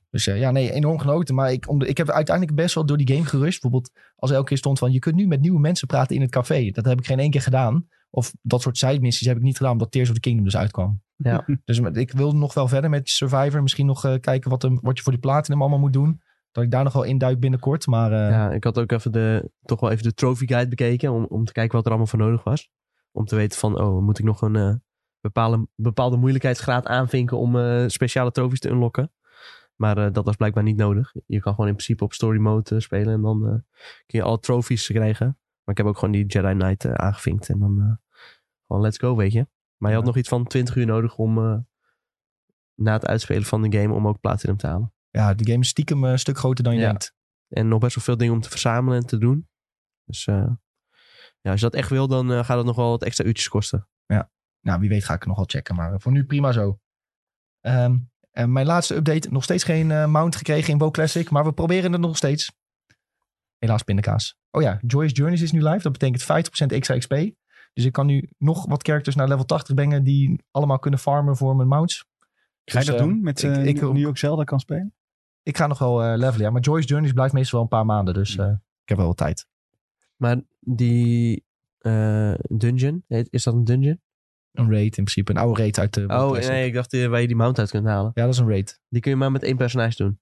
[SPEAKER 1] Dus eh, ja, nee, enorm genoten. Maar ik, om de- ik heb uiteindelijk best wel door die game gerust. Bijvoorbeeld als er elke keer stond van... je kunt nu met nieuwe mensen praten in het café. Dat heb ik geen één keer gedaan. Of dat soort side missies heb ik niet gedaan... omdat Tears of the Kingdom dus uitkwam.
[SPEAKER 3] Ja.
[SPEAKER 1] Dus met- ik wil nog wel verder met Survivor. Misschien nog eh, kijken wat, hem- wat je voor die platinum allemaal moet doen. Dat ik daar nog wel induik binnenkort. Maar eh,
[SPEAKER 3] Ja, ik had ook even de, toch wel even de trophy guide bekeken. Om, om te kijken wat er allemaal voor nodig was. Om te weten van, oh, moet ik nog een eh, bepaalde, bepaalde moeilijkheidsgraad aanvinken om eh, speciale trofies te unlocken. Maar eh, dat was blijkbaar niet nodig. Je kan gewoon in principe op story mode eh, spelen. En dan eh, kun je alle trofies krijgen. Maar ik heb ook gewoon die Jedi Knight eh, aangevinkt. En dan eh, gewoon let's go, weet je. Maar je had nog iets van 20 uur nodig om eh, na het uitspelen van de game om ook platinum te halen.
[SPEAKER 1] ja, de game is stiekem eh, een stuk groter dan je
[SPEAKER 3] Ja.
[SPEAKER 1] denkt.
[SPEAKER 3] En nog best wel veel dingen om te verzamelen en te doen. Dus eh, ja, als je dat echt wil, dan eh, gaat het nog wel wat extra uurtjes kosten.
[SPEAKER 1] Nou, wie weet ga ik het nog wel checken. Maar eh, voor nu prima zo. Ehm, en mijn laatste update. Nog steeds geen eh, mount gekregen in WoW Classic. Maar we proberen het nog steeds. Helaas pindakaas. Oh ja, Joyous Journeys is nu live. Dat betekent 50% extra XP. Dus ik kan nu nog wat characters naar level 80 brengen. Die allemaal kunnen farmen voor mijn mounts.
[SPEAKER 2] Ga je
[SPEAKER 1] Dus,
[SPEAKER 2] dat
[SPEAKER 1] eh,
[SPEAKER 2] doen? Met
[SPEAKER 1] ik-
[SPEAKER 2] eh,
[SPEAKER 1] ik ook.
[SPEAKER 2] nu ook Zelda kan spelen?
[SPEAKER 1] Ik ga nog wel eh, levelen, ja. Maar Joyous Journeys blijft meestal wel een paar maanden. Dus
[SPEAKER 2] Hm.
[SPEAKER 1] eh, ik heb wel wat tijd.
[SPEAKER 3] Maar die eh, dungeon, heet- is dat een dungeon?
[SPEAKER 1] Een raid in principe. Een oude raid uit de WoW
[SPEAKER 3] Oh
[SPEAKER 1] Classic.
[SPEAKER 3] nee, ik dacht eh, waar je die mount uit kunt halen.
[SPEAKER 1] Ja, dat is een raid.
[SPEAKER 3] Die kun je maar met één personage doen.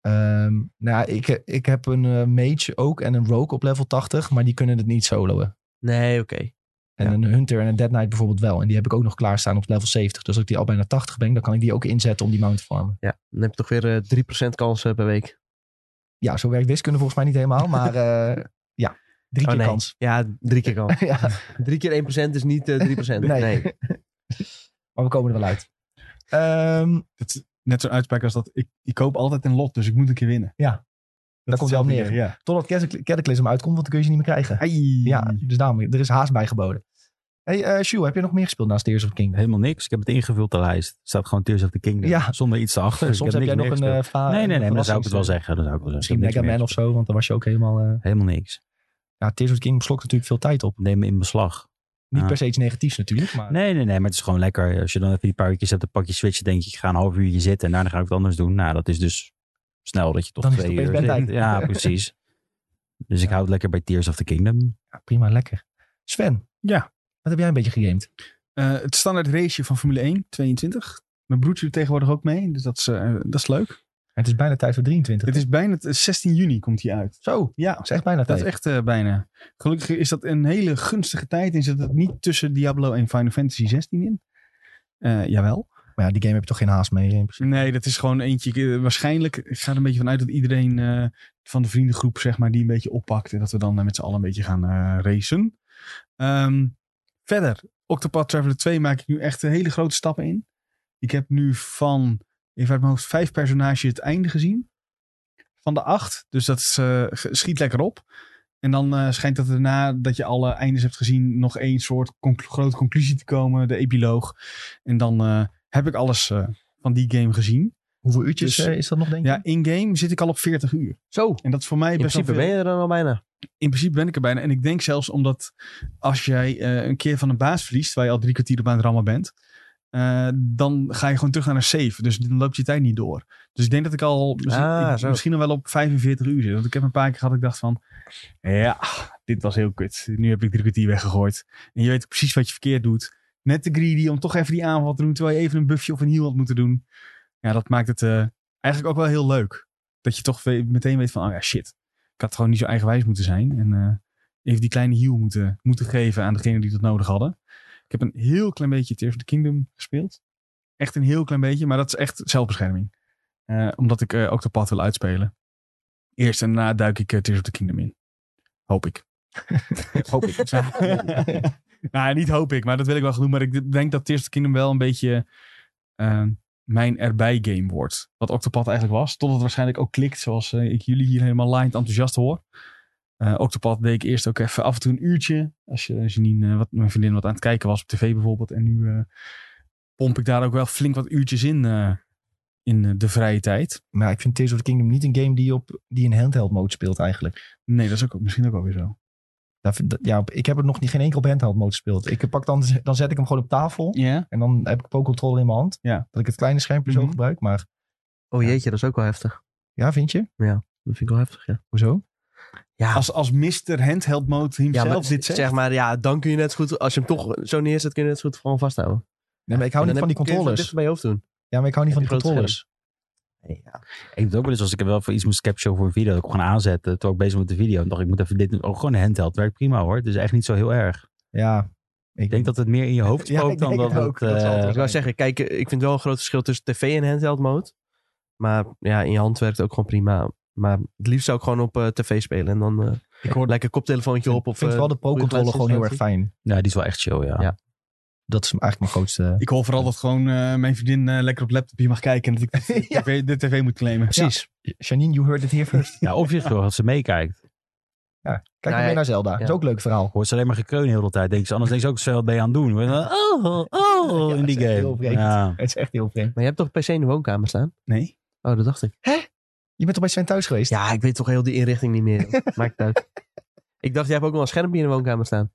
[SPEAKER 1] Ehm, nou ja, ik, he- ik heb een eh, mage ook en een rogue op level 80, maar die kunnen het niet soloen.
[SPEAKER 3] Nee, oké.
[SPEAKER 1] En
[SPEAKER 3] Ja.
[SPEAKER 1] een hunter en een dead knight bijvoorbeeld wel. En die heb ik ook nog klaarstaan op level 70. Dus als ik die al bijna 80 ben, dan kan ik die ook inzetten om die mount te farmen.
[SPEAKER 3] Ja, dan heb je toch weer eh 3% kans eh, per week.
[SPEAKER 1] Ja, zo werkt wiskunde volgens mij niet helemaal, maar eh, [LAUGHS] ja, drie
[SPEAKER 3] Oh,
[SPEAKER 1] keer
[SPEAKER 3] nee.
[SPEAKER 1] kans. [LAUGHS]
[SPEAKER 3] Ja, drie keer kans.
[SPEAKER 1] ja,
[SPEAKER 3] [LAUGHS] drie keer 1% is niet eh, 3%. Nee.
[SPEAKER 1] nee. [LAUGHS] maar we komen er wel uit. Ehm,
[SPEAKER 2] Dat is net zo'n uitspraak als dat ik, ik koop altijd een lot, dus ik moet een keer winnen.
[SPEAKER 1] Ja.
[SPEAKER 2] Dat
[SPEAKER 1] komt wel op
[SPEAKER 2] hetzelfde
[SPEAKER 1] neer.
[SPEAKER 2] idee, Ja.
[SPEAKER 1] totdat Catacly- Cataclysm uitkomt, want dan kun je ze niet meer krijgen.
[SPEAKER 2] Ai.
[SPEAKER 1] Ja, dus daarom, er is haast bij geboden. hey, eh Sjoe, heb je nog meer gespeeld naast Tears of the Kingdom?
[SPEAKER 4] Helemaal niks. Ik heb het ingevuld, de lijst. Er staat gewoon Tears of the Kingdom.
[SPEAKER 1] Ja.
[SPEAKER 4] Zonder iets erachter. Dus
[SPEAKER 1] Soms
[SPEAKER 4] ik
[SPEAKER 1] heb
[SPEAKER 4] heb,
[SPEAKER 1] jij
[SPEAKER 4] niks
[SPEAKER 1] nog
[SPEAKER 4] meer
[SPEAKER 1] een...
[SPEAKER 4] gespeeld.
[SPEAKER 1] eh, va-
[SPEAKER 4] Nee, nee, nee. Maar dan zou ik het wel
[SPEAKER 1] verrassings-
[SPEAKER 4] zeggen. Dan zou ik wel zeggen.
[SPEAKER 1] Misschien
[SPEAKER 4] Ik heb
[SPEAKER 1] Mega
[SPEAKER 4] niks
[SPEAKER 1] Man
[SPEAKER 4] meer
[SPEAKER 1] of zo, want dan was je ook helemaal... eh,
[SPEAKER 4] gespeeld. Helemaal niks.
[SPEAKER 1] Ja, Tears of the Kingdom slokt natuurlijk veel tijd op.
[SPEAKER 4] Neem me in beslag.
[SPEAKER 1] Niet
[SPEAKER 4] Ja.
[SPEAKER 1] per se iets negatiefs natuurlijk, maar
[SPEAKER 4] Ah. Nee, nee, nee. Maar het is gewoon lekker. Als je dan even die paar uurtjes hebt, dan pak je switch. denk je, ik ga een half uurtje zitten. En daarna ga ik wat anders doen. Nou, dat is dus snel dat je toch
[SPEAKER 1] Dan is het
[SPEAKER 4] twee
[SPEAKER 1] opeens
[SPEAKER 4] uur zit.
[SPEAKER 1] bedtijd. [LAUGHS]
[SPEAKER 4] Ja, precies. Dus ik
[SPEAKER 1] Ja.
[SPEAKER 4] hou het lekker bij Tears of the Kingdom.
[SPEAKER 1] ja, prima, lekker. Sven,
[SPEAKER 2] Ja.
[SPEAKER 1] wat heb jij een beetje gegamed?
[SPEAKER 2] Eh, het standaard raceje van Formule 1, 22. Mijn broertje doet tegenwoordig ook mee, dus dat is, eh, dat is leuk.
[SPEAKER 1] het is bijna tijd voor 23.
[SPEAKER 2] Dit is bijna t- 16 juni komt hij uit.
[SPEAKER 1] Zo,
[SPEAKER 2] Ja,
[SPEAKER 1] dat is echt bijna
[SPEAKER 2] dat
[SPEAKER 1] tijd.
[SPEAKER 2] is echt eh, bijna. Gelukkig is dat een hele gunstige tijd en zit het niet tussen Diablo en Final Fantasy 16 in. Eh, jawel.
[SPEAKER 1] Maar ja, die game heb je toch geen haast mee in principe.
[SPEAKER 2] Nee, dat is gewoon eentje. eh, Waarschijnlijk, ik ga er een beetje vanuit dat iedereen eh, van de vriendengroep, zeg maar, die een beetje oppakt. En dat we dan eh, met z'n allen een beetje gaan eh, racen. Ehm, verder, Octopath Traveler 2 maak ik nu echt een hele grote stappen in. Ik heb nu van, even uit mijn hoofd, vijf personages het einde gezien. Van de acht. Dus dat is, eh, ge- schiet lekker op. En dan eh, schijnt dat er nadat je alle eindes hebt gezien, nog één soort conc- grote conclusie te komen, de epiloog. En dan eh, heb ik alles eh, van die game gezien.
[SPEAKER 1] Hoeveel uurtjes
[SPEAKER 2] Dus-
[SPEAKER 1] eh, is dat nog, denk je?
[SPEAKER 2] Ja, in-game zit ik al op 40 uur.
[SPEAKER 3] Zo. In
[SPEAKER 2] En dat is voor mij best wel
[SPEAKER 3] principe
[SPEAKER 2] veel.
[SPEAKER 3] ben je er dan al bijna.
[SPEAKER 2] In principe ben ik er bijna. En ik denk zelfs omdat als jij eh, een keer van een baas verliest, waar je al drie kwartier op aan het rammen bent, eh, dan ga je gewoon terug naar een save. Dus dan loopt je tijd niet door. Dus ik denk dat ik al misschien,
[SPEAKER 3] Ah,
[SPEAKER 2] ik-
[SPEAKER 3] zo.
[SPEAKER 2] misschien al wel op 45 uur zit. Want ik heb een paar keer gehad dat ik dacht van, ja, dit was heel kut. Nu heb ik drie kwartier weggegooid. En je weet precies wat je verkeerd doet. Net te greedy om toch even die aanval te doen, terwijl je even een buffje of een heal had moeten doen. Ja, dat maakt het eh, eigenlijk ook wel heel leuk. Dat je toch we- meteen weet van, oh ja, shit. Ik had gewoon niet zo eigenwijs moeten zijn. En eh, even die kleine heal moeten, moeten geven aan degenen die dat nodig hadden. Ik heb een heel klein beetje Tears of the Kingdom gespeeld. Echt een heel klein beetje, maar dat is echt zelfbescherming. Eh, omdat ik eh, ook de pad wil uitspelen. Eerst en daarna duik ik eh, Tears of the Kingdom in. Hoop ik. [LAUGHS] hoop ik. [LAUGHS] nou, niet hoop ik, maar dat wil ik wel genoeg. Maar ik denk dat Tears of the Kingdom wel een beetje eh, mijn erbij game wordt. Wat Octopad eigenlijk was. Totdat het waarschijnlijk ook klikt, zoals eh, ik jullie hier helemaal lined enthousiast hoor. Eh Octopad deed ik eerst ook even af en toe een uurtje. Als je Janine, eh, wat, mijn vriendin, wat aan het kijken was op tv bijvoorbeeld. En nu eh, pomp ik daar ook wel flink wat uurtjes in, eh, in eh, de vrije tijd.
[SPEAKER 1] Maar ik vind Tears of the Kingdom niet een game die, op, die in handheld mode speelt eigenlijk.
[SPEAKER 2] Nee, dat is ook, misschien ook wel weer zo.
[SPEAKER 1] Daar vind- dat- ja, op- ik heb het nog niet, geen enkel op handheld mode gespeeld. Ik pak dan, dan zet ik hem gewoon op tafel.
[SPEAKER 2] Ja?
[SPEAKER 1] En dan heb ik Pro Controller in mijn hand.
[SPEAKER 2] Ja.
[SPEAKER 1] Dat ik het kleine schermpje zo
[SPEAKER 2] Mhm.
[SPEAKER 1] gebruik. Maar
[SPEAKER 3] Oh jeetje, dat is ook wel heftig.
[SPEAKER 1] ja, vind je?
[SPEAKER 3] Dat vind ik wel heftig, ja.
[SPEAKER 1] Hoezo?
[SPEAKER 3] Ja,
[SPEAKER 2] Als, als Mr. Handheld Mode himself
[SPEAKER 3] ja,
[SPEAKER 2] dit zegt.
[SPEAKER 3] zeg maar, ja, dan kun je net zo goed, als je hem toch zo neerzet, kun je net zo goed gewoon vasthouden.
[SPEAKER 1] Nee, maar ik hou
[SPEAKER 3] En
[SPEAKER 1] niet van
[SPEAKER 3] dan
[SPEAKER 1] die
[SPEAKER 3] heb- kun je
[SPEAKER 1] controllers.
[SPEAKER 3] het dichter bij je hoofd doen.
[SPEAKER 1] Ja, maar ik hou niet
[SPEAKER 3] Heb
[SPEAKER 1] van
[SPEAKER 3] je
[SPEAKER 1] die
[SPEAKER 3] groot
[SPEAKER 1] controllers.
[SPEAKER 3] Ja.
[SPEAKER 4] Ik doe het ook wel eens als ik wel voor iets moest capture voor een video. Dat ik gewoon aanzette terwijl ik bezig ben met de video. En dacht ik moet even dit doen. Ook gewoon een handheld. Werkt prima hoor. Het is echt niet zo heel erg.
[SPEAKER 1] Ja.
[SPEAKER 4] Ik denk dat het meer in je
[SPEAKER 1] [LAUGHS]
[SPEAKER 4] hoofd
[SPEAKER 1] Ja, ik
[SPEAKER 4] spookt dan
[SPEAKER 1] denk
[SPEAKER 4] dat
[SPEAKER 1] het ook.
[SPEAKER 4] het...
[SPEAKER 1] Dat zal het
[SPEAKER 4] eh,
[SPEAKER 1] wel
[SPEAKER 3] Ik wou zeggen, kijk, eh, ik vind wel een groot verschil tussen tv en handheld mode. Maar ja, in je hand werkt het ook gewoon prima. Maar het liefst zou ik gewoon op eh, tv spelen. En dan eh
[SPEAKER 1] Ik hoor-
[SPEAKER 3] lekker koptelefoontje op.
[SPEAKER 1] Ik
[SPEAKER 3] Of,
[SPEAKER 1] vind
[SPEAKER 3] eh,
[SPEAKER 1] wel de Pro
[SPEAKER 3] goede
[SPEAKER 1] Controller gewoon heel erg
[SPEAKER 3] geluidsinstallatie.
[SPEAKER 1] fijn.
[SPEAKER 4] Ja, die is wel echt chill, ja.
[SPEAKER 3] Ja.
[SPEAKER 1] Dat is eigenlijk mijn grootste...
[SPEAKER 2] Ik hoor vooral dat gewoon eh, mijn vriendin eh, lekker op laptopje mag kijken. En dat [LAUGHS] ik de,
[SPEAKER 1] Ja.
[SPEAKER 2] TV, de tv moet claimen.
[SPEAKER 1] Precies. Janine, you heard it here first.
[SPEAKER 4] Ja, of je zorgt dat ze meekijkt.
[SPEAKER 1] Kijk
[SPEAKER 3] Nee,
[SPEAKER 1] maar mee naar Zelda. Dat is
[SPEAKER 3] ja.
[SPEAKER 1] ook een leuk verhaal.
[SPEAKER 4] Hoort ze alleen maar gekreun heel de hele tijd. Denkt ze, anders denkt ze ook, zo, wat ben je aan het doen? Oh, oh,
[SPEAKER 1] Ja,
[SPEAKER 4] in die
[SPEAKER 1] dat is echt
[SPEAKER 4] game.
[SPEAKER 1] heel vreemd.
[SPEAKER 4] Ja.
[SPEAKER 1] Het is echt heel vreemd.
[SPEAKER 3] Maar je hebt toch PC in de woonkamer staan?
[SPEAKER 2] Nee.
[SPEAKER 3] Oh, dat dacht ik.
[SPEAKER 1] Je bent toch bij Sven thuis geweest?
[SPEAKER 3] Ja, ik weet toch heel die inrichting niet
[SPEAKER 1] [LAUGHS]
[SPEAKER 3] meer. joh. Maakt het uit. Ik dacht, jij hebt ook wel een schermpje in de woonkamer staan.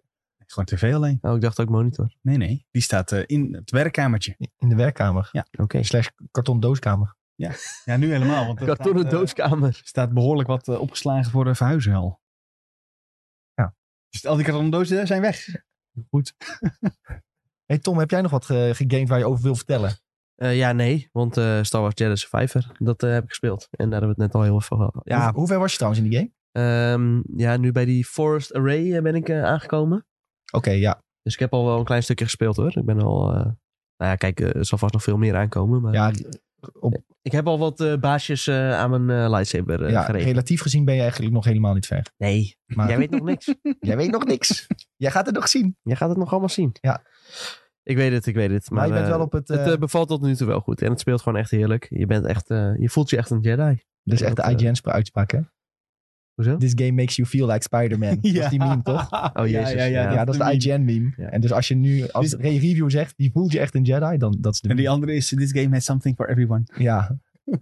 [SPEAKER 2] Gewoon tv alleen.
[SPEAKER 3] Oh, ik dacht ook monitor.
[SPEAKER 2] Nee, nee. Die staat eh, in het werkkamertje.
[SPEAKER 1] In de werkkamer.
[SPEAKER 3] Oké.
[SPEAKER 1] Slash karton dooskamer.
[SPEAKER 2] Ja, nu helemaal. Want er
[SPEAKER 3] Kartonnen
[SPEAKER 2] staat, eh,
[SPEAKER 3] doodskamer.
[SPEAKER 2] staat behoorlijk wat eh, opgeslagen voor de verhuizen al.
[SPEAKER 1] Ja.
[SPEAKER 2] Dus al die kartonnen dozen zijn weg.
[SPEAKER 1] hey Tom, heb jij nog wat eh, gegamed waar je over wil vertellen?
[SPEAKER 3] Eh, ja, nee, want eh, Star Wars Jedi Survivor, dat eh, heb ik gespeeld. En daar hebben we het net al heel veel over gehad.
[SPEAKER 1] Hoe,
[SPEAKER 3] Ja,
[SPEAKER 1] hoe ver was je trouwens in die game?
[SPEAKER 3] ehm, ja, nu bij die Forest Array eh, ben ik eh, aangekomen.
[SPEAKER 1] Oké, ja.
[SPEAKER 3] Dus ik heb al wel een klein stukje gespeeld hoor. Ik ben al, eh, nou ja, kijk, eh, er zal vast nog veel meer aankomen. Maar
[SPEAKER 1] ja,
[SPEAKER 3] ik heb al wat eh, baasjes eh, aan mijn eh, lightsaber eh
[SPEAKER 1] ja
[SPEAKER 3] gereden.
[SPEAKER 1] relatief gezien ben je eigenlijk nog helemaal niet ver.
[SPEAKER 3] Nee,
[SPEAKER 1] Maar
[SPEAKER 3] [LAUGHS] jij weet nog
[SPEAKER 1] [LAUGHS]
[SPEAKER 3] niks.
[SPEAKER 1] jij weet nog niks. jij gaat het nog zien.
[SPEAKER 3] Jij gaat het nog allemaal zien.
[SPEAKER 1] Ja.
[SPEAKER 3] Ik weet het, ik weet het.
[SPEAKER 1] Maar,
[SPEAKER 3] Maar,
[SPEAKER 1] je bent
[SPEAKER 3] eh,
[SPEAKER 1] wel op het... eh,
[SPEAKER 3] het eh, bevalt tot nu toe wel goed. En het speelt gewoon echt heerlijk. Je, bent echt, eh, je voelt je echt een Jedi.
[SPEAKER 1] dat is dus echt
[SPEAKER 3] dat,
[SPEAKER 1] de
[SPEAKER 3] eh,
[SPEAKER 1] IGN-uitspraak, hè?
[SPEAKER 3] Hoezo?
[SPEAKER 1] This game makes you feel like
[SPEAKER 3] [LAUGHS]
[SPEAKER 1] Spider-Man. Dat is die meme, toch?
[SPEAKER 3] Oh, jezus.
[SPEAKER 2] Ja, ja, ja,
[SPEAKER 3] Ja,
[SPEAKER 1] Ja, dat is
[SPEAKER 2] de
[SPEAKER 1] de
[SPEAKER 2] meme.
[SPEAKER 1] IGN-meme.
[SPEAKER 3] Ja.
[SPEAKER 1] En dus als je nu, als
[SPEAKER 2] Dus-
[SPEAKER 1] de review zegt, je voelt je echt een Jedi, dan dat is de
[SPEAKER 2] En die andere is, this game has something for everyone.
[SPEAKER 1] Ja,
[SPEAKER 4] Too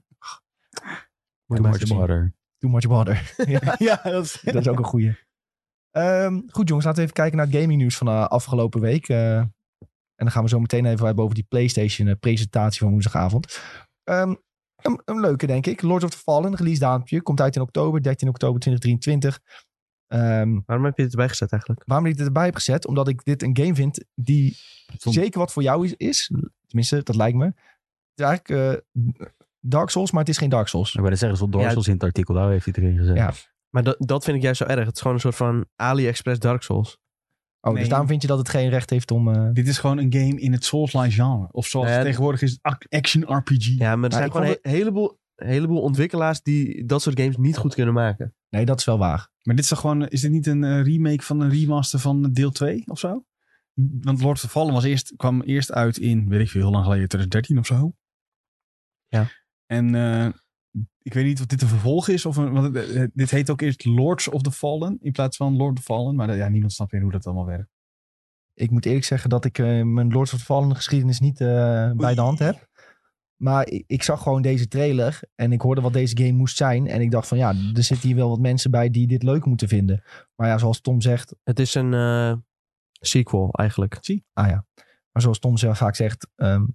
[SPEAKER 1] maar
[SPEAKER 4] much
[SPEAKER 1] te zien.
[SPEAKER 4] water.
[SPEAKER 1] too much water. [LAUGHS] [LAUGHS] ja,
[SPEAKER 2] ja, dat is...
[SPEAKER 1] dat is ook een goeie. Ehm, goed jongens, laten we even kijken naar het gaming nieuws van eh, afgelopen week. Eh, en dan gaan we zo meteen even hebben over die PlayStation eh, presentatie van woensdagavond. Ehm, een, een leuke denk ik. Lords of the Fallen, release daampje. Komt uit in oktober, 13 oktober 2023. Ehm,
[SPEAKER 3] Waarom heb je het erbij gezet eigenlijk?
[SPEAKER 1] waarom ik dit erbij heb gezet? Omdat ik dit een game vind die
[SPEAKER 4] Soms-
[SPEAKER 1] zeker wat voor jou is, is. Tenminste, dat lijkt me. Het is eigenlijk eh, Dark Souls, maar het is geen Dark Souls.
[SPEAKER 4] Ik wil zeggen, er stond Dark
[SPEAKER 3] Ja,
[SPEAKER 4] Souls in het artikel, daar heeft hij het erin gezet.
[SPEAKER 1] Ja. Oh,
[SPEAKER 3] Maar dat, dat vind ik juist zo erg. Het is gewoon een soort van AliExpress Dark Souls.
[SPEAKER 1] Oh,
[SPEAKER 2] Nee.
[SPEAKER 1] dus daarom vind je dat het geen recht heeft om... eh,
[SPEAKER 2] Dit is gewoon een game in het Souls-like genre. Of zoals
[SPEAKER 3] Ja,
[SPEAKER 2] het tegenwoordig is, ac- action RPG.
[SPEAKER 3] Ja, maar er
[SPEAKER 1] Maar
[SPEAKER 3] zijn
[SPEAKER 1] ik
[SPEAKER 3] gewoon een he- heleboel, heleboel ontwikkelaars die dat soort games niet goed kunnen maken.
[SPEAKER 1] Nee, dat is wel waar.
[SPEAKER 2] Maar dit is toch gewoon, is dit niet een eh, remake van een remaster van deel 2 of zo? Want Lord of Fallen was eerst, kwam eerst uit in, weet ik veel, heel lang geleden, 2013 of zo.
[SPEAKER 3] Ja.
[SPEAKER 2] En eh, ik weet niet of dit een vervolg is, of een, want het- het- dit heet ook eerst Lords of the Fallen in plaats van Lord of the Fallen. Maar dat- ja, niemand snapt meer hoe dat allemaal werkt.
[SPEAKER 1] Ik moet eerlijk zeggen dat ik eh, mijn Lords of the Fallen geschiedenis niet eh, bij de hand heb. Maar ik, ik zag gewoon deze trailer en ik hoorde wat deze game moest zijn. En ik dacht van ja, er zitten hier wel wat mensen bij die dit leuk moeten vinden. Maar ja, zoals Tom zegt,
[SPEAKER 3] Het is een eh, sequel eigenlijk.
[SPEAKER 1] ah ja. Maar zoals Tom zelf vaak zegt, ehm,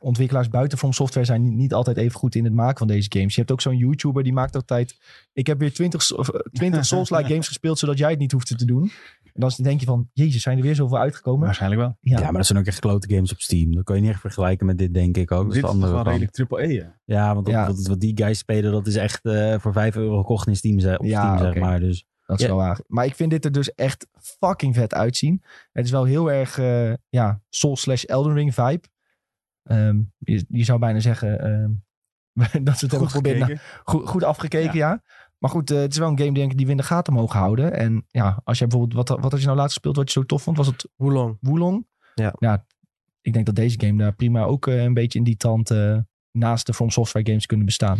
[SPEAKER 1] ontwikkelaars buiten From Software zijn niet, niet altijd even goed in het maken van deze games. Je hebt ook zo'n YouTuber die maakt altijd, ik heb weer 20, so- of, eh,
[SPEAKER 4] [LAUGHS]
[SPEAKER 1] 20 Souls-like games gespeeld zodat jij het niet hoeft te doen. En dan denk je van, jezus, zijn er weer zoveel uitgekomen?
[SPEAKER 2] Waarschijnlijk wel.
[SPEAKER 4] Ja, maar dat zijn ook echt klote games op Steam. Dat kan je niet echt vergelijken met dit, denk ik ook. Dat
[SPEAKER 2] dit
[SPEAKER 4] is de
[SPEAKER 2] is toch
[SPEAKER 4] andere
[SPEAKER 2] wel
[SPEAKER 4] kant.
[SPEAKER 2] redelijk triple E, hè?
[SPEAKER 4] Ja, want
[SPEAKER 1] Ja.
[SPEAKER 4] Wat, wat die guys spelen, dat is echt eh, voor 5 euro gekocht in Steam, ze- op
[SPEAKER 1] Ja,
[SPEAKER 4] Steam, zeg
[SPEAKER 1] oké.
[SPEAKER 4] maar. Dus
[SPEAKER 1] Dat is
[SPEAKER 4] Ja.
[SPEAKER 1] wel waar. Maar ik vind dit er dus echt fucking vet uitzien. Het is wel heel erg eh, ja, Soul slash Elden Ring vibe. Ehm, je, je zou bijna zeggen ehm, [LAUGHS] dat ze het hebben geprobeerd.
[SPEAKER 2] gekeken.
[SPEAKER 1] Nou, goed, goed afgekeken, ja. Maar goed, eh, het is wel een game denk ik, die we in de gaten mogen houden. En ja, als je bijvoorbeeld, wat, wat had je nou laatst gespeeld wat je zo tof vond? Was het
[SPEAKER 3] Hoe lang?
[SPEAKER 1] Wulong?
[SPEAKER 3] Ja.
[SPEAKER 1] ik denk dat deze game daar prima ook eh, een beetje in die tand eh, naast de From Software games kunnen bestaan.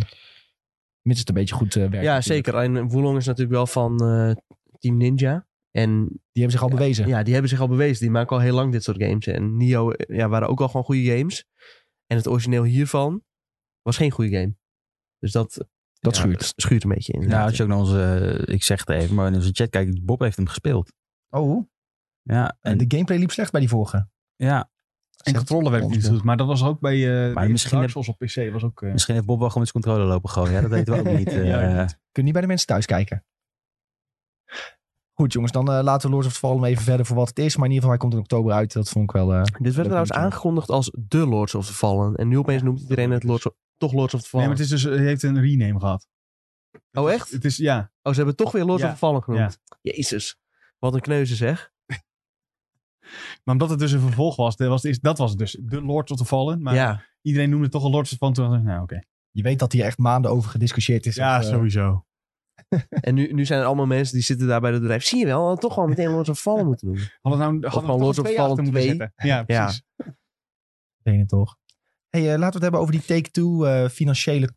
[SPEAKER 1] Mits het een beetje goed eh, werkt.
[SPEAKER 3] Ja,
[SPEAKER 1] natuurlijk.
[SPEAKER 3] zeker. En Wulong is natuurlijk wel van eh, Team Ninja. En
[SPEAKER 1] Die hebben zich al bewezen.
[SPEAKER 3] Ja, die hebben zich al bewezen. Die maken al heel lang dit soort games. En Nio eh, ja, waren ook al gewoon goede games. En het origineel hiervan was geen goede game. Dus dat,
[SPEAKER 1] Dat
[SPEAKER 3] ja,
[SPEAKER 1] schuurt.
[SPEAKER 3] schuurt een beetje in.
[SPEAKER 4] ja, als je ook naar onze, eh, ik zeg het even, maar in onze chat kijkt, Bob heeft hem gespeeld.
[SPEAKER 1] Oh,
[SPEAKER 4] Ja, en,
[SPEAKER 1] En de gameplay liep slecht bij die vorige.
[SPEAKER 4] ja
[SPEAKER 2] En
[SPEAKER 1] Zegt
[SPEAKER 2] controle werkt niet
[SPEAKER 1] Osborne.
[SPEAKER 2] goed, maar dat was ook bij, eh bij
[SPEAKER 4] misschien
[SPEAKER 2] Dark
[SPEAKER 4] heb-
[SPEAKER 2] Souls op PC. Was ook, eh,
[SPEAKER 4] misschien heeft Bob wel gewoon met zijn controller lopen gewoon. Ja, dat weten we ook niet. eh.
[SPEAKER 2] Ja,
[SPEAKER 1] Kun je niet bij de mensen thuis kijken. Goed jongens, dan eh, laten we Lords of the Fallen even verder voor wat het is. Maar in ieder geval, hij komt in oktober uit. Dat vond ik wel... eh,
[SPEAKER 3] Dit werd trouwens
[SPEAKER 1] intro.
[SPEAKER 3] aangekondigd als The Lords of the Fallen. En nu opeens noemt iedereen het Lords of- toch Lords of the
[SPEAKER 2] nee,
[SPEAKER 3] Fallen.
[SPEAKER 2] maar het is dus, hij heeft een rename gehad.
[SPEAKER 3] oh, echt?
[SPEAKER 2] Het is, ja,
[SPEAKER 3] Oh, ze hebben het toch weer Lords
[SPEAKER 2] Ja,
[SPEAKER 3] of the Fallen genoemd. Jezus. Wat een kneuze zeg.
[SPEAKER 2] Maar omdat het dus een vervolg was, dat was, is- dat was het dus. De Lords of the Fallen. Maar
[SPEAKER 3] ja.
[SPEAKER 2] iedereen noemde het toch een Lords of the Fallen. Toen dacht ik, nou oké.
[SPEAKER 1] je weet dat hier echt maanden over gediscussieerd is.
[SPEAKER 2] Ja,
[SPEAKER 1] Of, eh,
[SPEAKER 2] sowieso.
[SPEAKER 3] En nu, nu zijn er allemaal mensen die zitten daar bij het bedrijf. Zie je wel, toch wel meteen Lords of the Fallen moeten noemen.
[SPEAKER 2] Hadden we nou hadden
[SPEAKER 3] al
[SPEAKER 2] we
[SPEAKER 3] Lords
[SPEAKER 2] toch
[SPEAKER 3] of
[SPEAKER 2] twee
[SPEAKER 3] the
[SPEAKER 2] achter
[SPEAKER 3] Fallen
[SPEAKER 2] moeten zetten.
[SPEAKER 3] 2.
[SPEAKER 2] Ja,
[SPEAKER 3] Ja.
[SPEAKER 2] precies.
[SPEAKER 1] ik weet het toch. Hey, eh, laten we het hebben over die Take-Two eh, financiële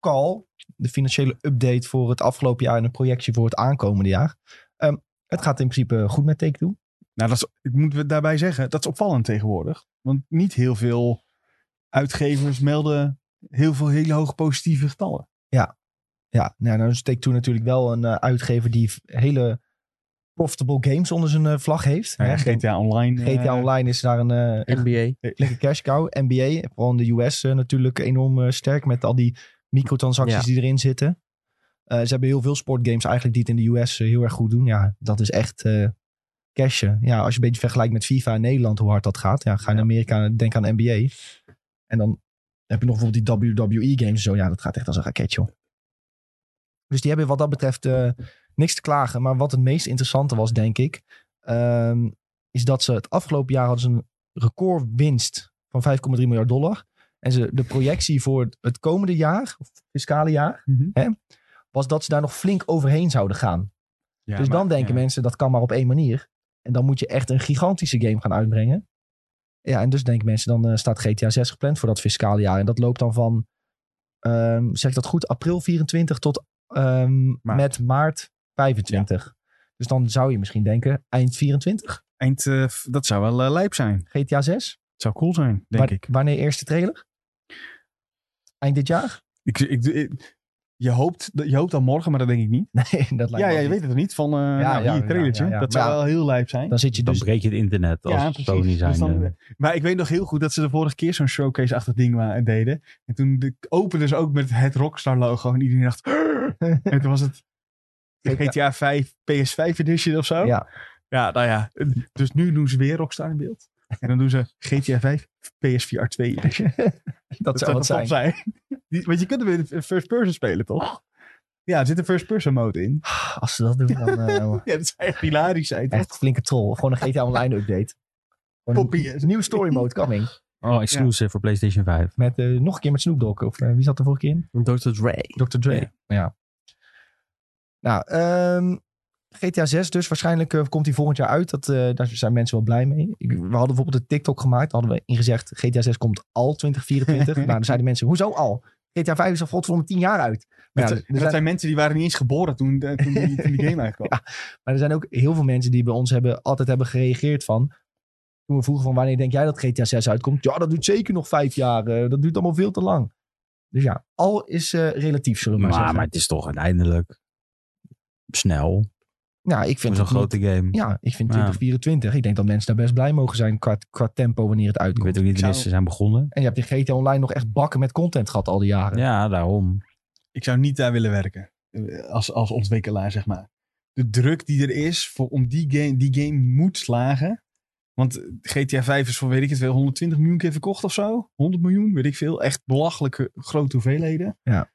[SPEAKER 1] call. De financiële update voor het afgelopen jaar en een projectie voor het aankomende jaar. Ehm, het gaat in principe goed met Take-Two.
[SPEAKER 2] Nou, dat is, ik moet we daarbij zeggen, dat is opvallend tegenwoordig. Want niet heel veel uitgevers melden heel veel hele hoge positieve getallen.
[SPEAKER 1] Ja, nou, dan is Take-Two natuurlijk wel een eh, uitgever die v- hele profitable games onder zijn eh, vlag heeft.
[SPEAKER 2] Nou ja,
[SPEAKER 1] Hè,
[SPEAKER 2] GTA Online. eh,
[SPEAKER 1] GTA Online is daar een eh,
[SPEAKER 3] NBA.
[SPEAKER 1] lekker cash cow. NBA, vooral in de US eh, natuurlijk enorm eh, sterk met al die microtransacties
[SPEAKER 3] Ja.
[SPEAKER 1] die erin zitten. Eh, ze hebben heel veel sportgames eigenlijk die het in de US eh, heel erg goed doen. Ja, dat is echt eh cashen. Ja, als je een beetje vergelijkt met FIFA in Nederland, hoe hard dat gaat. Ja, ga in
[SPEAKER 2] Ja.
[SPEAKER 1] Amerika, denk aan NBA. En dan heb je nog bijvoorbeeld die WWE-games en zo. Ja, dat gaat echt als een raketje, joh. Dus die hebben wat dat betreft eh, niks te klagen. Maar wat het meest interessante was, denk ik, ehm, is dat ze het afgelopen jaar hadden ze een recordwinst van 5,3 miljard dollar. En ze, de projectie voor het komende jaar, of fiscale jaar,
[SPEAKER 2] Mhm.
[SPEAKER 1] hè, was dat ze daar nog flink overheen zouden gaan.
[SPEAKER 2] ja,
[SPEAKER 1] dus
[SPEAKER 2] maar-
[SPEAKER 1] dan denken
[SPEAKER 2] ja.
[SPEAKER 1] mensen, dat kan maar op één manier. En dan moet je echt een gigantische game gaan uitbrengen. Ja, en dus denken mensen, dan eh, staat GTA 6 gepland voor dat fiscale jaar. En dat loopt dan van, ehm, zeg ik dat goed, april 24 tot ehm, met maart 25. Dus dan zou je misschien denken, eind 24,
[SPEAKER 2] Eind, eh, f- dat zou wel eh, lijp zijn.
[SPEAKER 1] GTA 6.
[SPEAKER 2] Het zou cool zijn, denk
[SPEAKER 1] Wa-
[SPEAKER 2] ik.
[SPEAKER 1] Wanneer eerste trailer? Eind dit jaar? [LAUGHS]
[SPEAKER 2] ik, ik, ik- je, hoopt, je hoopt dan morgen, maar dat denk ik niet.
[SPEAKER 1] Nee, dat lijkt me
[SPEAKER 2] Ja,
[SPEAKER 1] ook
[SPEAKER 2] ja, je
[SPEAKER 1] niet.
[SPEAKER 2] weet het nog niet. Van, eh nou,
[SPEAKER 1] ja,
[SPEAKER 2] hier,
[SPEAKER 1] ja,
[SPEAKER 2] trailertje.
[SPEAKER 1] ja, ja.
[SPEAKER 2] Dat zou
[SPEAKER 1] Maar ja,
[SPEAKER 2] wel heel lijp zijn.
[SPEAKER 1] Dan zit je
[SPEAKER 4] dan
[SPEAKER 1] dus...
[SPEAKER 4] breek je het internet als
[SPEAKER 2] precies.
[SPEAKER 4] Sony zijn.
[SPEAKER 2] Dus dan-
[SPEAKER 4] eh.
[SPEAKER 2] maar ik weet nog heel goed dat ze de vorige keer zo'n showcase-achtig ding wa- deden. En toen de- openden ze ook met het Rockstar-logo. En iedereen dacht... en toen was
[SPEAKER 1] [LAUGHS]
[SPEAKER 2] het de
[SPEAKER 1] GTA.
[SPEAKER 2] GTA 5 PS5 edition of zo.
[SPEAKER 1] Ja.
[SPEAKER 2] Ja, nou ja. Dus nu doen ze weer Rockstar in beeld. En dan doen ze GTA 5 PSVR 2 edition.
[SPEAKER 1] dat, [LAUGHS] zou
[SPEAKER 2] wel
[SPEAKER 1] wat zijn. Oh.
[SPEAKER 2] top zijn. Die- Want je kunt hem in in first person spelen, toch? Ja, er zit een first person mode in.
[SPEAKER 1] Ah, Als ze dat doen, dan... eh,
[SPEAKER 2] Ja, dat is echt hilarisch. zijn, toch?
[SPEAKER 1] echt flinke troll. Gewoon een GTA Online update. Gewoon
[SPEAKER 2] Poppy is-
[SPEAKER 1] een nieuwe story mode
[SPEAKER 2] [LAUGHS]
[SPEAKER 1] coming.
[SPEAKER 4] Oh, exclusive voor PlayStation 5.
[SPEAKER 1] Met, eh, nog een keer met Snoop Dogg. Of eh, wie zat er vorige keer in?
[SPEAKER 3] Dr. Dre.
[SPEAKER 1] Dr. Dre. Ja.
[SPEAKER 4] Ja.
[SPEAKER 1] Nou, ehm, GTA 6 dus. Waarschijnlijk eh, komt die volgend jaar uit. Dat, eh, daar zijn mensen wel blij mee. Ik- we hadden bijvoorbeeld een TikTok gemaakt. Daar hadden we ingezegd, GTA 6 komt al
[SPEAKER 4] [LAUGHS]
[SPEAKER 1] 2024. nou, dan zeiden mensen, hoezo al? GTA 5 is al godverdomme 10 jaar uit. Maar, ja,
[SPEAKER 2] Dat,
[SPEAKER 4] dus
[SPEAKER 2] dat
[SPEAKER 1] er zijn,
[SPEAKER 2] zijn mensen die waren niet eens geboren toen, eh, toen, die, toen
[SPEAKER 1] [LAUGHS]
[SPEAKER 2] die game uitkwam.
[SPEAKER 1] maar er zijn ook heel veel mensen die bij ons hebben, altijd hebben gereageerd van... Toen we vroegen van wanneer denk jij dat GTA 6 uitkomt? Ja, dat duurt zeker nog vijf jaar. eh, dat duurt allemaal veel te lang. Dus ja, al is eh, relatief, zullen we maar,
[SPEAKER 4] Maar,
[SPEAKER 1] zeggen.
[SPEAKER 4] maar het is toch uiteindelijk snel.
[SPEAKER 1] nou, ik vind
[SPEAKER 4] Voor zo'n
[SPEAKER 1] het niet-
[SPEAKER 4] grote game.
[SPEAKER 1] Ja, ik vind
[SPEAKER 4] Ja.
[SPEAKER 1] 2024. Ik denk dat mensen daar best blij mogen zijn qua, qua tempo wanneer het
[SPEAKER 4] Ik
[SPEAKER 1] uitkomt.
[SPEAKER 4] weet ook niet
[SPEAKER 2] Ik zou-
[SPEAKER 4] wanneer ze zijn begonnen.
[SPEAKER 1] En je hebt in GTA Online nog echt bakken met content gehad al die jaren.
[SPEAKER 4] Ja, daarom.
[SPEAKER 2] Ik zou niet daar willen werken. eh, Als, als ontwikkelaar, zeg maar. De druk die er is voor, om die game, die game moet slagen. Want eh, GTA 5 is voor, weet ik het veel, 120 miljoen keer verkocht of zo. 100 miljoen, weet ik veel. Echt belachelijke grote hoeveelheden.
[SPEAKER 1] Ja.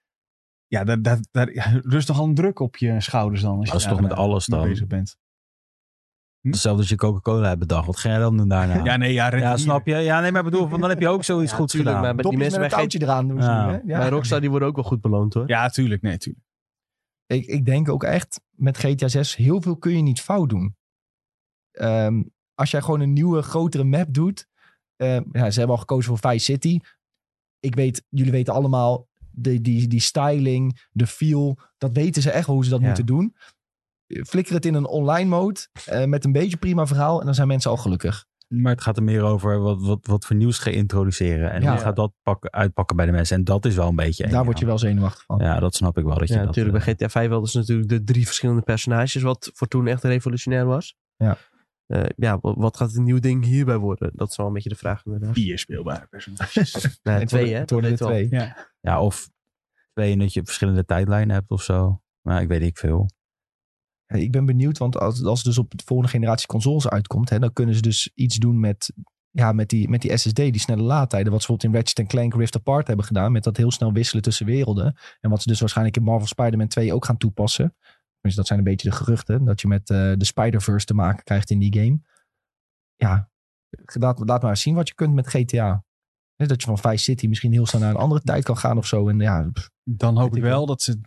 [SPEAKER 2] Ja, daar, daar, daar ja, rust nogal een druk op je schouders dan. Als
[SPEAKER 4] Dat is
[SPEAKER 2] je
[SPEAKER 4] toch met
[SPEAKER 2] daarna
[SPEAKER 4] alles
[SPEAKER 2] mee
[SPEAKER 4] dan?
[SPEAKER 2] bezig bent.
[SPEAKER 4] Hetzelfde als je Coca-Cola hebt bedacht. Wat ga jij dan doen
[SPEAKER 2] [LAUGHS]
[SPEAKER 4] daarna?
[SPEAKER 2] Ja,
[SPEAKER 4] Ja,
[SPEAKER 2] nee, ja. Red Deer.
[SPEAKER 4] snap je? Ja, nee, maar bedoel, van, dan heb je ook zoiets
[SPEAKER 3] Ja,
[SPEAKER 4] goeds
[SPEAKER 3] tuurlijk,
[SPEAKER 4] gedaan.
[SPEAKER 3] maar-
[SPEAKER 1] Dopjes
[SPEAKER 3] die mensen
[SPEAKER 1] met een
[SPEAKER 3] bij
[SPEAKER 1] touwtje eraan doen ze
[SPEAKER 4] Ja.
[SPEAKER 1] nu, hè? Ja.
[SPEAKER 3] Bij Rockstar, die worden ook wel goed beloond hoor.
[SPEAKER 2] Ja, tuurlijk. Nee, tuurlijk.
[SPEAKER 1] Ik, ik denk ook echt met GTA 6, heel veel kun je niet fout doen. Ehm, als jij gewoon een nieuwe, grotere map doet. ehm, ja, ze hebben al gekozen voor Vice City. Ik weet, jullie weten allemaal, de, die, die styling, de feel, dat weten ze echt wel hoe ze dat
[SPEAKER 3] Ja.
[SPEAKER 1] moeten doen. Flikker het in een online mode eh, met een beetje prima verhaal en dan zijn mensen al gelukkig.
[SPEAKER 4] Maar het gaat er meer over wat, wat, wat voor nieuws ga je introduceren. En
[SPEAKER 1] Ja.
[SPEAKER 4] hoe gaat dat pakken, uitpakken bij de mensen. En dat is wel een beetje...
[SPEAKER 1] Daar
[SPEAKER 4] eng, ja.
[SPEAKER 3] nou.
[SPEAKER 1] word je wel zenuwachtig van.
[SPEAKER 4] Ja, dat snap ik wel. Dat je
[SPEAKER 3] Ja,
[SPEAKER 4] dat,
[SPEAKER 3] natuurlijk.
[SPEAKER 4] eh,
[SPEAKER 3] Bij GTA 5 hadden ze natuurlijk de drie verschillende personages, wat voor toen echt revolutionair was.
[SPEAKER 1] Ja.
[SPEAKER 3] Eh, ja, wa- wat gaat het nieuw ding hierbij worden? Dat is wel een beetje de vraag inderdaad.
[SPEAKER 2] Vier speelbare personages.
[SPEAKER 3] Nou,
[SPEAKER 1] Het
[SPEAKER 3] twee,
[SPEAKER 1] worden-
[SPEAKER 3] hè?
[SPEAKER 1] Het worden er
[SPEAKER 3] Dat weten we
[SPEAKER 1] twee.
[SPEAKER 4] Ja, of twee dat je verschillende tijdlijnen hebt of zo. Maar ik weet niet veel.
[SPEAKER 1] Hey, Ik ben benieuwd, want als, als het dus op de volgende generatie consoles uitkomt, hè, dan kunnen ze dus iets doen met, ja, met, die, met die SSD, die snelle laadtijden. Wat ze bijvoorbeeld in Ratchet Clank Rift Apart hebben gedaan, met dat heel snel wisselen tussen werelden. En wat ze dus waarschijnlijk in Marvel Spider-Man 2 ook gaan toepassen. Dus dat zijn een beetje de geruchten, dat je met eh, de Spider-Verse te maken krijgt in die game. Ja, laat, laat maar eens zien wat je kunt met GTA. Hè, Dat je van Vice City misschien heel snel naar een andere tijd kan gaan of zo. En ja, pff,
[SPEAKER 2] Dan hoop
[SPEAKER 1] Weet
[SPEAKER 2] ik
[SPEAKER 1] ik
[SPEAKER 2] wel dat ze.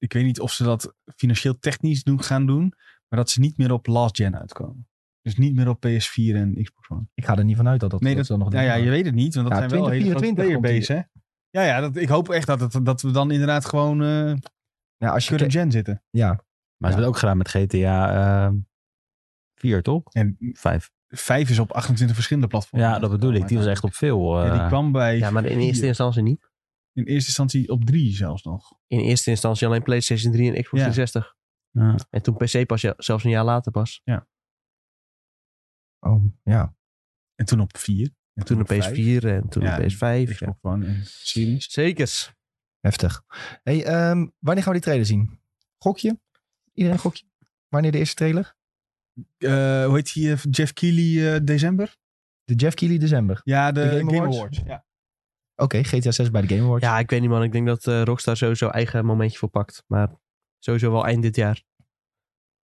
[SPEAKER 2] Ik weet niet of ze dat financieel technisch doen, gaan doen. Maar dat ze niet meer op last gen uitkomen. Dus niet meer op PS4 en Xbox One.
[SPEAKER 1] ik ga er niet vanuit dat dat,
[SPEAKER 2] Nee,
[SPEAKER 1] dat, ze
[SPEAKER 2] dat,
[SPEAKER 1] dat nog
[SPEAKER 2] nou
[SPEAKER 1] doen.
[SPEAKER 2] ja, je weet het niet. Want dat
[SPEAKER 1] Ja,
[SPEAKER 2] zijn wel hele grote
[SPEAKER 1] 2024
[SPEAKER 2] playerbase, hè? Ja, ja dat, ik hoop echt dat, het, dat we dan inderdaad gewoon eh
[SPEAKER 1] Ja, als je
[SPEAKER 2] current
[SPEAKER 1] ke-
[SPEAKER 2] gen zitten.
[SPEAKER 1] ja,
[SPEAKER 4] Maar ze hebben het ook gedaan met GTA eh 4, toch?
[SPEAKER 2] En
[SPEAKER 4] 5.
[SPEAKER 2] vijf is op 28 verschillende platformen.
[SPEAKER 4] Ja, dat bedoel ik. Die was echt op veel.
[SPEAKER 2] Ja,
[SPEAKER 4] eh,
[SPEAKER 2] die kwam bij
[SPEAKER 3] Ja, maar in eerste instantie niet.
[SPEAKER 2] in eerste instantie op drie zelfs nog.
[SPEAKER 3] In eerste instantie alleen PlayStation 3 en Xbox
[SPEAKER 2] Ja.
[SPEAKER 3] 360.
[SPEAKER 4] ja.
[SPEAKER 3] En toen PC pas, ja, zelfs een jaar later pas.
[SPEAKER 1] oh, ja.
[SPEAKER 2] En toen op vier. En
[SPEAKER 3] Toen
[SPEAKER 2] op
[SPEAKER 3] de
[SPEAKER 2] vijf.
[SPEAKER 3] PS4 en toen
[SPEAKER 2] Ja,
[SPEAKER 3] de PS5. Ja.
[SPEAKER 2] Xbox One en Series.
[SPEAKER 3] Zekers.
[SPEAKER 1] Heftig. Hey, ehm, wanneer gaan we die trailer zien? Gokje? Iedereen een gokje? Wanneer de eerste trailer?
[SPEAKER 2] eh, hoe heet die? eh, Jeff Keighley eh, december?
[SPEAKER 1] De Jeff Keighley december.
[SPEAKER 2] Ja, de,
[SPEAKER 1] De Game
[SPEAKER 2] Game,
[SPEAKER 1] Awards.
[SPEAKER 2] Awards. Ja.
[SPEAKER 1] Oké, GTA 6 bij de Game Awards.
[SPEAKER 3] Ja, ik weet niet man. Ik denk dat eh, Rockstar sowieso eigen momentje voor pakt. Maar sowieso wel eind dit jaar.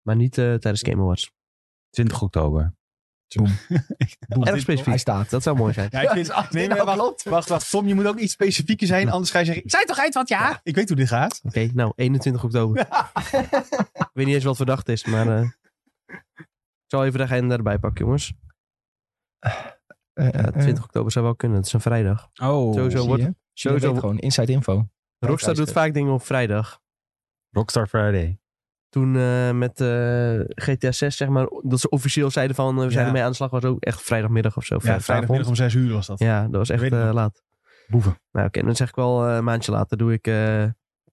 [SPEAKER 3] Maar niet eh, tijdens Game Awards.
[SPEAKER 4] 20 oktober.
[SPEAKER 1] Boem.
[SPEAKER 3] Erg specifiek.
[SPEAKER 1] Hij staat.
[SPEAKER 3] Dat zou mooi zijn.
[SPEAKER 2] [LAUGHS] Ja, ik [LAUGHS] vind- nee, maar wacht,
[SPEAKER 1] klopt.
[SPEAKER 2] wacht, wacht. Tom, je moet ook iets specifieker zijn, anders ga je zeggen... Zij toch uit, want ja. Ik weet hoe dit gaat.
[SPEAKER 3] Oké, nou, 21 oktober. ik weet niet eens wat verdacht is, maar... eh, ik zal even de agenda erbij pakken, jongens.
[SPEAKER 1] Eh,
[SPEAKER 3] Ja, 20 oktober zou wel kunnen. Het is een vrijdag.
[SPEAKER 4] Oh,
[SPEAKER 3] Sowieso wordt...
[SPEAKER 1] Sowieso
[SPEAKER 3] Sowieso,
[SPEAKER 1] gewoon inside info.
[SPEAKER 3] Rockstar doet vaak dingen op vrijdag.
[SPEAKER 4] Rockstar Friday.
[SPEAKER 3] Toen eh, met eh, GTA 6, zeg maar, dat ze officieel zeiden van... eh, we zijn
[SPEAKER 2] Ja.
[SPEAKER 3] ermee aan de slag, was ook echt vrijdagmiddag of zo.
[SPEAKER 2] Ja, vrijdagmiddag om zes uur was dat.
[SPEAKER 3] Ja, dat was echt
[SPEAKER 2] weet ik
[SPEAKER 3] eh,
[SPEAKER 2] nog.
[SPEAKER 3] laat.
[SPEAKER 2] Boeven.
[SPEAKER 3] Nou oké, dan zeg ik wel eh, een maandje later doe ik eh,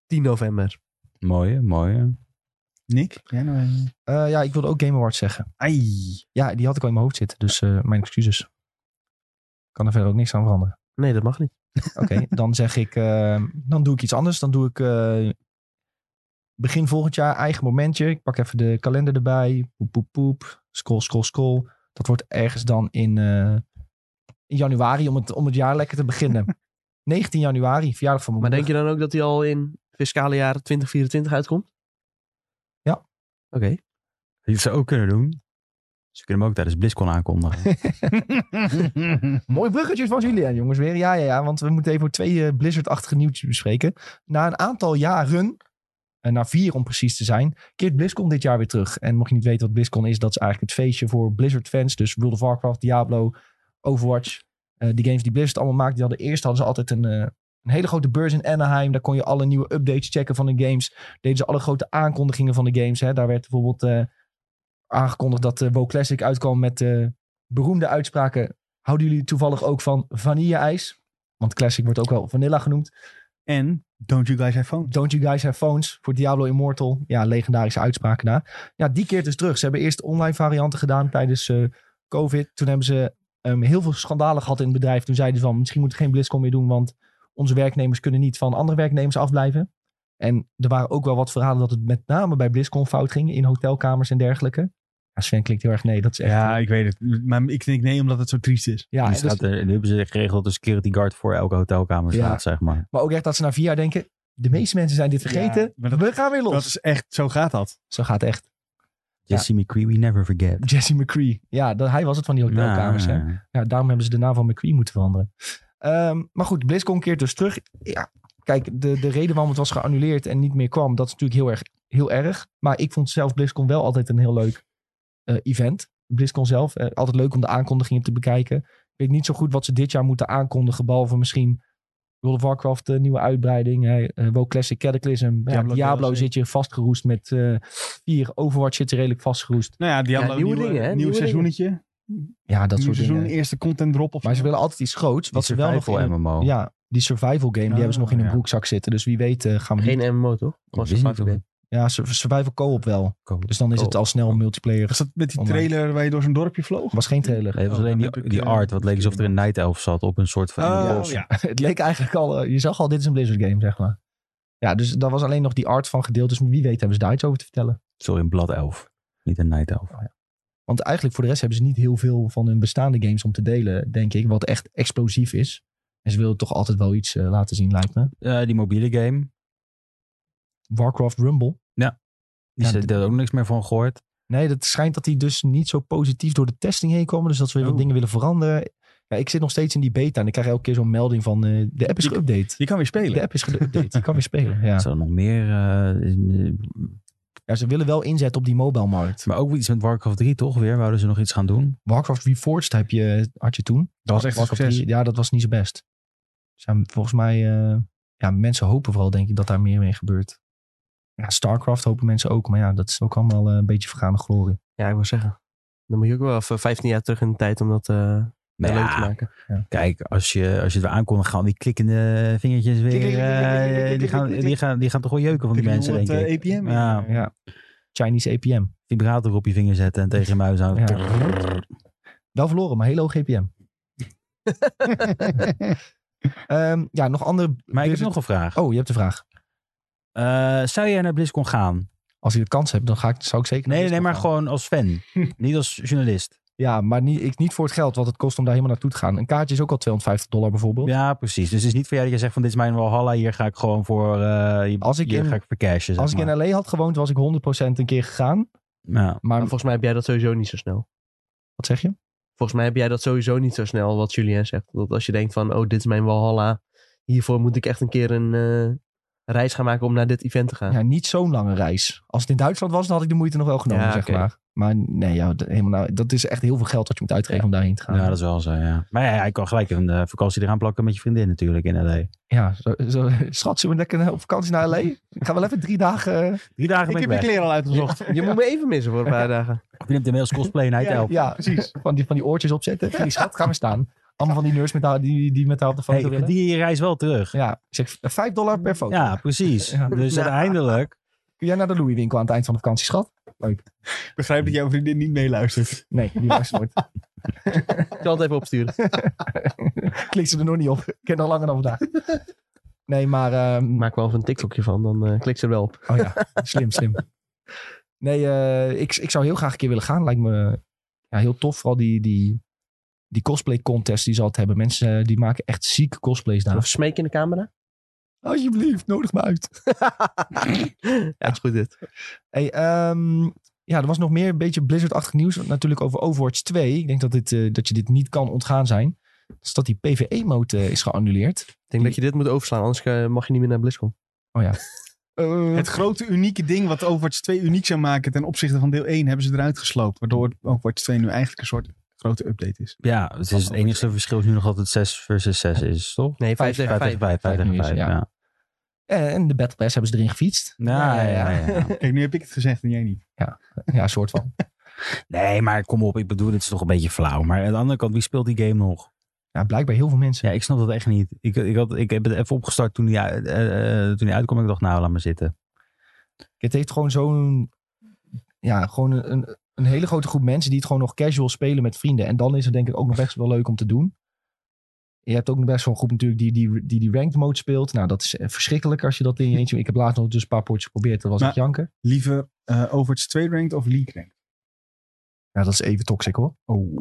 [SPEAKER 3] 10 november.
[SPEAKER 4] Mooie, mooie.
[SPEAKER 2] Nick? Ja, nou, eh,
[SPEAKER 1] Eh, ja, ik wilde ook Game Awards zeggen.
[SPEAKER 2] [LAUGHS] ai.
[SPEAKER 1] Ja, die had ik al in mijn hoofd zitten, dus eh, mijn excuses. Kan er verder ook niks aan veranderen.
[SPEAKER 3] Nee, dat mag niet.
[SPEAKER 1] Oké, dan zeg ik... ehm, dan doe ik iets anders. Dan doe ik... eh, begin volgend jaar eigen momentje. Ik pak even de kalender erbij. Poep, poep, poep. Scroll, scroll, scroll.
[SPEAKER 3] [LAUGHS]
[SPEAKER 1] Dat wordt ergens dan in, eh, in januari om het, om het jaar lekker te beginnen. 19 januari, verjaardag van mijn
[SPEAKER 3] Maar
[SPEAKER 1] moeder.
[SPEAKER 3] denk je dan ook dat hij al in fiscale jaar 2024 uitkomt?
[SPEAKER 1] Ja.
[SPEAKER 3] Oké.
[SPEAKER 4] Die ze ook kunnen doen. Ze kunnen hem ook tijdens BlizzCon aankondigen.
[SPEAKER 1] Mooi bruggetjes van Julian, jongens, weer. Ja, ja, ja, want we moeten even twee eh, Blizzard-achtige nieuwtjes bespreken. Na een aantal jaren, en na vier om precies te zijn, keert BlizzCon dit jaar weer terug. En mocht je niet weten wat BlizzCon is, dat is eigenlijk het feestje voor Blizzard-fans. Dus World of Warcraft, Diablo, Overwatch. Eh, die games die Blizzard allemaal maakt, die hadden eerst hadden ze altijd een, eh, een hele grote beurs in Anaheim. Daar kon je alle nieuwe updates checken van de games. Deden ze alle grote aankondigingen van de games. Hè. Daar werd bijvoorbeeld eh, aangekondigd dat de WoW Classic uitkwam met eh, beroemde uitspraken. Houden jullie toevallig ook van vanille-ijs? Want Classic wordt ook wel vanilla genoemd.
[SPEAKER 2] En don't you guys have phones?
[SPEAKER 1] Don't you guys have phones? Voor Diablo Immortal. Ja, legendarische uitspraken daar. Ja, die keert dus terug. Ze hebben eerst online varianten gedaan tijdens eh, COVID. Toen hebben ze ehm, heel veel schandalen gehad in het bedrijf. Toen zeiden ze van, misschien moeten we geen BlizzCon meer doen... want onze werknemers kunnen niet van andere werknemers afblijven. En er waren ook wel wat verhalen dat het met name bij BlizzCon fout ging... in hotelkamers en dergelijke. Ja, Sven klinkt heel erg nee, dat is echt... eh,
[SPEAKER 2] Ja, ik weet het. Maar ik denk nee, omdat het zo triest is.
[SPEAKER 1] Ja,
[SPEAKER 4] die
[SPEAKER 1] en dus-
[SPEAKER 4] staat er, nu hebben ze geregeld een security guard voor elke hotelkamer
[SPEAKER 1] Ja.
[SPEAKER 4] staat, zeg maar.
[SPEAKER 1] Maar ook echt dat ze na vier jaar denken... de meeste mensen zijn dit vergeten.
[SPEAKER 2] Ja, maar dat-
[SPEAKER 1] we gaan weer los.
[SPEAKER 2] Dat is echt, zo gaat dat.
[SPEAKER 1] Zo gaat het echt. Ja.
[SPEAKER 4] Jesse McCree, we never forget.
[SPEAKER 1] Jesse McCree. Ja, dat, hij was het van die hotelkamers. Hè?
[SPEAKER 4] Nou,
[SPEAKER 1] Ja, daarom hebben ze de naam van McCree moeten veranderen. Ehm, maar goed, BlizzCon keert dus terug. Ja, kijk, de, de reden waarom het was geannuleerd en niet meer kwam... dat is natuurlijk heel erg, heel erg. Maar ik vond zelf BlizzCon wel altijd een heel leuk eh, event. BlizzCon zelf. eh, altijd leuk om de aankondigingen te bekijken. Ik weet niet zo goed wat ze dit jaar moeten aankondigen... behalve misschien World of Warcraft, eh, nieuwe uitbreiding. hè, eh, WoW Classic Cataclysm. Ja, Diablo,
[SPEAKER 2] Diablo DLC.
[SPEAKER 1] zit je vastgeroest met eh vier. Overwatch zit je redelijk vastgeroest.
[SPEAKER 2] Nou ja, Diablo,
[SPEAKER 3] Ja, nieuwe dingen, hè?
[SPEAKER 2] Nieuw
[SPEAKER 3] Nieuwe
[SPEAKER 2] seizoentje.
[SPEAKER 1] Ja, dat
[SPEAKER 2] nieuw
[SPEAKER 1] soort
[SPEAKER 2] seizoen,
[SPEAKER 1] dingen.
[SPEAKER 2] eerste content drop of
[SPEAKER 1] Maar ze
[SPEAKER 2] zo.
[SPEAKER 1] willen altijd iets groots.
[SPEAKER 4] die
[SPEAKER 1] Wat ze wel nog in
[SPEAKER 4] survival
[SPEAKER 1] hun-
[SPEAKER 4] MMO.
[SPEAKER 1] Ja, die survival game, die
[SPEAKER 2] Ah,
[SPEAKER 1] hebben ze nog in hun
[SPEAKER 4] ja.
[SPEAKER 1] broekzak zitten. Dus wie weet eh, gaan we niet-
[SPEAKER 3] Geen MMO toch?
[SPEAKER 4] Ik
[SPEAKER 3] Gewoon
[SPEAKER 4] wist niet
[SPEAKER 3] survival
[SPEAKER 4] of
[SPEAKER 3] game.
[SPEAKER 4] het
[SPEAKER 1] Ja, sur- survival co-op wel.
[SPEAKER 4] Co-op.
[SPEAKER 1] Dus dan is het
[SPEAKER 4] Co-op.
[SPEAKER 1] al snel multiplayer.
[SPEAKER 2] Was dat met die
[SPEAKER 1] Online.
[SPEAKER 2] trailer waar je door zo'n dorpje vloog?
[SPEAKER 1] Was geen
[SPEAKER 4] [LAUGHS]
[SPEAKER 1] trailer.
[SPEAKER 4] Nee, het
[SPEAKER 2] Oh,
[SPEAKER 4] was alleen
[SPEAKER 2] dan
[SPEAKER 4] die,
[SPEAKER 2] heb ik,
[SPEAKER 4] die
[SPEAKER 2] eh,
[SPEAKER 4] art, wat leek alsof er een Night Elf zat op een soort van in een
[SPEAKER 1] Oh,
[SPEAKER 4] bos.
[SPEAKER 2] Oh, ja.
[SPEAKER 1] het leek eigenlijk al... eh, je zag al, dit is een Blizzard game, zeg maar. Ja, dus daar was alleen nog die art van gedeeld. Dus wie weet hebben ze daar iets over te vertellen.
[SPEAKER 4] Sorry, een Blad Elf. Niet een Night Elf.
[SPEAKER 1] Want eigenlijk voor de rest hebben ze niet heel veel van hun bestaande games om te delen, denk ik. Wat echt explosief is. En ze willen toch altijd wel iets eh, laten zien, lijkt me.
[SPEAKER 4] Eh, die mobiele game,
[SPEAKER 1] Warcraft Rumble.
[SPEAKER 4] die
[SPEAKER 1] Ja,
[SPEAKER 4] ze
[SPEAKER 1] d-
[SPEAKER 4] daar ook niks meer van gehoord.
[SPEAKER 1] Nee, dat schijnt dat die dus niet zo positief door de testing heen komen. Dus dat ze weer wat
[SPEAKER 2] Oh.
[SPEAKER 1] dingen willen veranderen. Ja, ik zit nog steeds in die beta en ik krijg elke keer zo'n melding van eh, de app is
[SPEAKER 2] Je-
[SPEAKER 1] geüpdate.
[SPEAKER 2] Je kan weer
[SPEAKER 1] De
[SPEAKER 2] spelen.
[SPEAKER 1] app is geüpdate. Je kan weer
[SPEAKER 2] [LAUGHS]
[SPEAKER 1] spelen. Ja.
[SPEAKER 4] Zo nog meer. eh,
[SPEAKER 1] ja, ze willen wel inzetten op die mobile markt.
[SPEAKER 4] maar ook iets met Warcraft 3 toch weer? Wouden ze nog iets gaan doen?
[SPEAKER 1] Warcraft Reforged heb je, had je toen.
[SPEAKER 2] Dat was echt een
[SPEAKER 1] Warcraft
[SPEAKER 2] succes.
[SPEAKER 1] 3, ja, dat was niet zo best. Zijn volgens mij, eh, ja, mensen hopen vooral denk ik dat daar meer mee gebeurt. Ja, Starcraft hopen mensen ook. Maar ja, dat is ook allemaal eh, een beetje vergane glorie.
[SPEAKER 3] Ja, ik wil zeggen. Dan moet je ook wel even 15 jaar terug in de tijd om dat eh,
[SPEAKER 4] Nou
[SPEAKER 3] leuk
[SPEAKER 4] ja,
[SPEAKER 3] te maken.
[SPEAKER 4] Kijk, als je, als je het weer aankondigt, gaan die klikkende vingertjes weer.
[SPEAKER 2] klik, klik, klik, klik, klik,
[SPEAKER 4] eh,
[SPEAKER 2] klik,
[SPEAKER 4] Die gaan-
[SPEAKER 2] klik,
[SPEAKER 4] die gaan- die gaan toch wel jeuken van die
[SPEAKER 2] Tegen
[SPEAKER 4] mensen, denk
[SPEAKER 2] iemand,
[SPEAKER 4] ik.
[SPEAKER 2] eh, APM.
[SPEAKER 4] Ja.
[SPEAKER 1] Ja. Chinese APM.
[SPEAKER 4] Vibrator op je vinger zetten en tegen je muis aan.
[SPEAKER 1] Ja. Wel verloren, maar heel hoog GPM. Ehm, ja, nog andere...
[SPEAKER 4] Maar ik heb
[SPEAKER 1] Blizzard-
[SPEAKER 4] nog een vraag.
[SPEAKER 1] Oh, je hebt de vraag.
[SPEAKER 4] Eh, zou jij naar BlizzCon gaan?
[SPEAKER 1] Als je de kans hebt, dan ga ik, zou ik zeker... naar
[SPEAKER 4] Nee, nee,
[SPEAKER 1] Discord
[SPEAKER 4] maar
[SPEAKER 1] gaan.
[SPEAKER 4] gewoon als
[SPEAKER 2] [LAUGHS]
[SPEAKER 4] fan. Niet als journalist.
[SPEAKER 1] Ja, maar niet, ik, niet voor het geld wat het kost om daar helemaal naartoe te gaan. Een kaartje is ook al 250 dollar bijvoorbeeld.
[SPEAKER 4] Ja, precies. Dus het is niet voor jou dat je zegt van dit is mijn Walhalla, hier ga ik gewoon voor, eh, hier,
[SPEAKER 1] Als ik
[SPEAKER 4] hier
[SPEAKER 1] in-
[SPEAKER 4] ga ik voor cashen. zeg
[SPEAKER 1] Als ik in
[SPEAKER 4] maar.
[SPEAKER 1] LA had gewoond, was ik 100% een keer gegaan.
[SPEAKER 4] ja.
[SPEAKER 1] Maar
[SPEAKER 3] Maar volgens mij heb jij dat sowieso niet zo snel.
[SPEAKER 1] wat zeg je?
[SPEAKER 3] Volgens mij heb jij dat sowieso niet zo snel, wat Julien zegt. Dat als je denkt van, oh, dit is mijn Walhalla. Hiervoor moet ik echt een keer een eh, reis gaan maken om naar dit event te gaan.
[SPEAKER 1] Ja, niet zo'n lange reis. Als het in Duitsland was, dan had ik de moeite nog wel genomen,
[SPEAKER 3] Ja,
[SPEAKER 1] zeg
[SPEAKER 3] oké.
[SPEAKER 1] maar. Maar nee, ja, d- helemaal, nou, dat is echt heel veel geld wat je moet uitgeven om daarheen te
[SPEAKER 2] Ah.
[SPEAKER 1] gaan.
[SPEAKER 4] ja, dat is wel zo, ja. Maar ja, je kan gelijk een eh, vakantie eraan plakken met je vriendin natuurlijk in L.A.
[SPEAKER 1] Ja, zo, zo, schat, zullen we lekker op vakantie
[SPEAKER 4] [LAUGHS]
[SPEAKER 1] naar LA? Ik ga wel even drie dagen... eh,
[SPEAKER 4] Drie dagen
[SPEAKER 2] Ik
[SPEAKER 4] ben ik
[SPEAKER 2] heb je
[SPEAKER 4] weg.
[SPEAKER 2] kleren al uitgezocht.
[SPEAKER 3] Je moet me even missen voor een paar dagen.
[SPEAKER 4] Of je neemt inmiddels
[SPEAKER 2] [LAUGHS]
[SPEAKER 4] cosplay Night
[SPEAKER 2] Ja,
[SPEAKER 4] Elf.
[SPEAKER 1] Ja, precies. [LAUGHS] Van die, van die oortjes opzetten. Van die schat, ga maar staan. Allemaal van die nerds met haar, die, die met haar op de foto
[SPEAKER 4] Hey,
[SPEAKER 1] willen.
[SPEAKER 4] die reis wel terug.
[SPEAKER 1] Ja, ik zeg 5 dollar per foto.
[SPEAKER 4] [LAUGHS] Ja, precies.
[SPEAKER 1] Ja.
[SPEAKER 4] Dus
[SPEAKER 3] Ja.
[SPEAKER 4] uiteindelijk.
[SPEAKER 1] Kun jij naar de Louis winkel aan het eind van de vakantie, schat?
[SPEAKER 2] Ik begrijp dat jouw vriendin niet meeluistert.
[SPEAKER 1] Nee, die was [LAUGHS] nooit.
[SPEAKER 3] Ik zal het even opsturen.
[SPEAKER 1] Klik ze er nog niet op. Ik ken al langer dan vandaag. Nee, maar... ehm,
[SPEAKER 3] [LAUGHS] Ik maak wel even een TikTokje van, dan eh, klik ze er wel op.
[SPEAKER 1] oh ja, slim, slim. Nee, eh, ik, ik zou heel graag een keer willen gaan. Lijkt me ja, heel tof. Vooral die, die die cosplay contest die ze altijd hebben. Mensen eh, die maken echt zieke cosplays daar.
[SPEAKER 3] Of smeek in de camera.
[SPEAKER 1] Alsjeblieft, nodig me uit.
[SPEAKER 3] ja, het is goed dit.
[SPEAKER 1] Hey, ehm, ja, er was nog meer een beetje Blizzard-achtig nieuws. Natuurlijk over Overwatch 2. Ik denk dat, dit, eh, dat je dit niet kan ontgaan zijn. Dat is dat die PvE-mode eh, is geannuleerd. Oh
[SPEAKER 3] Ik denk dat je dit moet overslaan, anders eh, mag je niet meer naar BlizzCon.
[SPEAKER 2] [LAUGHS]
[SPEAKER 4] [LAUGHS]
[SPEAKER 2] Het grote unieke ding wat Overwatch 2 uniek zou maken ten opzichte van deel 1 hebben ze eruit gesloopt. Waardoor Overwatch 2 nu eigenlijk een soort grote update is.
[SPEAKER 4] Ja, het, is het enige verschil is nu nog altijd 6 versus 6 is, toch?
[SPEAKER 3] Nee, 5 tegen
[SPEAKER 4] 5
[SPEAKER 3] 5.
[SPEAKER 4] tegen 5, 5 tegen
[SPEAKER 1] nu is
[SPEAKER 4] 5,
[SPEAKER 1] het, ja.
[SPEAKER 4] ja.
[SPEAKER 1] Eh, en de Battle Pass hebben ze erin gefietst.
[SPEAKER 4] Ja, ja, ja.
[SPEAKER 2] Kijk, nu heb ik het gezegd en jij niet.
[SPEAKER 1] Ja, soort van.
[SPEAKER 4] [LAUGHS] Nee, maar kom op. Ik bedoel, het is toch een beetje flauw. Maar aan de andere kant, wie speelt die game nog?
[SPEAKER 1] Ja, blijkbaar heel veel mensen.
[SPEAKER 4] Ja, ik snap dat echt niet. Ik, ik, had, ik heb het even opgestart toen die, uit- eh, eh, toen die uitkwam. Ik dacht, nou, laat maar zitten.
[SPEAKER 1] Het heeft gewoon zo'n... Ja, gewoon een- een, een hele grote groep mensen die het gewoon nog casual spelen met vrienden. En dan is het denk ik ook nog best wel leuk om te doen. Je hebt ook nog best wel een groep natuurlijk die die, die, die ranked mode speelt. Nou, dat is eh, verschrikkelijk als je dat in je eentje... Ik heb laatst nog dus een paar potjes geprobeerd. Dat was
[SPEAKER 2] Maar-
[SPEAKER 1] echt janken.
[SPEAKER 2] Liever eh, Overwatch 2 ranked of League ranked?
[SPEAKER 1] Ja, Nou, dat is even toxic hoor.
[SPEAKER 2] Oh,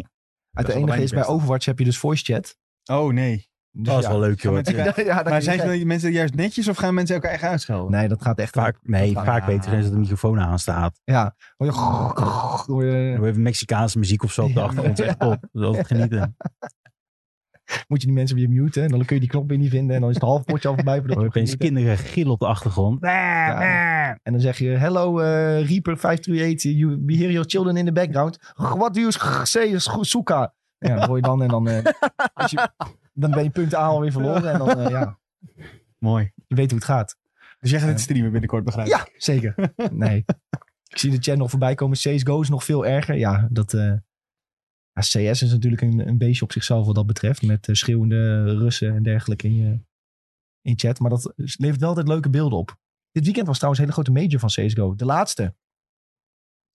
[SPEAKER 1] Het
[SPEAKER 2] wel
[SPEAKER 1] enige
[SPEAKER 2] mijn
[SPEAKER 1] is, bij
[SPEAKER 2] beste.
[SPEAKER 1] Overwatch heb je dus voice chat.
[SPEAKER 2] oh nee.
[SPEAKER 1] Dus
[SPEAKER 4] dat is
[SPEAKER 1] ja.
[SPEAKER 4] wel leuk,
[SPEAKER 2] Gaan
[SPEAKER 4] joh.
[SPEAKER 2] mensen
[SPEAKER 1] [LAUGHS]
[SPEAKER 2] elkaar-
[SPEAKER 1] Ja, dan
[SPEAKER 2] maar
[SPEAKER 1] kan
[SPEAKER 2] zijn
[SPEAKER 1] je-
[SPEAKER 2] ze mensen juist netjes of gaan mensen elkaar echt uitschelden?
[SPEAKER 1] Nee, dat gaat echt...
[SPEAKER 4] Vaak, nee,
[SPEAKER 1] dat-
[SPEAKER 4] vaak beter is dat de microfoon aanstaat.
[SPEAKER 1] Ja. Hoor [LAUGHS] je- hoor
[SPEAKER 4] We
[SPEAKER 1] je-
[SPEAKER 4] hebben Mexicaanse muziek of zo op de
[SPEAKER 1] Ja.
[SPEAKER 4] achtergrond. [LAUGHS] Echt top. Dat is altijd genieten.
[SPEAKER 1] Moet je die mensen weer muten. En dan kun je die knop weer niet vinden. En dan is het half potje al voorbij.
[SPEAKER 4] We
[SPEAKER 2] [LAUGHS]
[SPEAKER 1] voordat je
[SPEAKER 4] hebben
[SPEAKER 1] hem
[SPEAKER 4] opeens
[SPEAKER 1] geniet hebt.
[SPEAKER 4] kinderen gillen op de achtergrond.
[SPEAKER 1] En dan zeg je, hello eh, Reaper 538. You, we hear your children in the background. What do you say, Suka? Ja, dat hoor je dan. En dan, eh, als je, dan ben je punt A alweer verloren. En dan, eh, ja,
[SPEAKER 2] Mooi.
[SPEAKER 1] je weet hoe het gaat.
[SPEAKER 2] Dus jij gaat het
[SPEAKER 1] Ja.
[SPEAKER 2] streamen binnenkort, begrijp ik?
[SPEAKER 1] Ja, zeker.
[SPEAKER 2] [LAUGHS]
[SPEAKER 1] Nee. Ik zie de chat nog voorbij komen. CSGO is nog veel erger. Ja, dat... eh, ja, CS is natuurlijk een, een beestje op zichzelf wat dat betreft. Met eh, schreeuwende Russen en dergelijke in, je, in chat. Maar dat levert wel altijd leuke beelden op. Dit weekend was trouwens een hele grote major van CSGO. De laatste.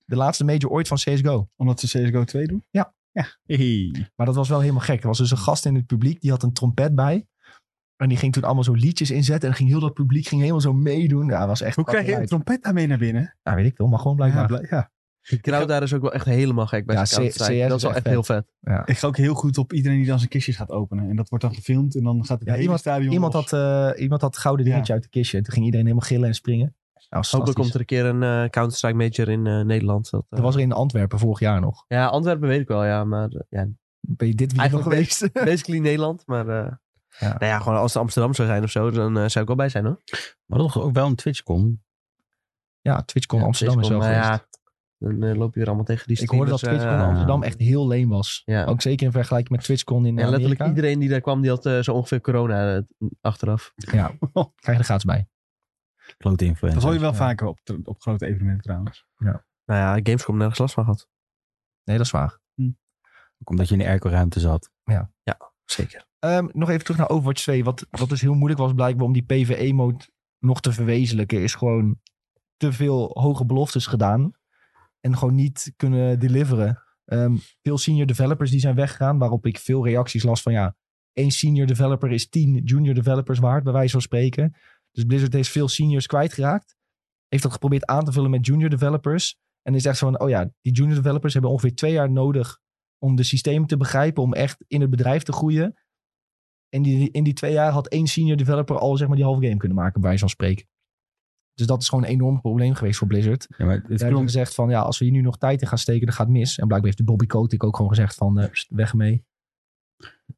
[SPEAKER 1] De laatste major ooit van CSGO.
[SPEAKER 2] Omdat ze CSGO 2 doen?
[SPEAKER 1] Ja.
[SPEAKER 2] Ja. Hey.
[SPEAKER 1] Maar dat was wel helemaal gek. Er was dus een gast in het publiek. Die had een trompet bij. En die ging toen allemaal zo liedjes inzetten. En ging heel dat publiek ging helemaal zo meedoen. Ja, was echt...
[SPEAKER 2] Hoe krijg je een trompet daarmee naar binnen?
[SPEAKER 1] Nou, weet ik wel. Maar gewoon blijkbaar.
[SPEAKER 2] Ja, bl- ja.
[SPEAKER 3] Die crowd daar is ook wel echt helemaal gek bij
[SPEAKER 1] Ja, C-
[SPEAKER 3] ja,
[SPEAKER 1] CS
[SPEAKER 3] Dat is wel
[SPEAKER 1] is
[SPEAKER 3] echt
[SPEAKER 1] echt
[SPEAKER 3] heel vet.
[SPEAKER 2] Ik ga ook heel goed op iedereen die dan zijn kistjes gaat openen. En dat wordt dan gefilmd en dan gaat het
[SPEAKER 1] Ja,
[SPEAKER 2] hele
[SPEAKER 1] iemand-
[SPEAKER 2] stadion
[SPEAKER 1] Iemand
[SPEAKER 2] los.
[SPEAKER 1] had, eh, iemand had het gouden dingetje uit de kistje. Toen ging iedereen helemaal gillen en springen. Nou, was
[SPEAKER 3] Hopelijk komt
[SPEAKER 1] fantastisch.
[SPEAKER 3] er een keer een eh, Counter-Strike Major in eh, Nederland. Dat, eh,
[SPEAKER 1] Dat was er in Antwerpen vorig jaar nog.
[SPEAKER 3] Ja, Antwerpen weet ik wel, ja. Maar eh, ja,
[SPEAKER 1] Ben je dit weekend nog
[SPEAKER 3] Eigenlijk
[SPEAKER 1] geweest? [LAUGHS]
[SPEAKER 3] basically Nederland. Maar eh,
[SPEAKER 1] Ja.
[SPEAKER 3] nou ja, gewoon als het Amsterdam zou zijn of zo, dan eh, zou ik wel bij zijn hoor.
[SPEAKER 4] Maar dat ook wel een Twitch-con.
[SPEAKER 1] Ja, TwitchCon
[SPEAKER 3] Ja,
[SPEAKER 1] Amsterdam is wel
[SPEAKER 3] Twitchcon, maar
[SPEAKER 1] geweest.
[SPEAKER 3] Ja, dan eh, loop je weer allemaal tegen die
[SPEAKER 1] ik hoorde dat
[SPEAKER 3] streamers,
[SPEAKER 1] TwitchCon
[SPEAKER 3] eh,
[SPEAKER 1] Amsterdam echt heel leem was.
[SPEAKER 3] Ja.
[SPEAKER 1] Ook zeker in vergelijking met TwitchCon in
[SPEAKER 3] En letterlijk
[SPEAKER 1] Amerika.
[SPEAKER 3] iedereen die daar kwam, die had eh, zo ongeveer corona eh, achteraf. [LAUGHS]
[SPEAKER 1] Ja, krijg je er gaats bij.
[SPEAKER 4] Klote
[SPEAKER 2] Dat
[SPEAKER 4] influencer.
[SPEAKER 2] hoor je wel
[SPEAKER 1] Ja.
[SPEAKER 2] vaker op, op grote evenementen trouwens.
[SPEAKER 3] Nou ja, Gamescom nergens last van gehad.
[SPEAKER 1] Nee, dat is waar.
[SPEAKER 4] Ook Omdat je in de airco-ruimte zat.
[SPEAKER 3] Zeker.
[SPEAKER 1] Ehm, nog even terug naar Overwatch 2. Wat, wat dus heel moeilijk was blijkbaar om die PvE-mode nog te verwezenlijken, is gewoon te veel hoge beloftes gedaan. En gewoon niet kunnen deliveren. Ehm, veel senior developers die zijn weggegaan, waarop ik veel reacties las van ja, één senior developer is tien junior developers waard, bij wijze van spreken. Dus Blizzard heeft veel seniors kwijtgeraakt. Heeft dat geprobeerd aan te vullen met junior developers. En is echt zo van, oh ja, die junior developers hebben ongeveer twee jaar nodig om de systemen te begrijpen, om echt in het bedrijf te groeien. En die, in die twee jaar had één senior developer al zeg maar die halve game kunnen maken, bij zo'n spreken. Dus dat is gewoon een enorm probleem geweest voor Blizzard.
[SPEAKER 4] Ja, maar het
[SPEAKER 1] Ze hebben
[SPEAKER 4] klonk
[SPEAKER 1] gezegd van ja, als we hier nu nog tijd in gaan steken, dan gaat het mis. En blijkbaar heeft de Bobby Kotick ook gewoon gezegd van eh, pst, weg mee.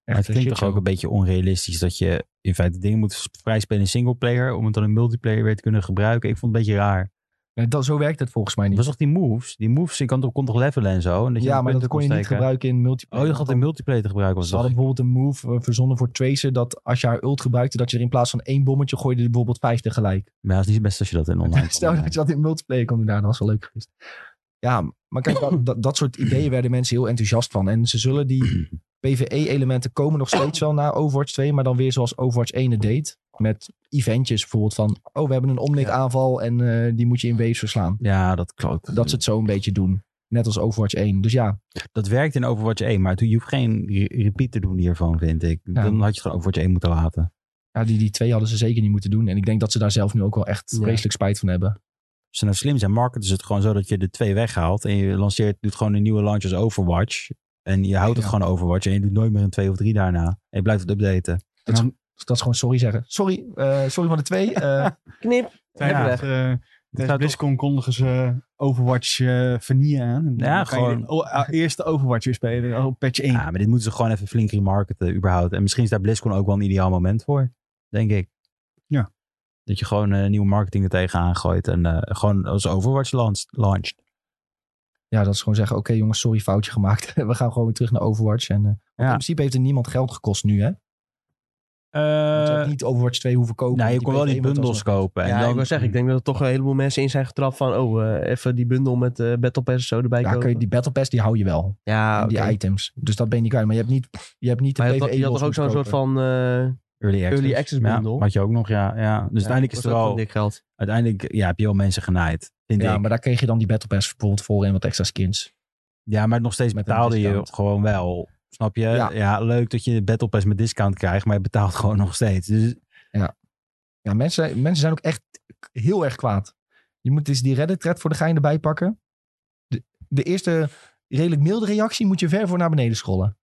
[SPEAKER 4] Maar het
[SPEAKER 1] een
[SPEAKER 4] klinkt toch
[SPEAKER 1] shitshow.
[SPEAKER 4] ook een beetje onrealistisch dat je in feite dingen moet vrijspelen in singleplayer om het dan in multiplayer weer te kunnen gebruiken. Ik vond het een beetje raar.
[SPEAKER 1] Nee, dat, zo werkt het volgens mij
[SPEAKER 4] Het was
[SPEAKER 1] niet.
[SPEAKER 4] toch die moves? Die moves, je kan toch, kon toch levelen en zo? En dat je
[SPEAKER 1] Ja,
[SPEAKER 4] dan
[SPEAKER 1] maar
[SPEAKER 4] punten
[SPEAKER 1] dat kon je niet
[SPEAKER 4] steken.
[SPEAKER 1] gebruiken in
[SPEAKER 4] Oh,
[SPEAKER 1] multiplayer.
[SPEAKER 4] je had in multiplayer te gebruiken was
[SPEAKER 1] Ze hadden
[SPEAKER 4] dat.
[SPEAKER 1] bijvoorbeeld een move eh, verzonnen voor Tracer dat als je haar ult gebruikte, dat je er in plaats van één bommetje gooide er bijvoorbeeld vijf tegelijk.
[SPEAKER 4] Maar ja, het is niet best als je dat in
[SPEAKER 1] [LAUGHS]
[SPEAKER 4] online.
[SPEAKER 1] Stel
[SPEAKER 4] kan
[SPEAKER 1] dat je dat in multiplayer kon doen, nou, dat was wel leuk geweest. Ja, maar kijk, dat, dat, dat soort ideeën werden mensen heel enthousiast van. En ze zullen die PvE-elementen komen nog steeds wel na Overwatch 2, maar dan weer zoals Overwatch 1 het deed. Met eventjes bijvoorbeeld van, oh, we hebben een omnik aanval en eh, die moet je in waves verslaan.
[SPEAKER 4] doen. Ja, dat klopt.
[SPEAKER 1] Dat ze het zo een beetje doen. Net als Overwatch 1. Dus ja,
[SPEAKER 4] Dat werkt in Overwatch 1, maar toen, je hoeft geen re- repeat te doen hiervan, vind ik.
[SPEAKER 1] Ja.
[SPEAKER 4] Dan had je het gewoon Overwatch 1 moeten laten.
[SPEAKER 1] ja die, die twee hadden ze zeker niet moeten doen. En ik denk dat ze daar zelf nu ook wel echt
[SPEAKER 3] Ja.
[SPEAKER 1] vreselijk spijt van hebben.
[SPEAKER 4] Als ze nou slim zijn, marketen ze het gewoon zo dat je de twee weghaalt en je lanceert, doet gewoon een nieuwe launch als Overwatch. En je houdt het
[SPEAKER 1] Ja.
[SPEAKER 4] gewoon Overwatch en je doet nooit meer een 2 of 3 daarna. En je blijft het updaten.
[SPEAKER 1] Dus dat is gewoon sorry zeggen. Sorry, eh, sorry van de twee. eh,
[SPEAKER 3] Knip.
[SPEAKER 4] Ja.
[SPEAKER 2] Tijdens eh, tijdens
[SPEAKER 4] zou
[SPEAKER 2] BlizzCon kondigen ze Overwatch eh vanille aan. En
[SPEAKER 4] Ja,
[SPEAKER 2] dan kan je
[SPEAKER 4] gewoon-
[SPEAKER 2] de o- a- eerste Overwatch weer spelen. Oh, patch 1.
[SPEAKER 4] Ja, Ah, maar dit moeten ze gewoon even flink remarketen überhaupt. En misschien is daar BlizzCon ook wel een ideaal moment voor. Denk ik.
[SPEAKER 2] Ja.
[SPEAKER 4] Dat je gewoon eh, nieuwe marketing er tegenaan gooit. En eh, gewoon als Overwatch launcht. launcht.
[SPEAKER 1] ja, dat is gewoon zeggen, oké jongens, sorry, foutje gemaakt. [LAUGHS] We gaan gewoon weer terug naar Overwatch. En, eh, want
[SPEAKER 4] Ja.
[SPEAKER 1] In principe heeft er niemand geld gekost nu, hè?
[SPEAKER 3] Eh,
[SPEAKER 1] Want je had niet Overwatch 2 hoeven kopen.
[SPEAKER 4] nou, eh, je
[SPEAKER 1] want
[SPEAKER 4] kon
[SPEAKER 1] die E
[SPEAKER 4] wel die
[SPEAKER 1] PvE-mod was
[SPEAKER 4] bundels
[SPEAKER 1] nog-
[SPEAKER 4] kopen. En
[SPEAKER 3] ja,
[SPEAKER 4] dan,
[SPEAKER 3] ik wil zeggen, ik denk dat er toch een heleboel mensen in zijn getrapt van... oh, eh, even die bundel met eh Battle Pass of zo erbij
[SPEAKER 1] Ja, kun je,
[SPEAKER 3] kopen.
[SPEAKER 1] die Battle Pass, die hou je wel.
[SPEAKER 3] ja,
[SPEAKER 1] En die
[SPEAKER 3] Ah, oké.
[SPEAKER 1] items. Dus dat ben je niet kwijt. Maar je hebt niet, je hebt niet de E
[SPEAKER 3] Maar je had, je had
[SPEAKER 1] PvE-mod
[SPEAKER 3] toch ook zo'n soort van... eh,
[SPEAKER 4] Early Access,
[SPEAKER 3] Early access
[SPEAKER 4] Ja,
[SPEAKER 3] bundel.
[SPEAKER 4] had je ook nog, ja. ja. Dus uiteindelijk is
[SPEAKER 3] kost
[SPEAKER 4] er
[SPEAKER 3] ook
[SPEAKER 4] al...
[SPEAKER 3] gewoon dik geld.
[SPEAKER 4] Uiteindelijk ja, heb je al mensen genaaid. Vind
[SPEAKER 1] Ja,
[SPEAKER 4] ik.
[SPEAKER 1] maar daar kreeg je dan die Battle Pass bijvoorbeeld voor en wat extra skins.
[SPEAKER 4] Ja, maar nog steeds
[SPEAKER 1] Met een
[SPEAKER 4] betaalde je
[SPEAKER 1] discount.
[SPEAKER 4] gewoon wel. Snap je?
[SPEAKER 1] Ja.
[SPEAKER 4] Ja. leuk dat je de Battle Pass met discount krijgt, maar je betaalt [LAUGHS] gewoon nog steeds. Dus
[SPEAKER 1] Ja, mensen, mensen zijn ook echt heel erg kwaad. Je moet eens die Reddit-thread voor de gein erbij pakken. De, de eerste redelijk milde reactie moet je ver voor naar beneden scrollen.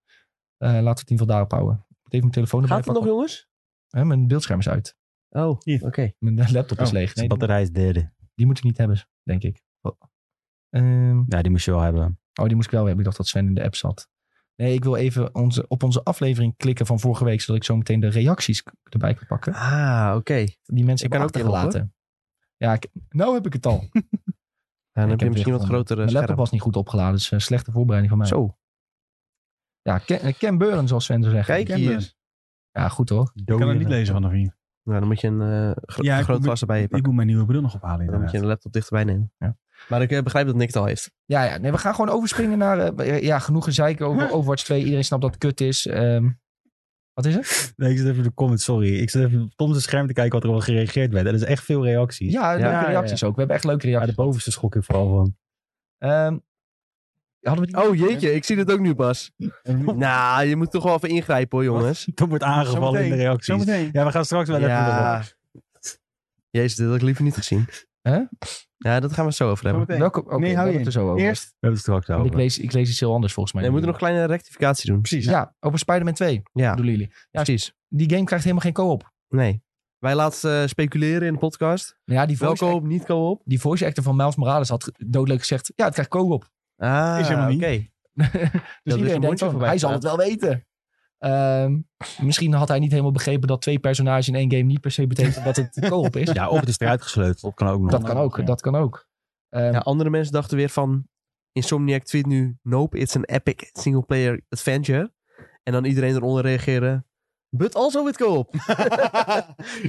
[SPEAKER 1] Eh, laten we het in ieder geval daarop houden. Ik moet even mijn telefoon erbij
[SPEAKER 3] Gaat het nog,
[SPEAKER 1] pakken.
[SPEAKER 3] jongens?
[SPEAKER 1] Hè, mijn beeldscherm is uit.
[SPEAKER 3] Oh, oké.
[SPEAKER 2] Hier.
[SPEAKER 1] Mijn eh, laptop is
[SPEAKER 2] Oh,
[SPEAKER 1] leeg.
[SPEAKER 4] de
[SPEAKER 1] Nee, die,
[SPEAKER 4] batterij is derde.
[SPEAKER 1] die moet ik niet hebben, denk ik. Oh. Ehm,
[SPEAKER 4] Ja, die moest je wel hebben.
[SPEAKER 1] oh, die moest ik wel hebben. Ik dacht dat Sven in de app zat. Nee, ik wil even onze, op onze aflevering klikken van vorige week, zodat ik zo meteen de reacties k- erbij kan pakken.
[SPEAKER 3] Ah, oké.
[SPEAKER 1] Die mensen
[SPEAKER 3] Ik
[SPEAKER 1] hebben
[SPEAKER 3] kan ook erop,
[SPEAKER 1] achtergelaten. Ja, ik, nou heb ik het al.
[SPEAKER 3] Ja, dan heb je
[SPEAKER 1] heb weer
[SPEAKER 3] misschien wat
[SPEAKER 1] gevonden.
[SPEAKER 3] grotere
[SPEAKER 1] Mijn laptop
[SPEAKER 3] eh, scherm.
[SPEAKER 1] was niet goed opgeladen, dus eh, slechte voorbereiding van mij.
[SPEAKER 3] Zo,
[SPEAKER 1] Ja, Ken, eh, Ken Beuren, zoals Sven zo zegt.
[SPEAKER 3] kijk
[SPEAKER 2] ken
[SPEAKER 3] hier.
[SPEAKER 2] dus.
[SPEAKER 1] Ja, goed hoor.
[SPEAKER 2] Ik kan het niet lezen vanaf hier.
[SPEAKER 3] Nou, dan moet je een eh, gro-
[SPEAKER 2] Ja, ik
[SPEAKER 3] groot
[SPEAKER 2] moet-
[SPEAKER 3] glas erbij pakken.
[SPEAKER 2] Ik moet mijn nieuwe bril nog ophalen
[SPEAKER 3] Dan moet je
[SPEAKER 2] inderdaad.
[SPEAKER 3] de laptop dichterbij nemen.
[SPEAKER 1] Ja.
[SPEAKER 3] Maar ik eh, begrijp dat Nick het al heeft.
[SPEAKER 1] Ja, ja nee, we gaan gewoon overspringen naar... eh, ja, genoeg gezeik over Overwatch 2. Iedereen snapt dat het kut is. Ehm, wat is het?
[SPEAKER 4] Nee, ik zit even op de comments, sorry. Ik zit even op Tom's scherm te kijken wat er al gereageerd werd. En er is echt veel reacties.
[SPEAKER 1] Ja, leuke
[SPEAKER 4] ja, ja.
[SPEAKER 1] reacties ook. We hebben echt leuke
[SPEAKER 4] Ja, de
[SPEAKER 1] reacties.
[SPEAKER 4] bovenste schok ik vooral [LAUGHS] van.
[SPEAKER 1] Ehm, hadden we die...
[SPEAKER 3] Oh jeetje, ik zie het ook nu
[SPEAKER 2] [LAUGHS]
[SPEAKER 3] pas. Nou, je moet toch wel even ingrijpen hoor, jongens.
[SPEAKER 4] Tom wordt aangevallen in de reacties.
[SPEAKER 2] Zometeen.
[SPEAKER 4] Ja, we gaan straks wel even erop.
[SPEAKER 3] Jezus, dit had ik liever niet gezien.
[SPEAKER 1] Hè?
[SPEAKER 3] Ja, dat gaan we het zo over hebben.
[SPEAKER 2] Zometeen.
[SPEAKER 1] Welke, oké,
[SPEAKER 2] Nee,
[SPEAKER 1] we
[SPEAKER 2] hou
[SPEAKER 1] hebben
[SPEAKER 2] je
[SPEAKER 1] het
[SPEAKER 2] in.
[SPEAKER 1] er zo over.
[SPEAKER 2] Eerst.
[SPEAKER 4] We hebben het straks
[SPEAKER 1] Want Ik
[SPEAKER 4] over.
[SPEAKER 1] lees, ik lees iets heel anders volgens mij.
[SPEAKER 3] Nee, we moeten nog een kleine rectificatie doen.
[SPEAKER 2] Precies.
[SPEAKER 1] Ja, over Spider-Man 2
[SPEAKER 3] Ja,
[SPEAKER 1] bedoelen jullie.
[SPEAKER 3] precies.
[SPEAKER 1] Die game krijgt helemaal geen co-op.
[SPEAKER 3] Nee. Wij laten eh, speculeren in de podcast.
[SPEAKER 1] Nou Ja, die
[SPEAKER 3] Wel
[SPEAKER 1] voice,
[SPEAKER 3] co-op, niet co-op.
[SPEAKER 1] die voice actor van Miles Morales had ge- dodelijk gezegd... Ja, het krijgt co-op.
[SPEAKER 3] Ah,
[SPEAKER 2] Is helemaal niet.
[SPEAKER 3] oké.
[SPEAKER 1] [LAUGHS] Dus
[SPEAKER 3] Dat is
[SPEAKER 1] iedereen
[SPEAKER 3] een
[SPEAKER 1] denkt
[SPEAKER 3] mondje
[SPEAKER 1] van,
[SPEAKER 3] voorbij
[SPEAKER 1] hij zal het
[SPEAKER 3] gegaan.
[SPEAKER 1] wel weten. Ehm, misschien had hij niet helemaal begrepen dat twee personages in één game niet per se betekent dat
[SPEAKER 3] [LAUGHS]
[SPEAKER 1] het co-op is.
[SPEAKER 4] Ja, of het is eruit gesleuteld. Dat kan ook nog.
[SPEAKER 1] dat kan ook,
[SPEAKER 2] ja.
[SPEAKER 1] dat kan ook. Ehm,
[SPEAKER 3] Ja, andere mensen dachten weer van... Insomniac tweet nu... Nope, it's an epic single-player adventure. En dan iedereen eronder reageren... But also with co-op.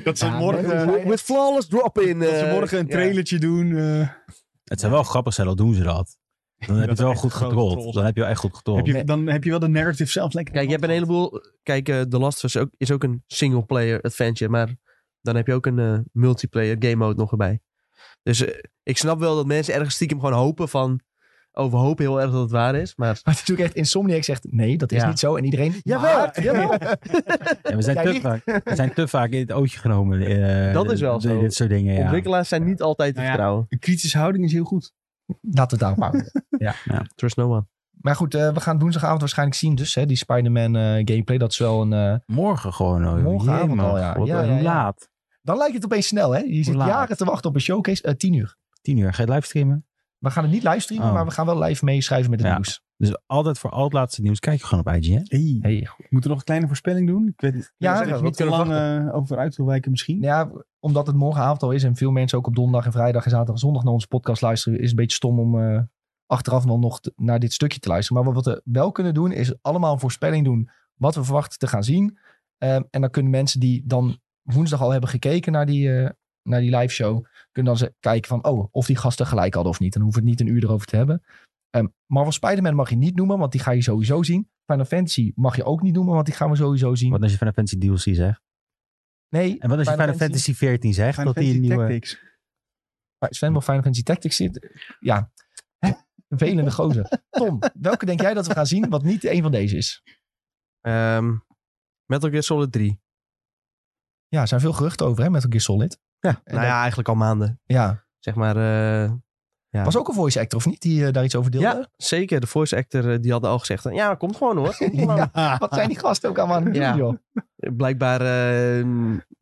[SPEAKER 2] dat ze
[SPEAKER 1] Ja,
[SPEAKER 2] [LAUGHS] morgen, eh,
[SPEAKER 1] nee, we-
[SPEAKER 3] With flawless drop-in.
[SPEAKER 2] dat ze
[SPEAKER 3] eh,
[SPEAKER 2] morgen een
[SPEAKER 3] ja.
[SPEAKER 2] trailertje doen. eh.
[SPEAKER 4] Het zou wel grappig zijn, al doen ze dat. Dan heb je
[SPEAKER 2] Dat
[SPEAKER 4] het wel
[SPEAKER 2] echt
[SPEAKER 4] goed
[SPEAKER 2] grote
[SPEAKER 4] getrold.
[SPEAKER 2] trolls.
[SPEAKER 4] Dan heb je wel echt goed getrold.
[SPEAKER 2] heb je, dan heb je wel de narrative zelf lekker.
[SPEAKER 3] Kijk, je hebt een heleboel... Kijk, eh The Last of Us ook, is ook een single-player adventure. Maar dan heb je ook een eh, multiplayer game mode nog erbij. Dus eh, ik snap wel dat mensen ergens stiekem gewoon hopen van... Oh, we hopen heel erg dat het waar is. Maar
[SPEAKER 1] [LAUGHS] maar het is natuurlijk echt Insomniac zegt, nee, dat is
[SPEAKER 3] Ja.
[SPEAKER 1] niet zo. En iedereen,
[SPEAKER 3] Jawel,
[SPEAKER 1] maar-
[SPEAKER 3] [LAUGHS] jawel.
[SPEAKER 4] Ja, we, zijn
[SPEAKER 1] Jij
[SPEAKER 4] te
[SPEAKER 1] niet.
[SPEAKER 4] vaak, we zijn te vaak in het ootje genomen. eh,
[SPEAKER 3] Dat is wel
[SPEAKER 4] dit-
[SPEAKER 3] zo.
[SPEAKER 4] Dit soort dingen, ja.
[SPEAKER 3] ontwikkelaars zijn niet altijd te
[SPEAKER 2] Nou ja.
[SPEAKER 3] vertrouwen.
[SPEAKER 2] Een kritische houding is heel goed.
[SPEAKER 1] Laten we het daarop houden.
[SPEAKER 3] Trust no one.
[SPEAKER 1] [LAUGHS] Maar goed, eh, we gaan woensdagavond waarschijnlijk zien dus, hè, die Spider-Man eh, gameplay. Dat is wel een... eh,
[SPEAKER 4] Morgen gewoon. Oh,
[SPEAKER 1] Morgenavond
[SPEAKER 4] jemig,
[SPEAKER 1] al, ja.
[SPEAKER 4] Wat
[SPEAKER 1] Ja,
[SPEAKER 4] eh,
[SPEAKER 1] ja,
[SPEAKER 4] hoe
[SPEAKER 1] ja.
[SPEAKER 4] laat?
[SPEAKER 1] dan lijkt het opeens snel, hè? Je zit
[SPEAKER 4] laat?
[SPEAKER 1] jaren te wachten op een showcase. eh, tien uur.
[SPEAKER 4] Tien uur. Ga je het livestreamen?
[SPEAKER 1] We gaan het niet livestreamen,
[SPEAKER 4] Oh.
[SPEAKER 1] maar we gaan wel live meeschrijven met het
[SPEAKER 4] Ja.
[SPEAKER 1] nieuws.
[SPEAKER 4] Dus altijd voor al het laatste nieuws kijk je gewoon op IGN.
[SPEAKER 2] Hey.
[SPEAKER 1] Hey,
[SPEAKER 2] Moeten we nog een kleine voorspelling doen? Ik weet ik
[SPEAKER 1] Ja,
[SPEAKER 2] weet
[SPEAKER 1] we
[SPEAKER 2] even
[SPEAKER 1] moeten
[SPEAKER 2] niet te lang eh, over uit wil wijken misschien.
[SPEAKER 1] Ja, omdat het morgenavond al is en veel mensen ook op donderdag en vrijdag en zaterdag en zondag naar onze podcast luisteren, is het een beetje stom om eh, achteraf dan nog te- naar dit stukje te luisteren. Maar wat we wel kunnen doen, is allemaal een voorspelling doen wat we verwachten te gaan zien. Ehm, en dan kunnen mensen die dan woensdag al hebben gekeken naar die, eh, naar die live show, kunnen dan ze kijken van, oh, of die gasten gelijk hadden of niet. En dan hoeven we het niet een uur erover te hebben. Ehm Marvel Spider-Man mag je niet noemen, want die ga je sowieso zien. Final Fantasy mag je ook niet noemen, want die gaan we sowieso zien.
[SPEAKER 4] Wat als je Final Fantasy DLC zegt?
[SPEAKER 1] Nee,
[SPEAKER 4] En wat als je
[SPEAKER 1] Final
[SPEAKER 4] Final Fantasy 14 zegt?
[SPEAKER 2] Final
[SPEAKER 4] Dat die een
[SPEAKER 2] Fantasy
[SPEAKER 4] nieuwe...
[SPEAKER 2] Tactics.
[SPEAKER 1] Sven wil Final Fantasy Tactics zit. Ja. Velende
[SPEAKER 3] [LAUGHS]
[SPEAKER 1] gozer. Tom, welke denk jij dat we gaan zien wat niet een van deze is?
[SPEAKER 3] Ehm Metal Gear Solid 3.
[SPEAKER 1] Ja, er zijn veel geruchten over hè, Metal Gear Solid.
[SPEAKER 3] Ja,
[SPEAKER 1] en
[SPEAKER 3] nou
[SPEAKER 1] dat-
[SPEAKER 3] ja, eigenlijk al maanden.
[SPEAKER 1] Ja,
[SPEAKER 3] Zeg maar, eh, Ja.
[SPEAKER 1] Was ook een voice actor, of niet? Die eh, daar iets over deelde.
[SPEAKER 3] Ja, zeker. De voice actor eh, die hadden al gezegd, ja, komt gewoon hoor.
[SPEAKER 1] [LAUGHS]
[SPEAKER 3] Komt gewoon.
[SPEAKER 1] Wat zijn die gasten ook allemaal aan het doen,
[SPEAKER 3] Ja.
[SPEAKER 1] joh?
[SPEAKER 3] Blijkbaar eh,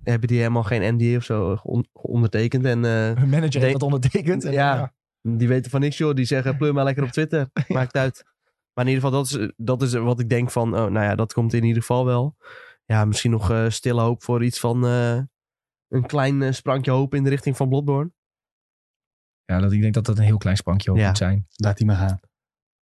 [SPEAKER 3] hebben die helemaal geen NDA of zo eh, on- ondertekend. En eh,
[SPEAKER 1] Hun manager
[SPEAKER 3] Denk-
[SPEAKER 1] heeft dat ondertekend. En,
[SPEAKER 3] Ja. die weten van niks joh. Die zeggen, pleur maar lekker op
[SPEAKER 1] [LAUGHS]
[SPEAKER 3] Twitter. Maakt uit. Maar in ieder geval, dat is, eh, dat is wat ik denk van, oh, nou ja, dat komt in ieder geval wel. Ja, misschien nog eh, stille hoop voor iets van eh, een klein eh, sprankje hoop in de richting van Bloodborne.
[SPEAKER 1] ja, dat, ik denk dat dat een heel klein sprankje op
[SPEAKER 3] Ja.
[SPEAKER 1] moet zijn.
[SPEAKER 2] Laat die maar gaan.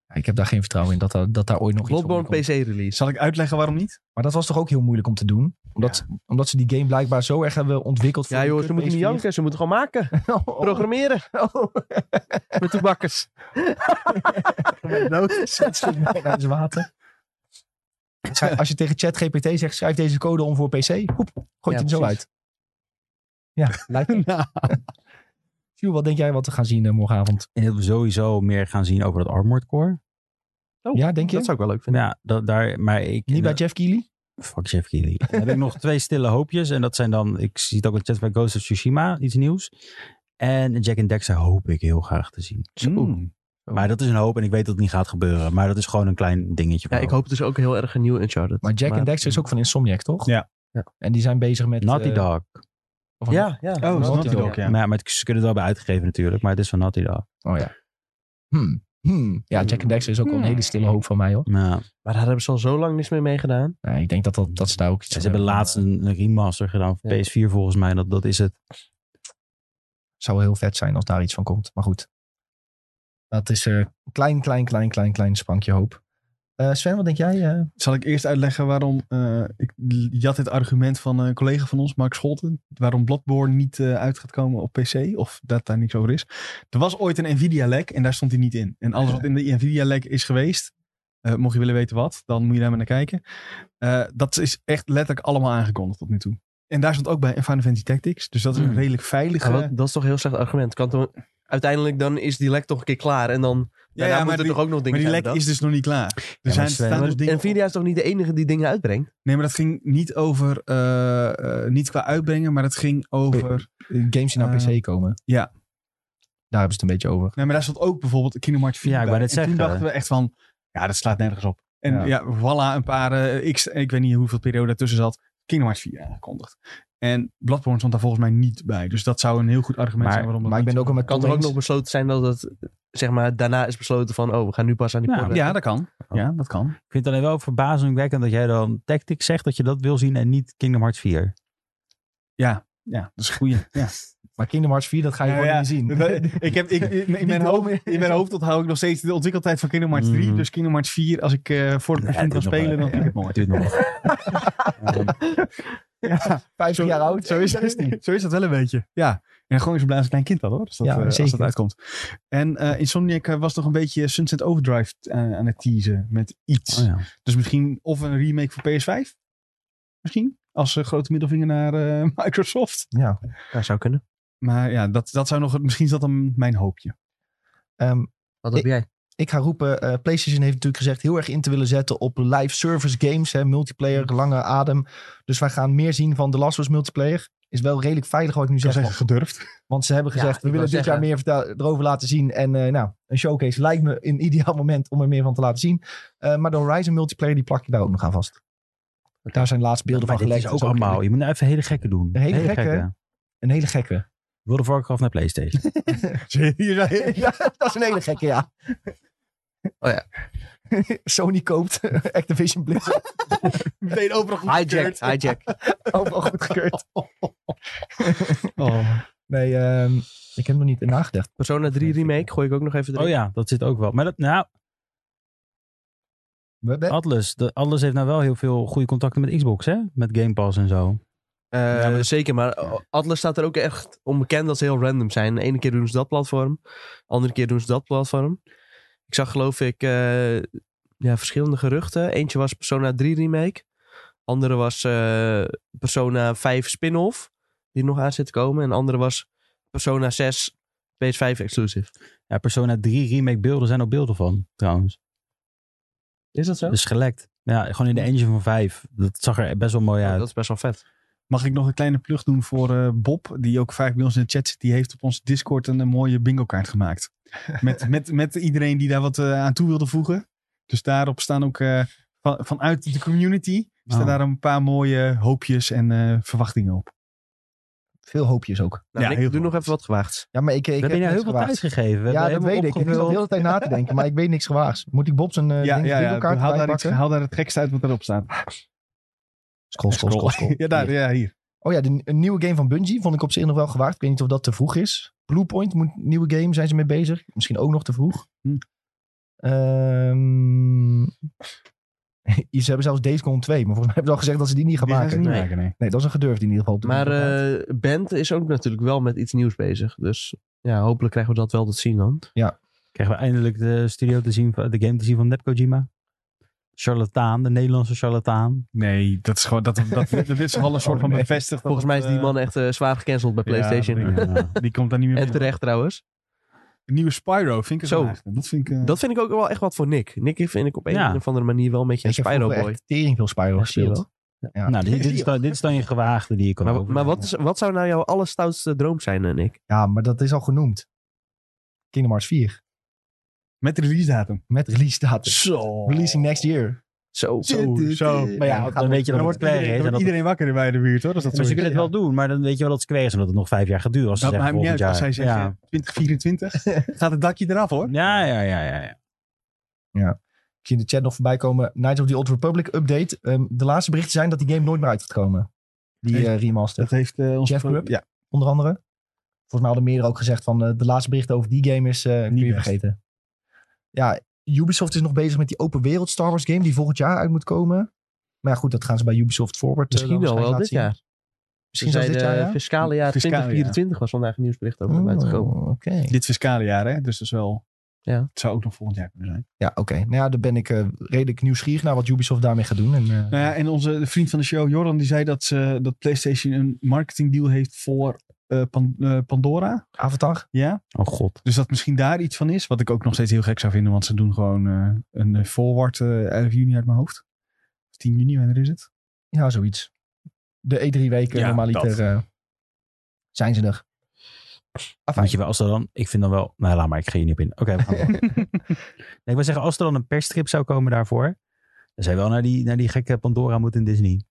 [SPEAKER 1] Ja, ik heb daar geen vertrouwen in dat, daar- dat daar ooit nog iets van
[SPEAKER 3] Bloodborne
[SPEAKER 1] komt.
[SPEAKER 3] PC-release.
[SPEAKER 2] Zal ik uitleggen waarom niet?
[SPEAKER 1] Maar dat was toch ook heel moeilijk om te doen? Omdat, omdat ze die game blijkbaar zo erg hebben ontwikkeld. voor
[SPEAKER 3] Ja
[SPEAKER 1] die
[SPEAKER 3] joh, ze
[SPEAKER 1] kut
[SPEAKER 3] moeten
[SPEAKER 1] [LAUGHS]
[SPEAKER 3] niet
[SPEAKER 1] PS4.
[SPEAKER 3] janken. Ze moeten gewoon maken.
[SPEAKER 1] Oh, oh. [LAUGHS]
[SPEAKER 3] Programmeren. Met toebakkers.
[SPEAKER 1] Zet ze bijna uit het water. Schrijf- Als je tegen ChatGPT zegt, schrijf deze code om voor PC. Hoep, gooi je
[SPEAKER 3] Ja,
[SPEAKER 1] het zo
[SPEAKER 3] precies.
[SPEAKER 1] uit. Ja,
[SPEAKER 3] [LAUGHS]
[SPEAKER 1] lijkt me.
[SPEAKER 2] Nou,
[SPEAKER 1] Sjoerd, wat denk jij wat we gaan zien eh, morgenavond?
[SPEAKER 4] En dat we sowieso meer gaan zien over dat Armored Core.
[SPEAKER 3] Oh,
[SPEAKER 4] Nou
[SPEAKER 1] ja, denk je?
[SPEAKER 3] Dat zou ik wel leuk vinden.
[SPEAKER 4] Ja, dat, daar, maar ik... Nou,
[SPEAKER 1] Niet bij Jeff Keighley?
[SPEAKER 4] Fuck Jeff Keighley. Dan heb ik nog twee stille hoopjes. En dat zijn dan... Ik zie het ook in de chat bij Ghost of Tsushima. Iets nieuws. En Jack and Dexter hoop ik heel graag te zien.
[SPEAKER 3] Oh,
[SPEAKER 2] mm.
[SPEAKER 4] Maar dat is een hoop en ik weet dat het niet gaat gebeuren. Maar dat is gewoon een klein dingetje.
[SPEAKER 3] Ja,
[SPEAKER 4] van
[SPEAKER 3] ik hoop dus ook heel erg een nieuwe Uncharted.
[SPEAKER 1] Maar Jack and Dexter is ook van Insomniac, toch?
[SPEAKER 2] Ja.
[SPEAKER 3] Ja.
[SPEAKER 1] En die zijn bezig met...
[SPEAKER 4] Naughty
[SPEAKER 1] eh,
[SPEAKER 4] Dog.
[SPEAKER 1] of-
[SPEAKER 3] Ja, ja.
[SPEAKER 2] Oh, is
[SPEAKER 1] Naughty
[SPEAKER 2] Naughty
[SPEAKER 1] Dog,
[SPEAKER 2] Dog, ja.
[SPEAKER 4] Maar, ja, maar het, ze kunnen het wel bij uitgegeven natuurlijk. Maar het is van Naughty Dog.
[SPEAKER 1] Oh ja. Hmm. Hmm. Ja, Jack and Dexter is ook wel een hele stille hoop van mij, hoor.
[SPEAKER 4] Ja.
[SPEAKER 3] Maar daar hebben ze al zo lang niks meer mee gedaan.
[SPEAKER 1] Nee, ik denk dat, dat, dat ze daar ook iets Eh,
[SPEAKER 4] Ze
[SPEAKER 1] aan
[SPEAKER 4] hebben laatst een, een remaster gedaan voor
[SPEAKER 3] Ja.
[SPEAKER 4] PS4 volgens mij. Dat, dat is het.
[SPEAKER 1] Zou wel heel vet zijn als daar iets van komt. Maar goed. Dat is eh, een klein, klein, klein, klein, klein sprankje hoop. Eh, Sven, wat denk jij? eh?
[SPEAKER 2] Zal ik eerst uitleggen waarom... eh, ik jat dit argument van een collega van ons, Mark Scholten. Waarom Bloodborne niet eh, uit gaat komen op PC. Of dat daar niks over is. Er was ooit een Nvidia-lek en daar stond hij niet in. En alles wat in de Nvidia-lek is geweest... eh, mocht je willen weten wat, dan moet je daar maar naar kijken. Eh, dat is echt letterlijk allemaal aangekondigd tot nu toe. En daar stond ook bij Final Fantasy Tactics. Dus dat is
[SPEAKER 3] Hmm.
[SPEAKER 2] een
[SPEAKER 4] Mm.
[SPEAKER 2] redelijk veilige...
[SPEAKER 3] Maar wat- Ah, dat is toch een heel slecht argument. Kan toch- uiteindelijk dan is die lek toch een keer klaar. En dan ja,
[SPEAKER 2] maar
[SPEAKER 3] moeten
[SPEAKER 2] die-
[SPEAKER 3] er toch ook nog
[SPEAKER 2] Maar
[SPEAKER 3] dingen
[SPEAKER 2] die
[SPEAKER 3] zijn
[SPEAKER 2] lek
[SPEAKER 3] bedacht?
[SPEAKER 2] is dus nog niet klaar. Er
[SPEAKER 4] maar
[SPEAKER 2] zijn,
[SPEAKER 4] Sven,
[SPEAKER 2] staan
[SPEAKER 3] Maar
[SPEAKER 2] dus dingen op-
[SPEAKER 3] Nvidia is toch niet de enige die dingen uitbrengt?
[SPEAKER 2] Nee, maar dat ging niet over, eh, eh, niet qua uitbrengen, maar dat ging over...
[SPEAKER 1] games die naar
[SPEAKER 2] Eh,
[SPEAKER 1] PC komen.
[SPEAKER 2] ja.
[SPEAKER 1] Daar hebben ze het een beetje over.
[SPEAKER 2] Nee, maar daar stond ook bijvoorbeeld Kingdom Hearts 4
[SPEAKER 4] Ja, ik
[SPEAKER 2] bij.
[SPEAKER 4] wou net
[SPEAKER 2] En toen
[SPEAKER 4] zeggen.
[SPEAKER 2] dachten we echt van, ja, dat slaat nergens op. En
[SPEAKER 1] Ja.
[SPEAKER 2] ja, voilà, een paar, eh, x, ik weet niet hoeveel periode ertussen zat, Kingdom Hearts 4 aangekondigd. En Bloodborne stond daar volgens mij niet bij. Dus dat zou een heel goed argument
[SPEAKER 4] Maar-
[SPEAKER 2] zijn waarom dat
[SPEAKER 1] Maar ik ben
[SPEAKER 2] niet-
[SPEAKER 1] ook al met
[SPEAKER 3] Kan
[SPEAKER 1] Tom
[SPEAKER 3] er ook
[SPEAKER 1] eens.
[SPEAKER 3] nog besloten zijn dat het, zeg maar, daarna is besloten van, oh, we gaan nu pas aan die
[SPEAKER 4] Ja,
[SPEAKER 3] port werken.
[SPEAKER 2] Nou, Ja, dat kan.
[SPEAKER 4] Oh.
[SPEAKER 2] Ja, dat kan.
[SPEAKER 4] Ik vind het alleen wel verbazingwekkend dat jij dan Tactics zegt dat je dat wil zien en niet Kingdom Hearts 4.
[SPEAKER 2] Ja, dat is een
[SPEAKER 4] [LAUGHS]
[SPEAKER 2] goeie. Ja.
[SPEAKER 1] Maar Kingdom Hearts 4, dat ga je
[SPEAKER 2] Ja,
[SPEAKER 1] gewoon
[SPEAKER 2] ja.
[SPEAKER 1] niet
[SPEAKER 2] [LAUGHS]
[SPEAKER 1] zien.
[SPEAKER 2] ik heb,
[SPEAKER 4] [LAUGHS]
[SPEAKER 2] ik, in, in mijn hoofd, in mijn hoofd onthoud ik nog steeds de ontwikkeltijd van Kingdom Hearts 3.
[SPEAKER 4] Mhm.
[SPEAKER 2] Dus Kingdom Hearts 4, als ik eh, voor het
[SPEAKER 4] Ja,
[SPEAKER 2] begin
[SPEAKER 4] het
[SPEAKER 2] kan
[SPEAKER 4] duurt nog
[SPEAKER 2] spelen,
[SPEAKER 4] wel,
[SPEAKER 2] dan
[SPEAKER 4] ja.
[SPEAKER 2] vind ik het mooi.
[SPEAKER 4] Het duurt nog wel.
[SPEAKER 2] Ja,
[SPEAKER 1] 50 jaar oud.
[SPEAKER 2] zo is, dat, zo is dat wel een beetje. Ja. En gewoon eens blij als een klein kind dat hoor. Dus dat,
[SPEAKER 1] Ja,
[SPEAKER 2] eh, als
[SPEAKER 1] zeker.
[SPEAKER 2] dat uitkomt. En eh Insomniac eh, was nog een beetje Sunset Overdrive eh, aan, aan het teasen met iets.
[SPEAKER 4] Oh ja.
[SPEAKER 2] Dus misschien of een remake voor PS5. Misschien. Als eh, grote middelvinger naar eh, [LAUGHS] Microsoft.
[SPEAKER 1] Ja.
[SPEAKER 3] Ja, zou kunnen.
[SPEAKER 2] Maar ja, dat, dat zou nog, misschien is dat dan mijn hoopje.
[SPEAKER 1] Ehm, heb
[SPEAKER 3] Wat heb jij?
[SPEAKER 1] ik ga roepen, eh, PlayStation heeft natuurlijk gezegd heel erg in te willen zetten op live service games. Hè, multiplayer, lange adem. Dus wij gaan meer zien van The Last of Us multiplayer. Is wel redelijk veilig wat ik nu
[SPEAKER 2] Ik zou
[SPEAKER 1] zeg.
[SPEAKER 2] zeggen, gedurfd.
[SPEAKER 1] Want ze hebben
[SPEAKER 3] Ja,
[SPEAKER 1] gezegd,
[SPEAKER 3] ik
[SPEAKER 1] we
[SPEAKER 3] wou
[SPEAKER 1] willen dit
[SPEAKER 3] zeggen.
[SPEAKER 1] jaar meer vertel- erover laten zien. En eh, nou, een showcase lijkt me een ideaal moment om er meer van te laten zien. Eh, maar de Horizon multiplayer, die plak je daar ook nog aan vast. Daar zijn laatst beelden
[SPEAKER 4] Maar
[SPEAKER 1] van
[SPEAKER 4] dit
[SPEAKER 1] gelekt.
[SPEAKER 4] is ook
[SPEAKER 1] Dus
[SPEAKER 4] allemaal. Je moet nou even hele gekke doen.
[SPEAKER 1] Een hele gekke? Een hele gekke.
[SPEAKER 4] World of Warcraft naar PlayStation.
[SPEAKER 1] [LAUGHS] ja, dat is een hele gekke, ja.
[SPEAKER 3] Oh ja.
[SPEAKER 1] [LAUGHS] Sony koopt [LAUGHS] Activision Blizzard.
[SPEAKER 2] Meteen overal goed
[SPEAKER 3] Hijack, hijack.
[SPEAKER 1] Overal goedgekeurd.
[SPEAKER 2] Oh.
[SPEAKER 1] [LAUGHS] Nee, ehm, ik heb nog niet nagedacht.
[SPEAKER 3] Persona 3 remake gooi ik ook nog even erin.
[SPEAKER 4] Oh ja, dat zit ook wel. Maar dat, nou,
[SPEAKER 1] We- we-
[SPEAKER 4] Atlas. De, Atlas heeft nou wel heel veel goede contacten met Xbox, hè? Met Game Pass en zo.
[SPEAKER 3] Eh,
[SPEAKER 2] Ja, maar dat-
[SPEAKER 3] Zeker, maar Atlas staat er ook echt onbekend dat ze heel random zijn. De ene keer doen ze dat platform, de andere keer doen ze dat platform. Ik zag geloof ik eh, ja, verschillende geruchten. Eentje was Persona 3 remake. Andere was eh, Persona 5 spin-off, die nog aan zit te komen. En andere was Persona 6 PS5 exclusive.
[SPEAKER 4] Ja, Persona 3 remake beelden zijn ook beelden van, trouwens.
[SPEAKER 3] Is dat zo?
[SPEAKER 4] Dus gelekt. Ja, gewoon in de engine van 5. Dat zag er best wel mooi uit.
[SPEAKER 3] Oh, dat is best wel vet.
[SPEAKER 2] Mag ik nog een kleine plug doen voor eh, Bob, die ook vaak bij ons in de chat zit. Die heeft op onze Discord een, eh, mooie bingo kaart gemaakt. [LAUGHS] Met, met, met iedereen die daar wat eh, aan toe wilde voegen. Dus daarop staan ook eh, van, vanuit de community staan
[SPEAKER 4] Oh.
[SPEAKER 2] daar een paar mooie hoopjes en eh, verwachtingen op.
[SPEAKER 1] Veel hoopjes ook.
[SPEAKER 3] Nou,
[SPEAKER 2] Ja,
[SPEAKER 3] Nick,
[SPEAKER 2] heel
[SPEAKER 3] doe
[SPEAKER 2] veel.
[SPEAKER 3] nog even wat gewaagds.
[SPEAKER 1] Ja, maar ik, ik
[SPEAKER 4] We hebben je nou
[SPEAKER 1] niks
[SPEAKER 4] heel veel
[SPEAKER 1] gewaagd.
[SPEAKER 4] tijd gegeven. We
[SPEAKER 1] Ja,
[SPEAKER 4] hebben
[SPEAKER 1] dat
[SPEAKER 4] helemaal
[SPEAKER 1] weet ik. Ik zat de
[SPEAKER 4] opgevuld.
[SPEAKER 1] hele tijd na te denken, maar ik weet niks gewaars. Moet ik Bob zijn eh
[SPEAKER 2] ja,
[SPEAKER 1] ding,
[SPEAKER 2] ja, ja.
[SPEAKER 1] bingo-kaart
[SPEAKER 2] Haal, daar
[SPEAKER 1] erbij
[SPEAKER 2] iets,
[SPEAKER 1] pakken?
[SPEAKER 2] haal daar het gekste uit wat erop staat.
[SPEAKER 1] Scroll, scroll, scroll, scroll.
[SPEAKER 2] [LAUGHS] Ja, daar,
[SPEAKER 1] Hier.
[SPEAKER 2] ja, hier.
[SPEAKER 1] Oh ja, de, een nieuwe game van Bungie vond ik op zich nog wel gewaagd. Ik weet niet of dat te vroeg is. Bluepoint, moet, nieuwe game, zijn ze mee bezig. Misschien ook nog te vroeg.
[SPEAKER 2] Hm.
[SPEAKER 1] Ehm, [LAUGHS] ze hebben zelfs Datecon 2, maar volgens mij hebben ze al gezegd dat ze die niet gaan
[SPEAKER 2] Die gaan ze
[SPEAKER 1] maken.
[SPEAKER 2] niet
[SPEAKER 3] Nee.
[SPEAKER 2] maken, nee.
[SPEAKER 1] Nee, dat is een gedurfd in ieder geval. op de
[SPEAKER 3] Maar
[SPEAKER 1] bingo-kaart.
[SPEAKER 3] eh Bent is ook natuurlijk wel met iets nieuws bezig. Dus ja, hopelijk krijgen we dat wel te zien dan.
[SPEAKER 4] Krijgen we eindelijk de studio te zien, van- de game te zien van Nepco Jima. Charlataan, de Nederlandse charlataan.
[SPEAKER 2] Nee, dat is gewoon, dat, dat, dat is al een soort
[SPEAKER 1] Oh,
[SPEAKER 3] [LAUGHS]
[SPEAKER 2] van
[SPEAKER 1] nee.
[SPEAKER 2] bevestigd.
[SPEAKER 3] Volgens
[SPEAKER 2] dat
[SPEAKER 3] mij
[SPEAKER 2] het,
[SPEAKER 3] is die
[SPEAKER 2] eh,
[SPEAKER 3] man echt eh, zwaar gecanceld bij
[SPEAKER 2] Ja, dat
[SPEAKER 3] PlayStation.
[SPEAKER 2] denk
[SPEAKER 4] Ja.
[SPEAKER 2] Die komt daar niet meer
[SPEAKER 3] en
[SPEAKER 2] bij.
[SPEAKER 3] terecht trouwens.
[SPEAKER 2] Een nieuwe Spyro vind ik
[SPEAKER 3] Zo.
[SPEAKER 2] zo. Dat vind ik. eh,
[SPEAKER 3] Dat vind ik ook wel echt wat voor Nick. Nick vind ik op een
[SPEAKER 4] Ja.
[SPEAKER 3] of andere manier wel een beetje een
[SPEAKER 1] Ik heb vroeger
[SPEAKER 3] Spyro-boy.
[SPEAKER 1] echt tering veel Spyro
[SPEAKER 3] Ja, zie je
[SPEAKER 1] gespeeld.
[SPEAKER 3] wel.
[SPEAKER 1] Ja.
[SPEAKER 4] [LAUGHS] Nou, dit, dit, is dan, dit is dan je gewaagde die je kan
[SPEAKER 3] Maar,
[SPEAKER 4] over-
[SPEAKER 3] maar wat, is, wat zou nou jouw allerstoutste droom zijn, eh, Nick?
[SPEAKER 1] Ja, maar dat is al genoemd. Kingdom Hearts 4.
[SPEAKER 2] Met release datum.
[SPEAKER 1] Met release datum.
[SPEAKER 2] Zo.
[SPEAKER 1] Releasing next year.
[SPEAKER 3] Zo.
[SPEAKER 2] Zo, zo. Maar ja,
[SPEAKER 4] dan weet je dat
[SPEAKER 2] Dan
[SPEAKER 4] het
[SPEAKER 2] wordt
[SPEAKER 4] klaar
[SPEAKER 2] iedereen,
[SPEAKER 4] is. en
[SPEAKER 2] wordt
[SPEAKER 4] dat-
[SPEAKER 2] iedereen wakker bij de buurt hoor. Als dat
[SPEAKER 4] Maar ze
[SPEAKER 2] zo is.
[SPEAKER 4] kunnen het wel doen, maar dan weet je wel dat het square is. Omdat het nog vijf jaar gaat duren. Als ze
[SPEAKER 2] Dat
[SPEAKER 4] zeggen
[SPEAKER 2] maakt niet
[SPEAKER 4] volgend
[SPEAKER 2] uit. Als zij
[SPEAKER 4] jaar.
[SPEAKER 2] zeggen
[SPEAKER 4] [LAUGHS]
[SPEAKER 2] 2024 gaat het dakje eraf hoor.
[SPEAKER 4] ja. ja, ja, ja, ja, ja.
[SPEAKER 1] Ik zie in de chat nog voorbij komen. Knights of the Old Republic update. Ehm, de laatste berichten zijn dat die game nooit meer uit gaat komen. Die
[SPEAKER 2] Echt?
[SPEAKER 1] eh, remaster.
[SPEAKER 2] Dat heeft eh ons
[SPEAKER 1] Jeff Grubb?
[SPEAKER 2] Ja.
[SPEAKER 1] onder andere. Volgens mij hadden meerdere ook gezegd van eh, de laatste berichten over die game is eh kun je
[SPEAKER 2] best.
[SPEAKER 1] vergeten. Ja, Ubisoft is nog bezig met die open wereld Star Wars game die volgend jaar uit moet komen. Maar ja, goed, dat gaan ze bij Ubisoft Forward. eh,
[SPEAKER 3] Misschien
[SPEAKER 1] dan
[SPEAKER 3] wel wel dit
[SPEAKER 1] waarschijnlijk
[SPEAKER 3] jaar. eh, Misschien
[SPEAKER 1] Misschien zelfs
[SPEAKER 3] zijn
[SPEAKER 1] dit jaar,
[SPEAKER 3] de
[SPEAKER 1] ja?
[SPEAKER 3] fiscale jaar
[SPEAKER 2] Fiscale jaar.
[SPEAKER 3] 2024 was vandaag een nieuwsbericht over naar
[SPEAKER 1] laten
[SPEAKER 3] buiten
[SPEAKER 1] zien.
[SPEAKER 3] gekomen.
[SPEAKER 1] Oh, Oké.
[SPEAKER 2] Dit fiscale jaar hè. Dus dat is wel.
[SPEAKER 3] Ja.
[SPEAKER 2] Het zou ook nog volgend jaar kunnen zijn.
[SPEAKER 1] Ja, oké. Nou ja, dan ben ik eh, redelijk nieuwsgierig naar wat Ubisoft daarmee gaat doen. En, eh,
[SPEAKER 2] Nou ja, en onze vriend van de show, Joran, die zei dat, ze, dat PlayStation een marketingdeal heeft voor eh, Pan- eh, Pandora.
[SPEAKER 1] Avatar?
[SPEAKER 2] Ja.
[SPEAKER 4] Oh god.
[SPEAKER 2] Dus dat misschien daar iets van is. Wat ik ook nog steeds heel gek zou vinden. Want ze doen gewoon eh, een eh, forward eh 11 juni uit mijn hoofd. 10 juni, wanneer is het?
[SPEAKER 1] Ja, zoiets. De E3 weken
[SPEAKER 4] Ja,
[SPEAKER 1] normaliter
[SPEAKER 4] dat.
[SPEAKER 1] eh, zijn ze er. Afijn.
[SPEAKER 4] Moet je wel, als er dan, ik vind dan wel, nou laat maar, ik ga hier niet op in. Oké, we gaan
[SPEAKER 1] [LAUGHS]
[SPEAKER 4] door. Nee, ik wil zeggen, als er dan een persstrip zou komen daarvoor, dan zou je wel naar die, naar die gekke Pandora moeten in
[SPEAKER 1] [LAUGHS]
[SPEAKER 4] Disney.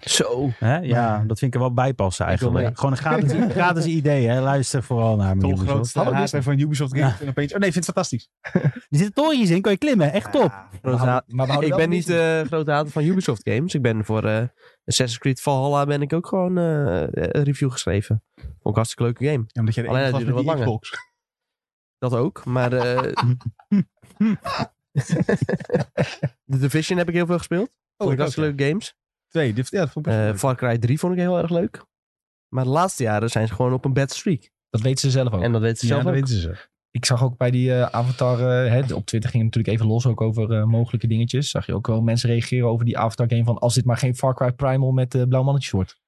[SPEAKER 3] Zo.
[SPEAKER 4] Hè? Ja, dat vind ik er wel bij passen eigenlijk.
[SPEAKER 1] mee.
[SPEAKER 4] Gewoon een
[SPEAKER 1] [LAUGHS]
[SPEAKER 4] gratis, gratis idee, hè. Luister vooral naar me.
[SPEAKER 2] Toch
[SPEAKER 4] Ubisoft.
[SPEAKER 2] grootste
[SPEAKER 1] Hallo,
[SPEAKER 2] hater
[SPEAKER 1] Disney.
[SPEAKER 2] van Ubisoft Games. En opeens, oh nee, ik vind het fantastisch.
[SPEAKER 4] Er zitten torentjes in, kan je klimmen. Echt top.
[SPEAKER 1] Maar we houden- maar we houden wel
[SPEAKER 3] ik ben
[SPEAKER 1] van
[SPEAKER 3] niet
[SPEAKER 1] Disney.
[SPEAKER 3] de grote hater van Ubisoft games. Ik ben voor eh, Assassin's Creed Valhalla ben ik ook gewoon eh, een review geschreven. Vond ik een hartstikke leuke game.
[SPEAKER 2] Ja, omdat je de
[SPEAKER 3] Alleen
[SPEAKER 2] enige was
[SPEAKER 3] dat duurde
[SPEAKER 2] met die
[SPEAKER 3] wat langer.
[SPEAKER 2] Xbox. Oh,
[SPEAKER 3] Dat ook,
[SPEAKER 1] [LAUGHS]
[SPEAKER 3] maar... eh The Division heb ik heel veel gespeeld.
[SPEAKER 1] Oh,
[SPEAKER 3] vond ik
[SPEAKER 2] dat
[SPEAKER 3] hartstikke leuke games.
[SPEAKER 2] Twee, dit, ja, dat vond ik best
[SPEAKER 3] Eh,
[SPEAKER 2] leuk.
[SPEAKER 3] Far Cry 3 vond ik heel erg leuk. Maar de laatste jaren zijn ze gewoon op een bad streak.
[SPEAKER 1] Dat weten ze zelf ook.
[SPEAKER 3] En dat weten ze
[SPEAKER 2] Ja,
[SPEAKER 3] zelf
[SPEAKER 2] dat
[SPEAKER 3] ook.
[SPEAKER 2] weten ze.
[SPEAKER 1] ik zag ook bij die eh, Avatar, eh, hè, op Twitter ging het natuurlijk even los ook over eh, mogelijke dingetjes. Zag je ook wel mensen reageren over die Avatar game van als dit maar geen Far Cry Primal met eh, blauw mannetje wordt.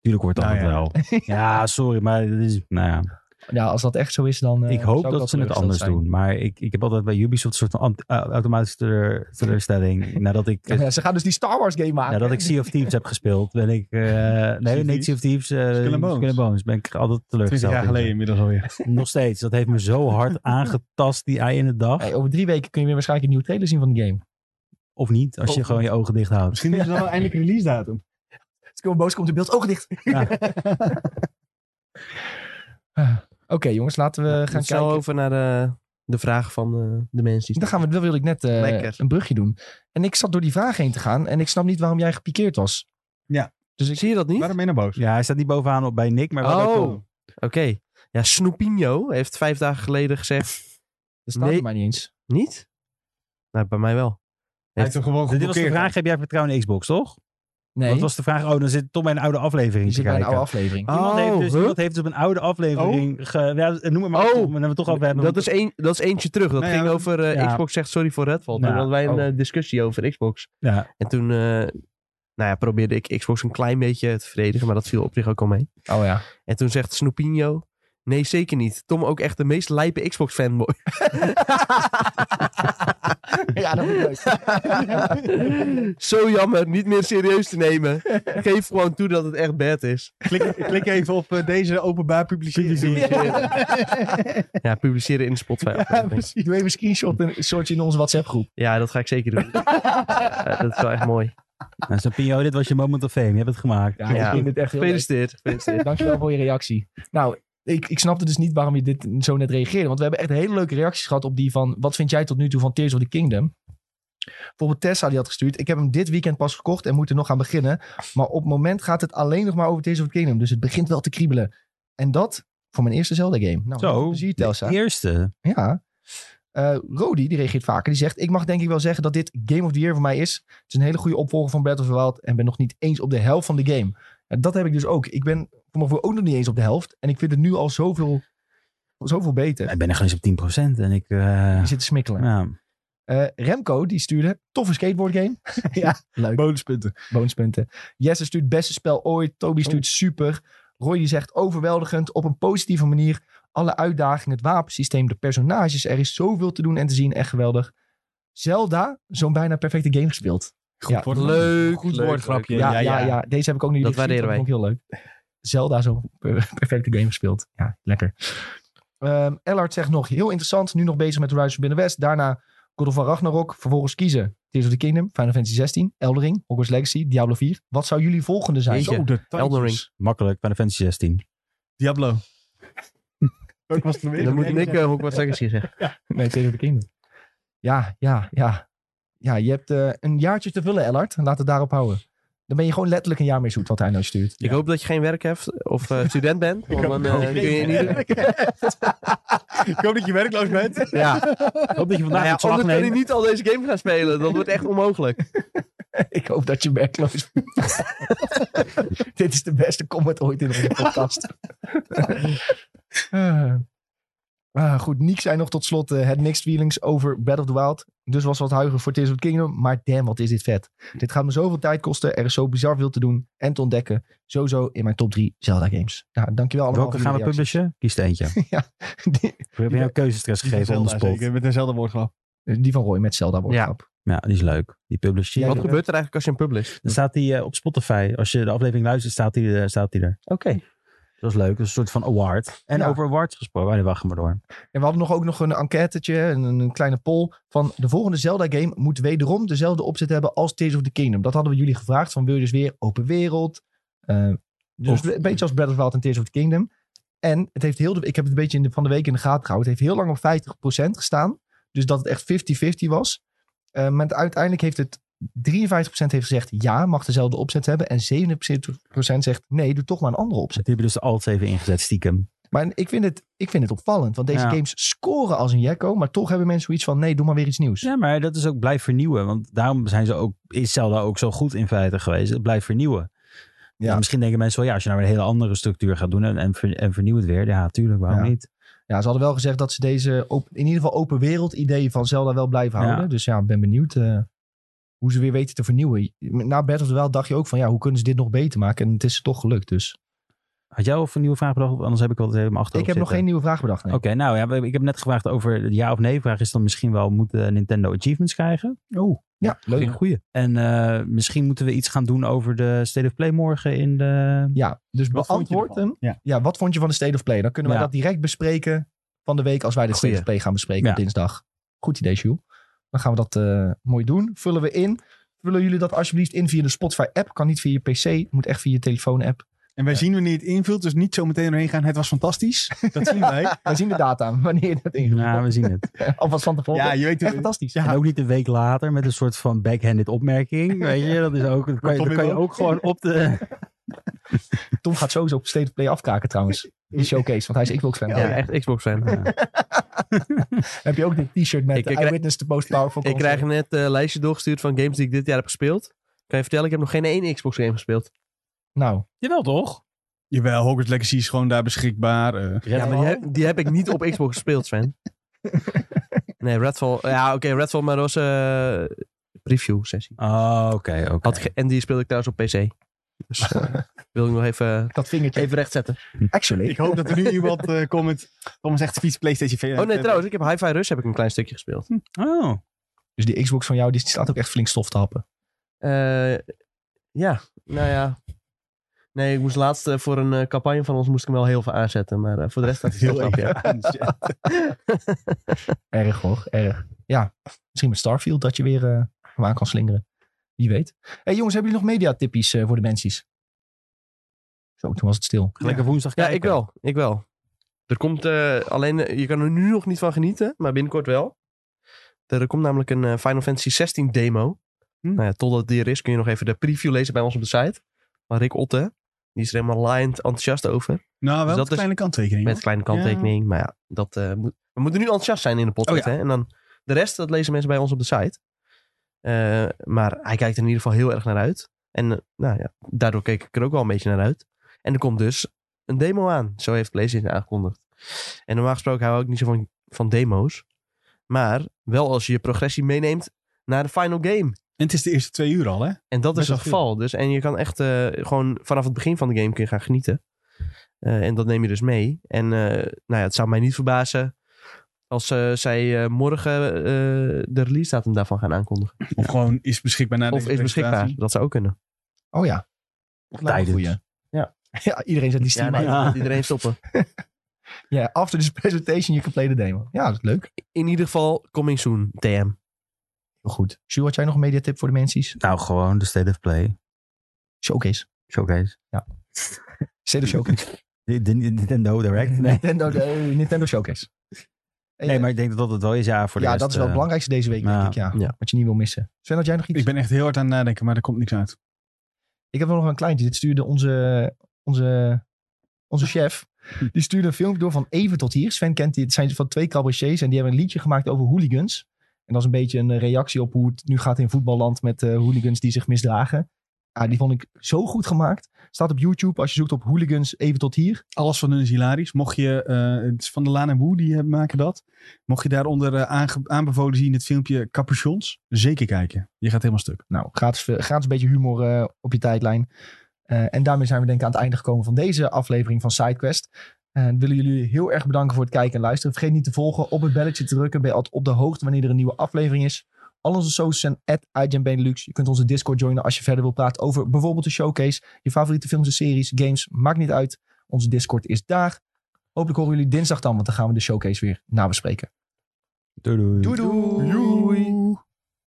[SPEAKER 4] Tuurlijk wordt dat
[SPEAKER 2] Nou ja.
[SPEAKER 4] wel.
[SPEAKER 1] [LAUGHS]
[SPEAKER 4] Ja, sorry, maar dit is, nou ja.
[SPEAKER 1] Ja, als dat echt zo is, dan eh,
[SPEAKER 4] ik hoop
[SPEAKER 1] zou
[SPEAKER 4] dat
[SPEAKER 1] wel
[SPEAKER 4] ze het
[SPEAKER 1] teleurgesteld
[SPEAKER 4] anders
[SPEAKER 1] zijn.
[SPEAKER 4] doen. Maar ik, ik heb altijd bij Ubisoft een soort van ant- eh, automatische teleur- teleurstelling. nadat ik,
[SPEAKER 1] Ja, maar ja, ze gaan dus die Star Wars game maken.
[SPEAKER 4] nadat Nou, ik Sea of Thieves heb gespeeld, ben ik... eh, nee,
[SPEAKER 2] of
[SPEAKER 4] niet Sea of Thieves. eh
[SPEAKER 2] Skull and Bones.
[SPEAKER 4] Skull and Bones. Ben ik altijd
[SPEAKER 2] Twintig
[SPEAKER 4] teleurgesteld.
[SPEAKER 2] jaar
[SPEAKER 4] in.
[SPEAKER 2] geleden inmiddels alweer.
[SPEAKER 4] Nog steeds. Dat heeft me zo [LAUGHS] hard aangetast, die ei in de dag.
[SPEAKER 1] Hey, over drie weken kun je weer waarschijnlijk een nieuwe trailer zien van de game.
[SPEAKER 4] Of niet, als je
[SPEAKER 1] Oh.
[SPEAKER 4] gewoon je ogen dicht houdt.
[SPEAKER 2] Misschien is het [LAUGHS] dan eindelijk release datum.
[SPEAKER 1] Skull Boos komt in beeld. Ogen dicht. [LAUGHS]
[SPEAKER 4] Ja.
[SPEAKER 1] Ah, Oké jongens, laten we eh, gaan
[SPEAKER 3] gaan snel
[SPEAKER 1] kijken.
[SPEAKER 3] over naar eh, de vraag van eh, de mensen. Die
[SPEAKER 1] Dan gaan we, dat wilde ik net eh,
[SPEAKER 3] Lekker.
[SPEAKER 1] een brugje doen. En ik zat door die vraag heen te gaan en ik snap niet waarom jij gepikeerd was.
[SPEAKER 2] Ja.
[SPEAKER 1] Dus ik
[SPEAKER 3] Zie je dat niet?
[SPEAKER 2] Waarom ben je nou boos?
[SPEAKER 4] Ja, hij staat niet bovenaan op bij Nick, maar wel bij Tom.
[SPEAKER 3] Oh, oké. Ja, Snoepinho heeft vijf dagen geleden gezegd...
[SPEAKER 1] dat staat
[SPEAKER 3] Nee.
[SPEAKER 1] er maar niet eens.
[SPEAKER 3] Niet? Nou, bij mij wel.
[SPEAKER 2] Hij heeft hem gewoon
[SPEAKER 4] Dit was de
[SPEAKER 2] geblokkeerd.
[SPEAKER 4] vraag, heb jij vertrouwen in Xbox, toch?
[SPEAKER 1] Nee,
[SPEAKER 4] Dat was de vraag, oh, dan zit Tom bij een oude aflevering
[SPEAKER 1] je
[SPEAKER 4] te
[SPEAKER 1] zit bij een
[SPEAKER 4] kijken.
[SPEAKER 1] oude
[SPEAKER 4] [LAUGHS]
[SPEAKER 1] aflevering.
[SPEAKER 3] Ah,
[SPEAKER 4] Iemand, heeft dus,
[SPEAKER 3] huh?
[SPEAKER 4] iemand heeft dus op een oude aflevering. Ge, ja, noem het maar
[SPEAKER 3] Oh.
[SPEAKER 4] op, maar dan we toch over hebben.
[SPEAKER 3] Dat is, een, dat is eentje terug. Dat
[SPEAKER 2] Nou ja,
[SPEAKER 3] ging
[SPEAKER 2] we-
[SPEAKER 3] over eh,
[SPEAKER 4] ja.
[SPEAKER 3] Xbox zegt sorry voor Redfall. Toen
[SPEAKER 4] Ja.
[SPEAKER 3] hadden wij een
[SPEAKER 1] Oh.
[SPEAKER 3] eh, discussie over Xbox.
[SPEAKER 4] Ja.
[SPEAKER 3] En toen eh, nou ja, probeerde ik Xbox een klein beetje te verdedigen. Maar dat viel op zich ook al mee.
[SPEAKER 1] Oh ja.
[SPEAKER 3] En toen zegt Snoepinho... Nee, zeker niet. Tom ook echt de meest lijpe Xbox-fanboy.
[SPEAKER 1] ja, dat vind ik leuk.
[SPEAKER 3] [LAUGHS] Zo jammer, niet meer serieus te nemen. Geef gewoon toe dat het echt bad is.
[SPEAKER 2] Klik, klik even op eh, deze openbaar publiceren.
[SPEAKER 3] Ja, publiceren in de Spotify.
[SPEAKER 1] [LAUGHS] [LAUGHS] Ja,
[SPEAKER 3] aflevering.
[SPEAKER 1] precies. Doe even een screenshot en soort je in onze WhatsApp groep.
[SPEAKER 3] Ja, dat ga ik zeker doen. Eh, dat is wel echt mooi.
[SPEAKER 4] Nou, Sapinho, dit was je moment of fame. Je hebt het gemaakt.
[SPEAKER 1] Ja,
[SPEAKER 3] Ja.
[SPEAKER 1] ik vind het echt heel leuk.
[SPEAKER 3] Gefeliciteerd. gefeliciteerd.
[SPEAKER 1] Dankjewel voor je reactie. Nou, ik, ik snapte dus niet waarom je dit zo net reageerde. Want we hebben echt hele leuke reacties gehad op die van... Wat vind jij tot nu toe van Tears of the Kingdom? Bijvoorbeeld Tessa die had gestuurd... Ik heb hem dit weekend pas gekocht en moet er nog aan beginnen. Maar op het moment gaat het alleen nog maar over Tears of the Kingdom. Dus het begint wel te kriebelen. En dat voor mijn eerste Zelda game. Nou,
[SPEAKER 4] Zo,
[SPEAKER 1] veel plezier Tessa.
[SPEAKER 4] de eerste.
[SPEAKER 1] Ja. Eh, Rodi, die reageert vaker. Die zegt: Ik mag denk ik wel zeggen dat dit Game of the Year voor mij is. Het is een hele goede opvolger van Breath of the Wild. En ben nog niet eens op de helft van de game. En dat heb ik dus ook. Ik ben voor mijn gevoel ook nog niet eens op de helft. En ik vind het nu al zoveel, zoveel beter.
[SPEAKER 4] Ik ben nog eens op 10% en ik... eh
[SPEAKER 1] Die zit te smikkelen.
[SPEAKER 4] ja.
[SPEAKER 1] Eh, Remco, die stuurde: Toffe skateboardgame. ja, leuk.
[SPEAKER 2] Bonuspunten.
[SPEAKER 1] bonuspunten. Jesse stuurt beste spel ooit. Toby stuurt super. Roy die zegt overweldigend op een positieve manier. Alle uitdagingen, het wapensysteem, de personages. Er is zoveel te doen en te zien. Echt geweldig. Zelda, zo'n bijna perfecte game gespeeld.
[SPEAKER 2] Goed
[SPEAKER 1] Ja,
[SPEAKER 2] woord.
[SPEAKER 3] leuk,
[SPEAKER 2] Goed
[SPEAKER 3] leuk,
[SPEAKER 2] woordgrapje.
[SPEAKER 1] Ja, ja, ja. Deze heb ik ook nu.
[SPEAKER 3] Dat waarderen
[SPEAKER 1] Vond ik heel leuk. Zelda, zo'n per- [LAUGHS] perfecte game gespeeld. Ja, lekker. Ehm Ellard zegt nog heel interessant. Nu nog bezig met Horizon Forbidden West. Daarna God of War Ragnarok. Vervolgens kiezen Tears of the Kingdom, Final Fantasy 16, Eldering, Hogwarts Legacy, Diablo 4. Wat zou jullie volgende zijn? Oh,
[SPEAKER 3] Jeetje.
[SPEAKER 2] Zo, de tandjes.
[SPEAKER 3] Elden Ring.
[SPEAKER 4] Makkelijk, Final Fantasy 16.
[SPEAKER 2] Diablo. Ook was het weer.
[SPEAKER 3] Dan moet ik eh, ook wat zeggen zeggen.
[SPEAKER 1] Nee, Tears of the Kingdom. Ja, ja, ja. Ja, je hebt eh, een jaartje te vullen, Ellard. Laat het daarop houden. Dan ben je gewoon letterlijk een jaar mee zoet wat hij nou stuurt.
[SPEAKER 3] Ik hoop dat je geen werk hebt of eh, student bent. Want dan eh, kun je niet doen.
[SPEAKER 2] Ik hoop dat je werkloos bent.
[SPEAKER 3] Ja,
[SPEAKER 4] Ik hoop dat
[SPEAKER 3] nou
[SPEAKER 4] je vandaag
[SPEAKER 3] ja,
[SPEAKER 4] ontslag
[SPEAKER 3] anders kan
[SPEAKER 4] neemt.
[SPEAKER 3] je niet al deze games gaan spelen. Dat wordt echt onmogelijk.
[SPEAKER 1] Ik hoop dat je werkloos [LAUGHS] bent. Dit is de beste comment ooit in onze podcast. Eh, [LAUGHS] ah, goed, Niek zei nog tot slot eh, het mixed feelings over Battle of the Wild. Dus was wat huigen voor Tears of the Kingdom. Maar damn, wat is dit vet. Dit gaat me zoveel tijd kosten. Er is zo bizar veel te doen en te ontdekken. Sowieso in mijn top 3 Zelda games. Nou, dankjewel allemaal
[SPEAKER 4] Welke
[SPEAKER 1] voor
[SPEAKER 4] gaan we
[SPEAKER 1] jullie reacties.
[SPEAKER 4] publishen? Kies er eentje.
[SPEAKER 1] [LAUGHS] Die,
[SPEAKER 4] We hebben jou keuzestress gegeven on the spot.
[SPEAKER 2] Ik met dezelfde woordgrap.
[SPEAKER 1] Eh, die van Roy met Zelda wordt
[SPEAKER 3] Ja.
[SPEAKER 1] grap.
[SPEAKER 4] Ja, die is leuk. Die publiceer.
[SPEAKER 1] Ja,
[SPEAKER 3] Wat
[SPEAKER 1] ja.
[SPEAKER 3] gebeurt er eigenlijk als je hem publisht?
[SPEAKER 4] Dan staat die eh, op Spotify. Als je de aflevering luistert, staat die, eh, staat die er.
[SPEAKER 1] Oké.
[SPEAKER 4] Dat is leuk. Dat is een soort van award. En
[SPEAKER 1] Ja.
[SPEAKER 4] over awards gesproken. Oh Nee, wacht maar door.
[SPEAKER 1] En we hadden nog ook nog een enquêtetje, een, een kleine poll van de volgende Zelda-game moet wederom dezelfde opzet hebben als Tears of the Kingdom. Dat hadden we jullie gevraagd van wil je dus weer open wereld? Eh, dus
[SPEAKER 4] Of-
[SPEAKER 1] een beetje als Breath of the Wild en Tears of the Kingdom. En het heeft heel de, ik heb het een beetje in de, van de week in de gaten gehouden. Het heeft heel lang op 50% gestaan. Dus dat het echt 50-50 was. Eh, maar het- uiteindelijk heeft het 53% heeft gezegd ja, mag dezelfde opzet hebben. En 57% zegt nee, doe toch maar een andere opzet.
[SPEAKER 4] Die hebben dus de alt 7 ingezet, stiekem.
[SPEAKER 1] Maar ik vind het, ik vind het opvallend. Want deze
[SPEAKER 4] Ja.
[SPEAKER 1] games scoren als een jekko. Maar toch hebben mensen zoiets van... Nee, doe maar weer iets nieuws.
[SPEAKER 4] Ja, maar dat is ook blijf vernieuwen. Want daarom zijn ze ook, is Zelda ook zo goed in feite geweest. Het blijft vernieuwen.
[SPEAKER 1] Ja.
[SPEAKER 4] Ja. Misschien denken mensen wel, ja, als je nou weer een hele andere structuur gaat doen en, en, ver- en vernieuw het weer. Ja, tuurlijk, waarom
[SPEAKER 1] Ja.
[SPEAKER 4] niet?
[SPEAKER 1] Ja, ze hadden wel gezegd dat ze deze... Open, in ieder geval open wereld ideeën van Zelda wel blijven
[SPEAKER 4] Ja.
[SPEAKER 1] houden. Dus ja, ik ben benieuwd eh, hoe ze weer weten te vernieuwen. Na Battle of the Wild dacht je ook van... Ja, hoe kunnen ze dit nog beter maken? En het is toch gelukt dus.
[SPEAKER 4] Had jij al een nieuwe vraag bedacht? Anders heb ik wel het helemaal achter.
[SPEAKER 1] ik heb nog geen nieuwe vraag bedacht. nee.
[SPEAKER 4] Oké, nou ja, we- ik heb net gevraagd over de ja of nee vraag. Is dan misschien wel, moet eh, Nintendo achievements krijgen? Oh,
[SPEAKER 1] Ja, leuk.
[SPEAKER 4] goeie. En eh, misschien moeten we iets gaan doen over de State of Play morgen in de...
[SPEAKER 1] Ja, dus
[SPEAKER 2] Wat vond je
[SPEAKER 1] beantwoord
[SPEAKER 2] ervan?
[SPEAKER 1] hem.
[SPEAKER 2] Ja.
[SPEAKER 1] Ja, wat vond je van de State of Play? Dan kunnen we
[SPEAKER 4] Ja.
[SPEAKER 1] dat direct bespreken van de week als wij de State
[SPEAKER 4] Goeie.
[SPEAKER 1] of Play gaan bespreken
[SPEAKER 4] Ja.
[SPEAKER 1] op dinsdag. Goed idee, Jules. Dan gaan we dat eh, mooi doen. Vullen we in. Vullen jullie dat alsjeblieft in via de Spotify-app. Kan niet via je PC. Moet echt via je telefoon-app.
[SPEAKER 2] En wij zien wanneer je het invult, dus niet zo meteen erheen gaan. Het was fantastisch. Dat zien wij.
[SPEAKER 1] Wij zien de data wanneer je dat ingevuld
[SPEAKER 4] Nou,
[SPEAKER 1] hebt.
[SPEAKER 4] we zien het.
[SPEAKER 1] [LAUGHS] Alvast van tevoren.
[SPEAKER 2] Ja, je weet
[SPEAKER 1] echt
[SPEAKER 2] het.
[SPEAKER 1] fantastisch.
[SPEAKER 4] [LAUGHS] En ook niet een week later met een soort van backhanded [LAUGHS] opmerking. Weet je, dat is ook. Dat kan, je-
[SPEAKER 2] Tom
[SPEAKER 4] dat kan je
[SPEAKER 2] Himbo?
[SPEAKER 4] ook gewoon op de.
[SPEAKER 1] Tom gaat sowieso op State of Play afkaken trouwens. Die showcase, want hij is Xbox-fan.
[SPEAKER 3] Ja, echt Xbox fan.
[SPEAKER 1] Heb je ook dit t-shirt met
[SPEAKER 3] Ik- ik
[SPEAKER 1] I
[SPEAKER 3] krijg-
[SPEAKER 1] Witness the Most Powerful
[SPEAKER 3] Ik
[SPEAKER 1] Console?
[SPEAKER 3] krijg net eh, een lijstje doorgestuurd van games die ik dit jaar heb gespeeld. Kan je vertellen, ik heb nog geen één Xbox game gespeeld.
[SPEAKER 1] Nou,
[SPEAKER 4] [LAUGHS] Jawel, toch?
[SPEAKER 2] Jawel, Hogwarts Legacy is gewoon daar beschikbaar. eh.
[SPEAKER 3] Ja, maar die heb, die heb ik niet op Xbox gespeeld, Sven. Nee, Redfall. Ja, oké, Redfall, maar dat was eh, preview sessie.
[SPEAKER 4] Oh, oké. oké.
[SPEAKER 3] Had ik ge- en die speelde ik trouwens op PC. Dus eh, wil ik nog even,
[SPEAKER 1] dat vingertje.
[SPEAKER 3] even rechtzetten.
[SPEAKER 1] Actually.
[SPEAKER 2] Ik hoop dat er
[SPEAKER 3] [LAUGHS]
[SPEAKER 2] nu iemand eh comment. Thomas zegt fiets PlayStation Eh, 4.
[SPEAKER 3] Oh nee, trouwens, ik heb Hi-Fi Rush heb ik een klein stukje gespeeld.
[SPEAKER 4] Oh,
[SPEAKER 1] Dus die Xbox van jou, die staat ook echt flink stof te happen.
[SPEAKER 3] Eh, ja, nou ja. Nee, ik moest laatst eh, voor een eh, campagne van ons moest ik hem wel heel veel aanzetten. Maar eh, voor de rest staat
[SPEAKER 2] [LAUGHS]
[SPEAKER 3] hij heel knap, ja.
[SPEAKER 2] Dus,
[SPEAKER 1] Erg hoor, erg. Ja, misschien met Starfield dat je weer eh hem aan kan slingeren. Wie weet. hey, jongens, hebben jullie nog mediatippies eh voor de mensies? Zo, toen was het stil.
[SPEAKER 4] Lekker woensdag
[SPEAKER 3] Ja,
[SPEAKER 4] kijken.
[SPEAKER 3] ik wel. Ik wel. Er komt eh, alleen, eh, je kan er nu nog niet van genieten, maar binnenkort wel. Er komt namelijk een eh, Final Fantasy 16 demo.
[SPEAKER 2] Hm.
[SPEAKER 3] Nou ja, totdat die er is, kun je nog even de preview lezen bij ons op de site. Maar Rick Otte, die is er helemaal laaiend enthousiast over.
[SPEAKER 2] Nou, wel
[SPEAKER 3] dat
[SPEAKER 2] een
[SPEAKER 3] is-
[SPEAKER 2] kleine kanttekening.
[SPEAKER 3] Met een
[SPEAKER 2] hoor.
[SPEAKER 3] kleine kanttekening. Maar ja, dat, eh, moet, we moeten nu enthousiast zijn in de podcast.
[SPEAKER 2] Oh ja.
[SPEAKER 3] hè? En dan de rest, dat lezen mensen bij ons op de site. Eh, maar hij kijkt er in ieder geval heel erg naar uit. En eh, nou ja, daardoor keek ik er ook wel een beetje naar uit. En er komt dus een demo aan. Zo heeft PlayStation aangekondigd. En normaal gesproken hou ik niet zo van, van demo's. Maar wel als je je progressie meeneemt naar de final game.
[SPEAKER 2] En het is de eerste twee uur al, hè?
[SPEAKER 3] En dat
[SPEAKER 2] Best
[SPEAKER 3] is het
[SPEAKER 2] wel veel.
[SPEAKER 3] geval. Dus, en je kan echt eh, gewoon vanaf het begin van de game kun je gaan genieten. Eh, en dat neem je dus mee. En eh, nou ja, het zou mij niet verbazen als eh, zij eh, morgen eh, de release datum daarvan gaan aankondigen.
[SPEAKER 2] Of gewoon is beschikbaar na
[SPEAKER 3] of
[SPEAKER 2] deze
[SPEAKER 3] is beschikbaar.
[SPEAKER 2] presentatie.
[SPEAKER 3] Dat zou ook kunnen.
[SPEAKER 1] Oh ja. Lijkt me een
[SPEAKER 4] tijdens.
[SPEAKER 1] goeie.
[SPEAKER 3] Ja.
[SPEAKER 1] ja, iedereen zet die
[SPEAKER 3] Ja,
[SPEAKER 1] Steam
[SPEAKER 3] nee,
[SPEAKER 1] aan.
[SPEAKER 4] Ja.
[SPEAKER 3] laat iedereen stoppen.
[SPEAKER 1] Ja, after this presentation, je complete demo. Ja, dat is leuk.
[SPEAKER 3] In ieder geval, coming soon, TM.
[SPEAKER 1] Heel goed. Sjoe, had jij nog een mediatip voor de mensies?
[SPEAKER 4] Nou, gewoon de State of Play.
[SPEAKER 1] Showcase.
[SPEAKER 4] Showcase. [LAUGHS]
[SPEAKER 1] State of Showcase.
[SPEAKER 4] De- de- de Nintendo [LAUGHS] Direct. Nee.
[SPEAKER 1] Nintendo, eh, Nintendo Showcase. En,
[SPEAKER 4] nee,
[SPEAKER 1] eh,
[SPEAKER 4] maar ik denk dat dat het wel is. Ja, voor de
[SPEAKER 1] ja,
[SPEAKER 4] rest,
[SPEAKER 1] dat is wel het
[SPEAKER 4] eh,
[SPEAKER 1] belangrijkste deze week,
[SPEAKER 4] nou,
[SPEAKER 1] denk ik. Ja.
[SPEAKER 3] ja.
[SPEAKER 1] Wat je niet wil missen. Sven, had jij nog iets?
[SPEAKER 2] Ik ben echt heel hard aan het nadenken, maar er komt niks uit.
[SPEAKER 1] Ik heb wel nog een kleintje. Dit stuurde onze, onze, onze chef. Die stuurde een filmpje door van Even tot hier. Sven kent die. Het zijn van twee cabaretiers. En die hebben een liedje gemaakt over hooligans. En dat is een beetje een eh, reactie op hoe het nu gaat in voetballand met eh, hooligans die zich misdragen. Ja, die vond ik zo goed gemaakt. Staat op YouTube. Als je zoekt op hooligans even tot hier.
[SPEAKER 2] Alles van hun is hilarisch. Mocht je, eh, het is van de Laan en Woe, die eh, maken dat. Mocht je daaronder eh, aange- aanbevolen zien het filmpje Capuchons, zeker kijken. Je gaat helemaal stuk.
[SPEAKER 1] Nou, gratis, eh, gratis een beetje humor eh, op je tijdlijn. Eh, en daarmee zijn we denk ik aan het einde gekomen van deze aflevering van SideQuest. En willen jullie heel erg bedanken voor het kijken en luisteren. Vergeet niet te volgen, op het belletje te drukken. Ben je altijd op de hoogte wanneer er een nieuwe aflevering is. Al onze socials zijn at Benelux. Je kunt onze Discord joinen als je verder wil praten over bijvoorbeeld de showcase. Je favoriete films en series, games, maakt niet uit. Onze Discord is daar. Hopelijk horen jullie dinsdag dan, want dan gaan we de showcase weer nabespreken.
[SPEAKER 4] Doei doei.
[SPEAKER 1] Doei doei!